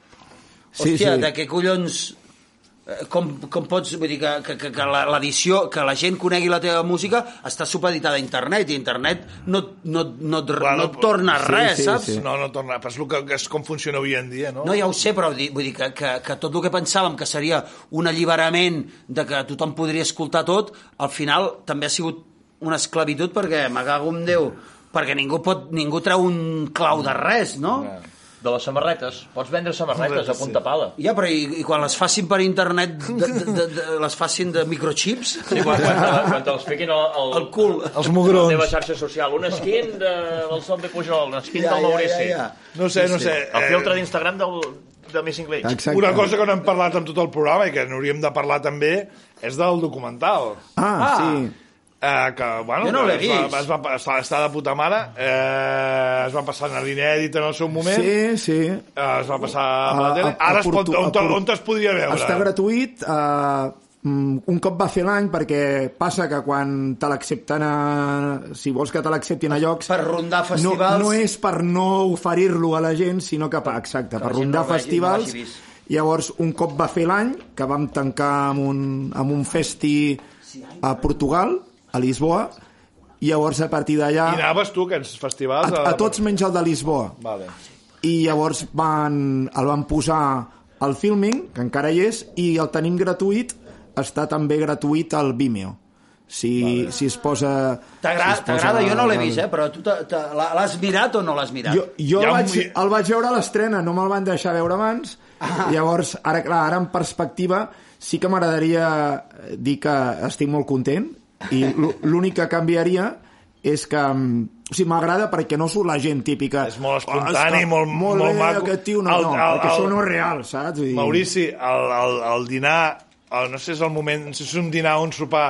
Speaker 3: Sí,
Speaker 4: hòstia,
Speaker 3: sí.
Speaker 4: de què collons... eh, Com, com pots, vull dir, que, que, que, que la- l'edició, que la gent conegui la teva música està supeditada a internet, i internet no, et- no, et- no, et-
Speaker 2: Bueno,
Speaker 4: no et torna
Speaker 3: sí,
Speaker 4: res,
Speaker 3: sí,
Speaker 4: saps?
Speaker 3: sí.
Speaker 2: No, no torna. Però és, el que, que és com funciona avui en dia, no?
Speaker 4: No, ja ho sé, però di- vull dir que, que, que tot el que pensàvem que seria un alliberament de que tothom podria escoltar tot, al final també ha sigut una esclavitud perquè m'acago amb Déu, perquè ningú, pot, ningú treu un clau de res, no?
Speaker 7: De les samarretes. Pots vendre samarretes a punta pala.
Speaker 4: Ja, però i, i quan les facin per internet, de, de, de, de, les facin de microchips?
Speaker 7: Sí, quan, quan, te, quan te'ls fiquin al, al,
Speaker 4: El cul.
Speaker 2: Els
Speaker 7: a la
Speaker 2: mugrons.
Speaker 7: teva xarxa social. Un skin de, del Son de Pujol, un skin
Speaker 4: Ja,
Speaker 7: del
Speaker 4: ja,
Speaker 7: Maurici.
Speaker 4: ja, ja.
Speaker 2: No sé, no sé.
Speaker 7: El
Speaker 2: eh,
Speaker 7: filtre d'Instagram del, de Miss English.
Speaker 3: Exacte.
Speaker 2: Una cosa que no hem parlat amb tot el programa i que n'hauríem de parlar també és del documental.
Speaker 3: Ah, sí.
Speaker 2: Eh, que, bueno,
Speaker 4: Jo no
Speaker 2: que
Speaker 4: l'he
Speaker 2: es va-
Speaker 4: vist.
Speaker 2: Es va, està, està de puta mare. Eh, es va passar en l'inèdit en el seu moment.
Speaker 3: Sí, sí.
Speaker 2: Eh, es va passar per la tele.
Speaker 3: a
Speaker 2: Ara es pot,
Speaker 3: Portu-
Speaker 2: on,
Speaker 3: a Portu-
Speaker 2: on, on es podria veure?
Speaker 3: Està gratuït. eh, mm, un cop va fer l'any, perquè passa que quan te l'accepten a... Si vols que te l'acceptin a llocs...
Speaker 4: Per rondar
Speaker 3: No,
Speaker 4: festivals...
Speaker 3: no és per no oferir-lo a la gent, sinó que, per, exacte,
Speaker 4: la
Speaker 3: per
Speaker 4: gent
Speaker 3: rondar
Speaker 4: no ho vegi- no
Speaker 3: festivals...
Speaker 4: l'hagi vist.
Speaker 3: Llavors, un cop va fer l'any, que vam tancar amb un, amb un festi a Portugal, a Lisboa, i llavors a partir d'allà...
Speaker 2: I anaves tu a aquests festivals?
Speaker 3: A, a tots menys el de Lisboa.
Speaker 2: Vale.
Speaker 3: i llavors van, el van posar al filming, que encara hi és, i el tenim gratuït, està també gratuït al Vimeo. Si, si es posa...
Speaker 4: T'agrada,
Speaker 3: si es posa
Speaker 4: t'agrada? jo no l'he
Speaker 3: al-
Speaker 4: vist, eh? però tu te- te- la- l'has mirat o no l'has mirat?
Speaker 3: Jo,
Speaker 2: Ah, Hi
Speaker 3: jo el,
Speaker 2: ha un
Speaker 3: vaig,
Speaker 2: mi-
Speaker 3: el vaig veure a l'estrena, no me'l van deixar veure abans. Ah. Llavors, ara, clar, ara en perspectiva, sí que m'agradaria eh, dir que estic molt content i l'ú- l'únic que canviaria és que... mm, O sigui, m'agrada perquè no surt la gent típica.
Speaker 2: És molt
Speaker 3: "Oh, està
Speaker 2: espontani, molt-
Speaker 3: molt
Speaker 2: molt
Speaker 3: bé,
Speaker 2: maco."
Speaker 3: Aquest tio, no,
Speaker 2: El-
Speaker 3: no,
Speaker 2: el-
Speaker 3: perquè
Speaker 2: el-
Speaker 3: això no és real, saps? Vull dir-
Speaker 2: Maurici, el, el, el dinar, el, no sé si és el moment, no sé si és un dinar o un sopar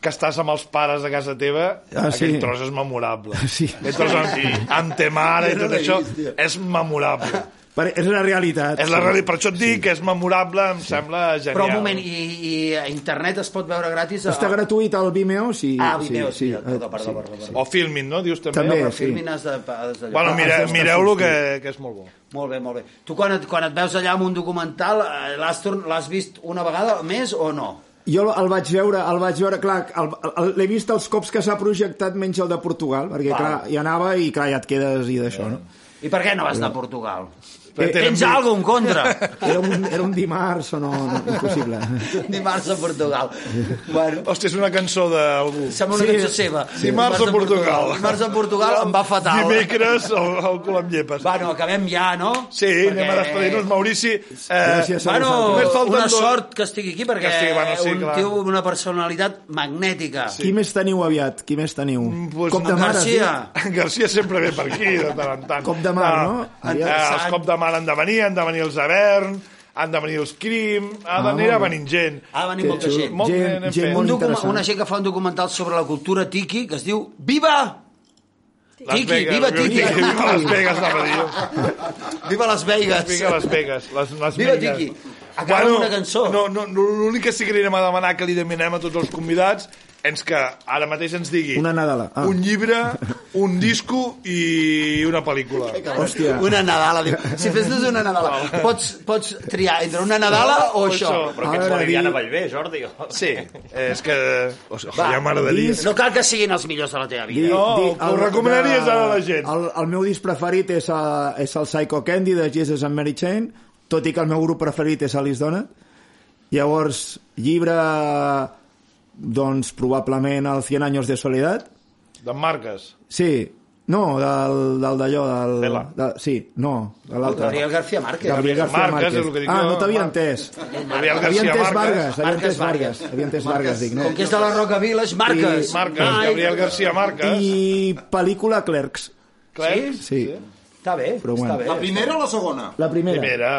Speaker 2: que estàs amb els pares a casa teva,
Speaker 3: Ah,
Speaker 2: aquell
Speaker 3: sí.
Speaker 2: tros és memorable.
Speaker 3: Sí.
Speaker 2: Aquest tros amb, amb te mare i tot això és memorable.
Speaker 3: Per, és la realitat.
Speaker 2: És la realitat, per això et dic que és memorable, em sembla genial.
Speaker 4: Però un moment, i, i a internet es pot veure gratis?
Speaker 3: Està
Speaker 4: a...
Speaker 3: gratuït al Vimeo, sí.
Speaker 4: Ah, Vimeo, sí, sí,
Speaker 3: eh,
Speaker 4: perdó, perdó, perdó. perdó.
Speaker 2: O filmin, no? Dius també?
Speaker 3: També.
Speaker 2: Però-
Speaker 3: sí.
Speaker 4: Filmin has de, has de
Speaker 2: Bueno, mire,
Speaker 3: això està
Speaker 2: mireu-lo, que,
Speaker 3: sortint.
Speaker 2: que és molt bo.
Speaker 4: Molt bé, molt bé. Tu quan et, quan et veus allà amb un documental, eh, l'has torn- l'has vist una vegada més o no?
Speaker 3: Jo el vaig veure, el vaig veure, clar, el- el- l'he vist els cops que s'ha projectat menys el de Portugal, perquè,
Speaker 4: Val. Eh.
Speaker 3: clar, hi anava i, clar, ja et quedes i d'això, no?
Speaker 4: I per què no vas anar a Portugal? Eh,
Speaker 2: Però tenen
Speaker 4: Tens
Speaker 2: vi-
Speaker 4: algo en contra?
Speaker 3: Era un, era un dimarts o no, no impossible.
Speaker 4: Dimarts a Portugal. Bueno,
Speaker 2: Hòstia, és una cançó d'algú.
Speaker 4: sembla una
Speaker 3: Sí.
Speaker 4: cançó seva.
Speaker 2: Dimarts a Portugal.
Speaker 4: Dimarts a Portugal em va fatal.
Speaker 2: Dimecres, el, el cul amb llepes.
Speaker 4: Bueno, acabem ja, no?
Speaker 2: Sí, anem a despedir-nos, Maurici. Eh,
Speaker 3: Gràcies a
Speaker 4: Bueno,
Speaker 2: Només falten
Speaker 4: una
Speaker 2: dos-
Speaker 4: sort que estigui aquí perquè
Speaker 2: Que estigui, bueno, sí,
Speaker 4: un
Speaker 2: clar.
Speaker 4: tio amb una personalitat magnètica. Sí.
Speaker 3: Qui més teniu aviat? Qui més teniu?
Speaker 2: pues,
Speaker 3: cop de
Speaker 4: en
Speaker 3: mar,
Speaker 4: Garcia.
Speaker 3: sí?
Speaker 2: En Garcia sempre ve per aquí, de tant en tant.
Speaker 3: Cop de mar, no?
Speaker 2: Eh,
Speaker 4: Aviat.
Speaker 2: els cop de mar han de venir, han de venir els Avern, han de venir els Crim, ha d'anar ah, venint gent.
Speaker 4: Ha de venir
Speaker 3: Que
Speaker 4: molta
Speaker 3: xulo.
Speaker 4: gent.
Speaker 2: Molt
Speaker 3: Gent,
Speaker 2: anem
Speaker 3: gent
Speaker 2: fent.
Speaker 4: Un
Speaker 3: molt
Speaker 4: docu-
Speaker 3: interessant.
Speaker 4: una gent que fa un documental sobre la cultura tiki que es diu Viva!
Speaker 2: Las
Speaker 4: Tiki,
Speaker 2: Vegas,
Speaker 4: viva Tiki!
Speaker 2: Viva Las Vegas, anava a dir.
Speaker 4: Viva Las Vegas!
Speaker 2: Vinga, Las Vegas. Les, les
Speaker 4: Viva
Speaker 2: Vegas.
Speaker 4: Tiki. Acaba amb una cançó.
Speaker 2: No, no, no, l'únic que sí que anirem a demanar que li demanem a tots els convidats és que ara mateix ens digui
Speaker 3: Una Nadala. Ah.
Speaker 2: un llibre, un disco i una pel·lícula.
Speaker 3: Hòstia.
Speaker 4: Una Nadala, diu. Si fes-nos una Nadala, pots, pots triar entre una Nadala o, això.
Speaker 7: Però
Speaker 3: Ah, A
Speaker 7: que
Speaker 3: veure,
Speaker 7: ets boliviana
Speaker 3: di-
Speaker 7: a Bellver, Jordi.
Speaker 2: Sí, eh, és que... Oja,
Speaker 4: Va,
Speaker 2: ja m'agradaria.
Speaker 3: disc.
Speaker 4: No cal que siguin els millors de la teva vida.
Speaker 2: No, que ho recomanaries ara a la gent.
Speaker 3: El, el meu disc preferit és, a, és el Psycho Candy de Jesus and Mary Chain, tot i que el meu grup preferit és Alice Donut. Llavors, llibre, doncs, probablement el 100 anys de soledat.
Speaker 2: De marques.
Speaker 3: Sí, no, del, del d'allò, del...
Speaker 2: Vela.
Speaker 3: De, sí, no, de l'altre.
Speaker 4: Gabriel García Márquez.
Speaker 3: Gabriel García
Speaker 2: Marques, és el que
Speaker 3: Márquez.
Speaker 2: dic
Speaker 3: Ah,
Speaker 2: jo,
Speaker 3: no t'havia
Speaker 2: Mar-
Speaker 3: entès.
Speaker 2: Gabriel
Speaker 3: Havia
Speaker 2: García
Speaker 3: entès
Speaker 2: Vargas.
Speaker 3: Vargas, havia
Speaker 4: Marques
Speaker 3: entès
Speaker 4: Vargas.
Speaker 3: Vargas, havia entès Vargas, dic, no?
Speaker 4: Com que és de la Roca Village, Marques.
Speaker 3: I-
Speaker 2: Marques,
Speaker 4: Ai,
Speaker 2: Gabriel García Marques. I...
Speaker 3: I pel·lícula Clerks,
Speaker 2: Clerks.
Speaker 3: sí.
Speaker 4: Està bé,
Speaker 3: Però bueno.
Speaker 4: està
Speaker 5: La
Speaker 4: bé.
Speaker 5: primera o la segona?
Speaker 3: La primera.
Speaker 2: Primera,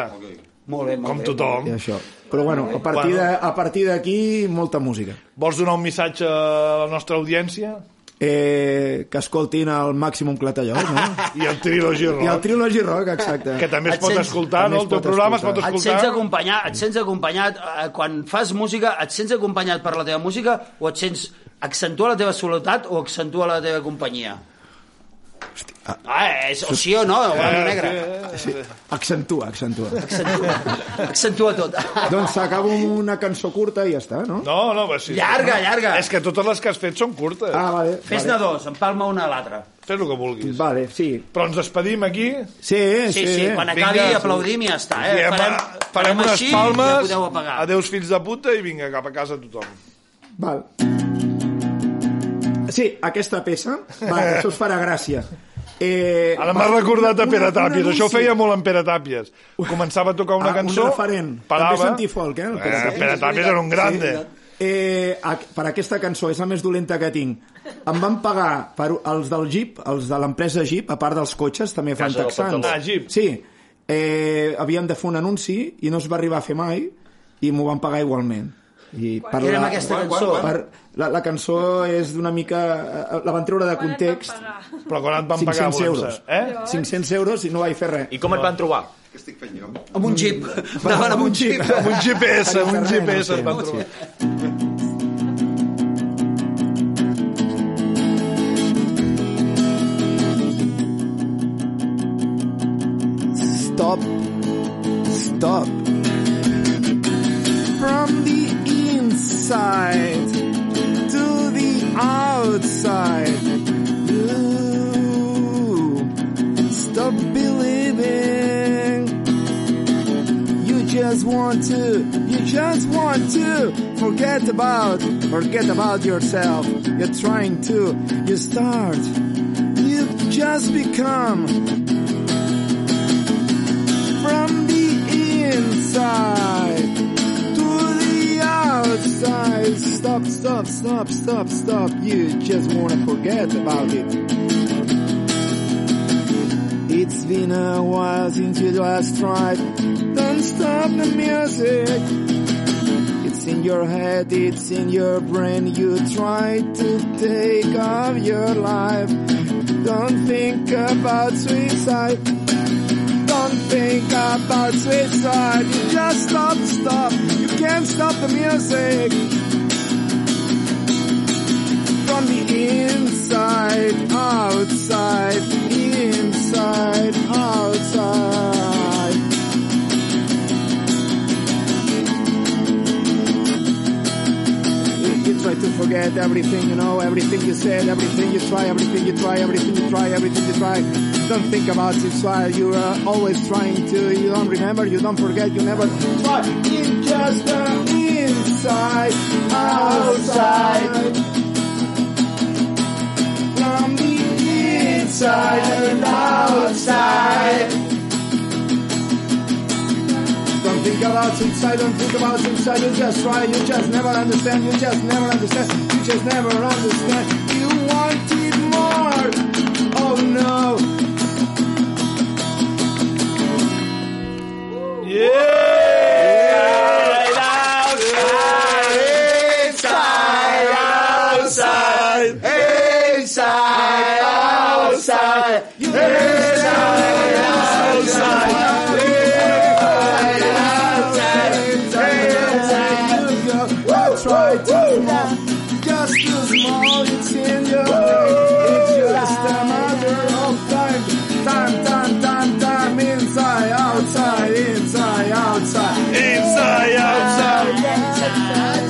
Speaker 4: Molt bé, molt
Speaker 2: com
Speaker 4: bé.
Speaker 2: tothom.
Speaker 3: I això. Però bueno, a partir de- a partir d'aquí, molta música.
Speaker 2: Vols donar un missatge a la nostra audiència?
Speaker 3: Eh, que escoltin el Maximum Clatallol, no?
Speaker 2: I el Trilogy
Speaker 3: I el
Speaker 2: Rock,
Speaker 3: Trilogy Rock, exacte.
Speaker 2: que també es
Speaker 4: Et
Speaker 2: pot
Speaker 4: sents-
Speaker 2: escoltar,
Speaker 3: també
Speaker 2: no?
Speaker 3: es
Speaker 2: El teu
Speaker 3: pot
Speaker 2: programa es pot
Speaker 3: escoltar.
Speaker 4: Et sents
Speaker 2: escoltar.
Speaker 4: acompanyat, et sents acompanyat, eh, quan fas música, et sents acompanyat per la teva música o et sents accentua la teva soledat o accentua la teva companyia? Ah, és, o sí o no, o
Speaker 2: Ah,
Speaker 4: blanc i negre.
Speaker 2: Eh,
Speaker 3: Accentua, accentua.
Speaker 4: Accentua, accentua tot.
Speaker 3: doncs s'acaba amb una cançó curta i ja està, no?
Speaker 2: No, no, però sí.
Speaker 4: Llarga, llarga.
Speaker 2: És que totes les que has fet són curtes.
Speaker 3: Ah,
Speaker 2: Ah.
Speaker 3: vale.
Speaker 4: Fes-ne dos, empalma una a l'altra.
Speaker 2: Fes el que vulguis.
Speaker 3: Vale, sí.
Speaker 2: Però ens despedim aquí.
Speaker 3: Sí,
Speaker 4: Sí, sí, quan acabi
Speaker 2: Vinga, sí.
Speaker 4: aplaudim i ja està. Eh?
Speaker 2: Diem,
Speaker 4: farem,
Speaker 2: ah, farem unes
Speaker 4: així i
Speaker 2: palmes.
Speaker 4: ja podeu apagar.
Speaker 2: Adeus, fills de puta, i vinga, cap a casa tothom.
Speaker 3: Val. Sí, aquesta peça, vale, això us farà gràcia. Eh,
Speaker 2: Ara
Speaker 3: va,
Speaker 2: m'ha recordat a
Speaker 3: un-
Speaker 2: Pere
Speaker 3: un
Speaker 2: Tàpies. Això ho
Speaker 3: anunci.
Speaker 2: feia molt en Pere Tàpies. Començava a tocar una
Speaker 3: Ah, un
Speaker 2: cançó...
Speaker 3: referent.
Speaker 2: Parava.
Speaker 3: També és antifolk, eh, el Pere
Speaker 2: Eh,
Speaker 3: Tàpies.
Speaker 2: Pere Tàpies era un grande.
Speaker 3: Eh, a, per aquesta cançó, és la més dolenta que tinc. Em van pagar per, els del Jeep, els de l'empresa Jeep, a part dels cotxes, també fan
Speaker 7: Casa del
Speaker 3: texans.
Speaker 7: Pantaló.
Speaker 2: Ah, Jeep.
Speaker 3: Sí. Eh, havien de fer un anunci i no es va arribar a fer mai i m'ho van pagar igualment. I per
Speaker 4: Era amb aquesta
Speaker 5: Quan,
Speaker 4: cançó.
Speaker 5: quan,
Speaker 3: Per, la, la cançó és d'una mica... eh, La van treure de
Speaker 8: Quan et van
Speaker 3: context.
Speaker 8: pagar?
Speaker 2: Però quan et van pagar...
Speaker 3: 500
Speaker 2: volem
Speaker 3: euros.
Speaker 2: saber, Eh?
Speaker 3: 500 euros i no vaig fer res.
Speaker 7: I com et van trobar?
Speaker 5: Que estic fent jo.
Speaker 4: Amb un jeep. Anaven amb un jeep.
Speaker 2: Amb un GPS, amb un GPS et van
Speaker 3: Sí.
Speaker 2: trobar.
Speaker 6: stop, stop. From the inside to the outside, you stop believing.
Speaker 3: just want to, you just want to forget about, forget about yourself. You're trying to, you start, you just become from the inside to the outside. Stop, stop, stop, stop, stop. You just wanna forget about it. It's been a while since you last tried. Don't stop the music. It's in your head, it's in your brain. You try to take off your life. Don't think about suicide. Don't think about suicide. You just stop, stop. You can't stop the music. From the inside, outside, inside, outside. You, you try to forget everything you know, everything you said, everything you try, everything you try, everything you try, everything you try. Don't think about it, try. You are always trying to. You don't remember, you don't forget, you never try. It's just the inside, outside. From the inside and outside. Don't think about inside, don't think about inside. You just try, you just never understand, you just never understand, you just never understand. You want it more. Oh no. try to small, just too small, it's in your way. It's just a matter of time, time, time, time, time, inside, outside, inside, outside.
Speaker 2: Inside, outside.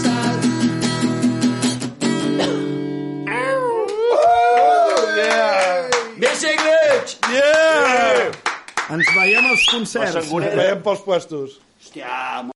Speaker 2: Yeah.
Speaker 4: Més segles!
Speaker 2: Yeah.
Speaker 9: Ens veiem als
Speaker 10: La
Speaker 9: concerts.
Speaker 10: sangura-
Speaker 2: Veiem pels puestos.
Speaker 4: Hòstia,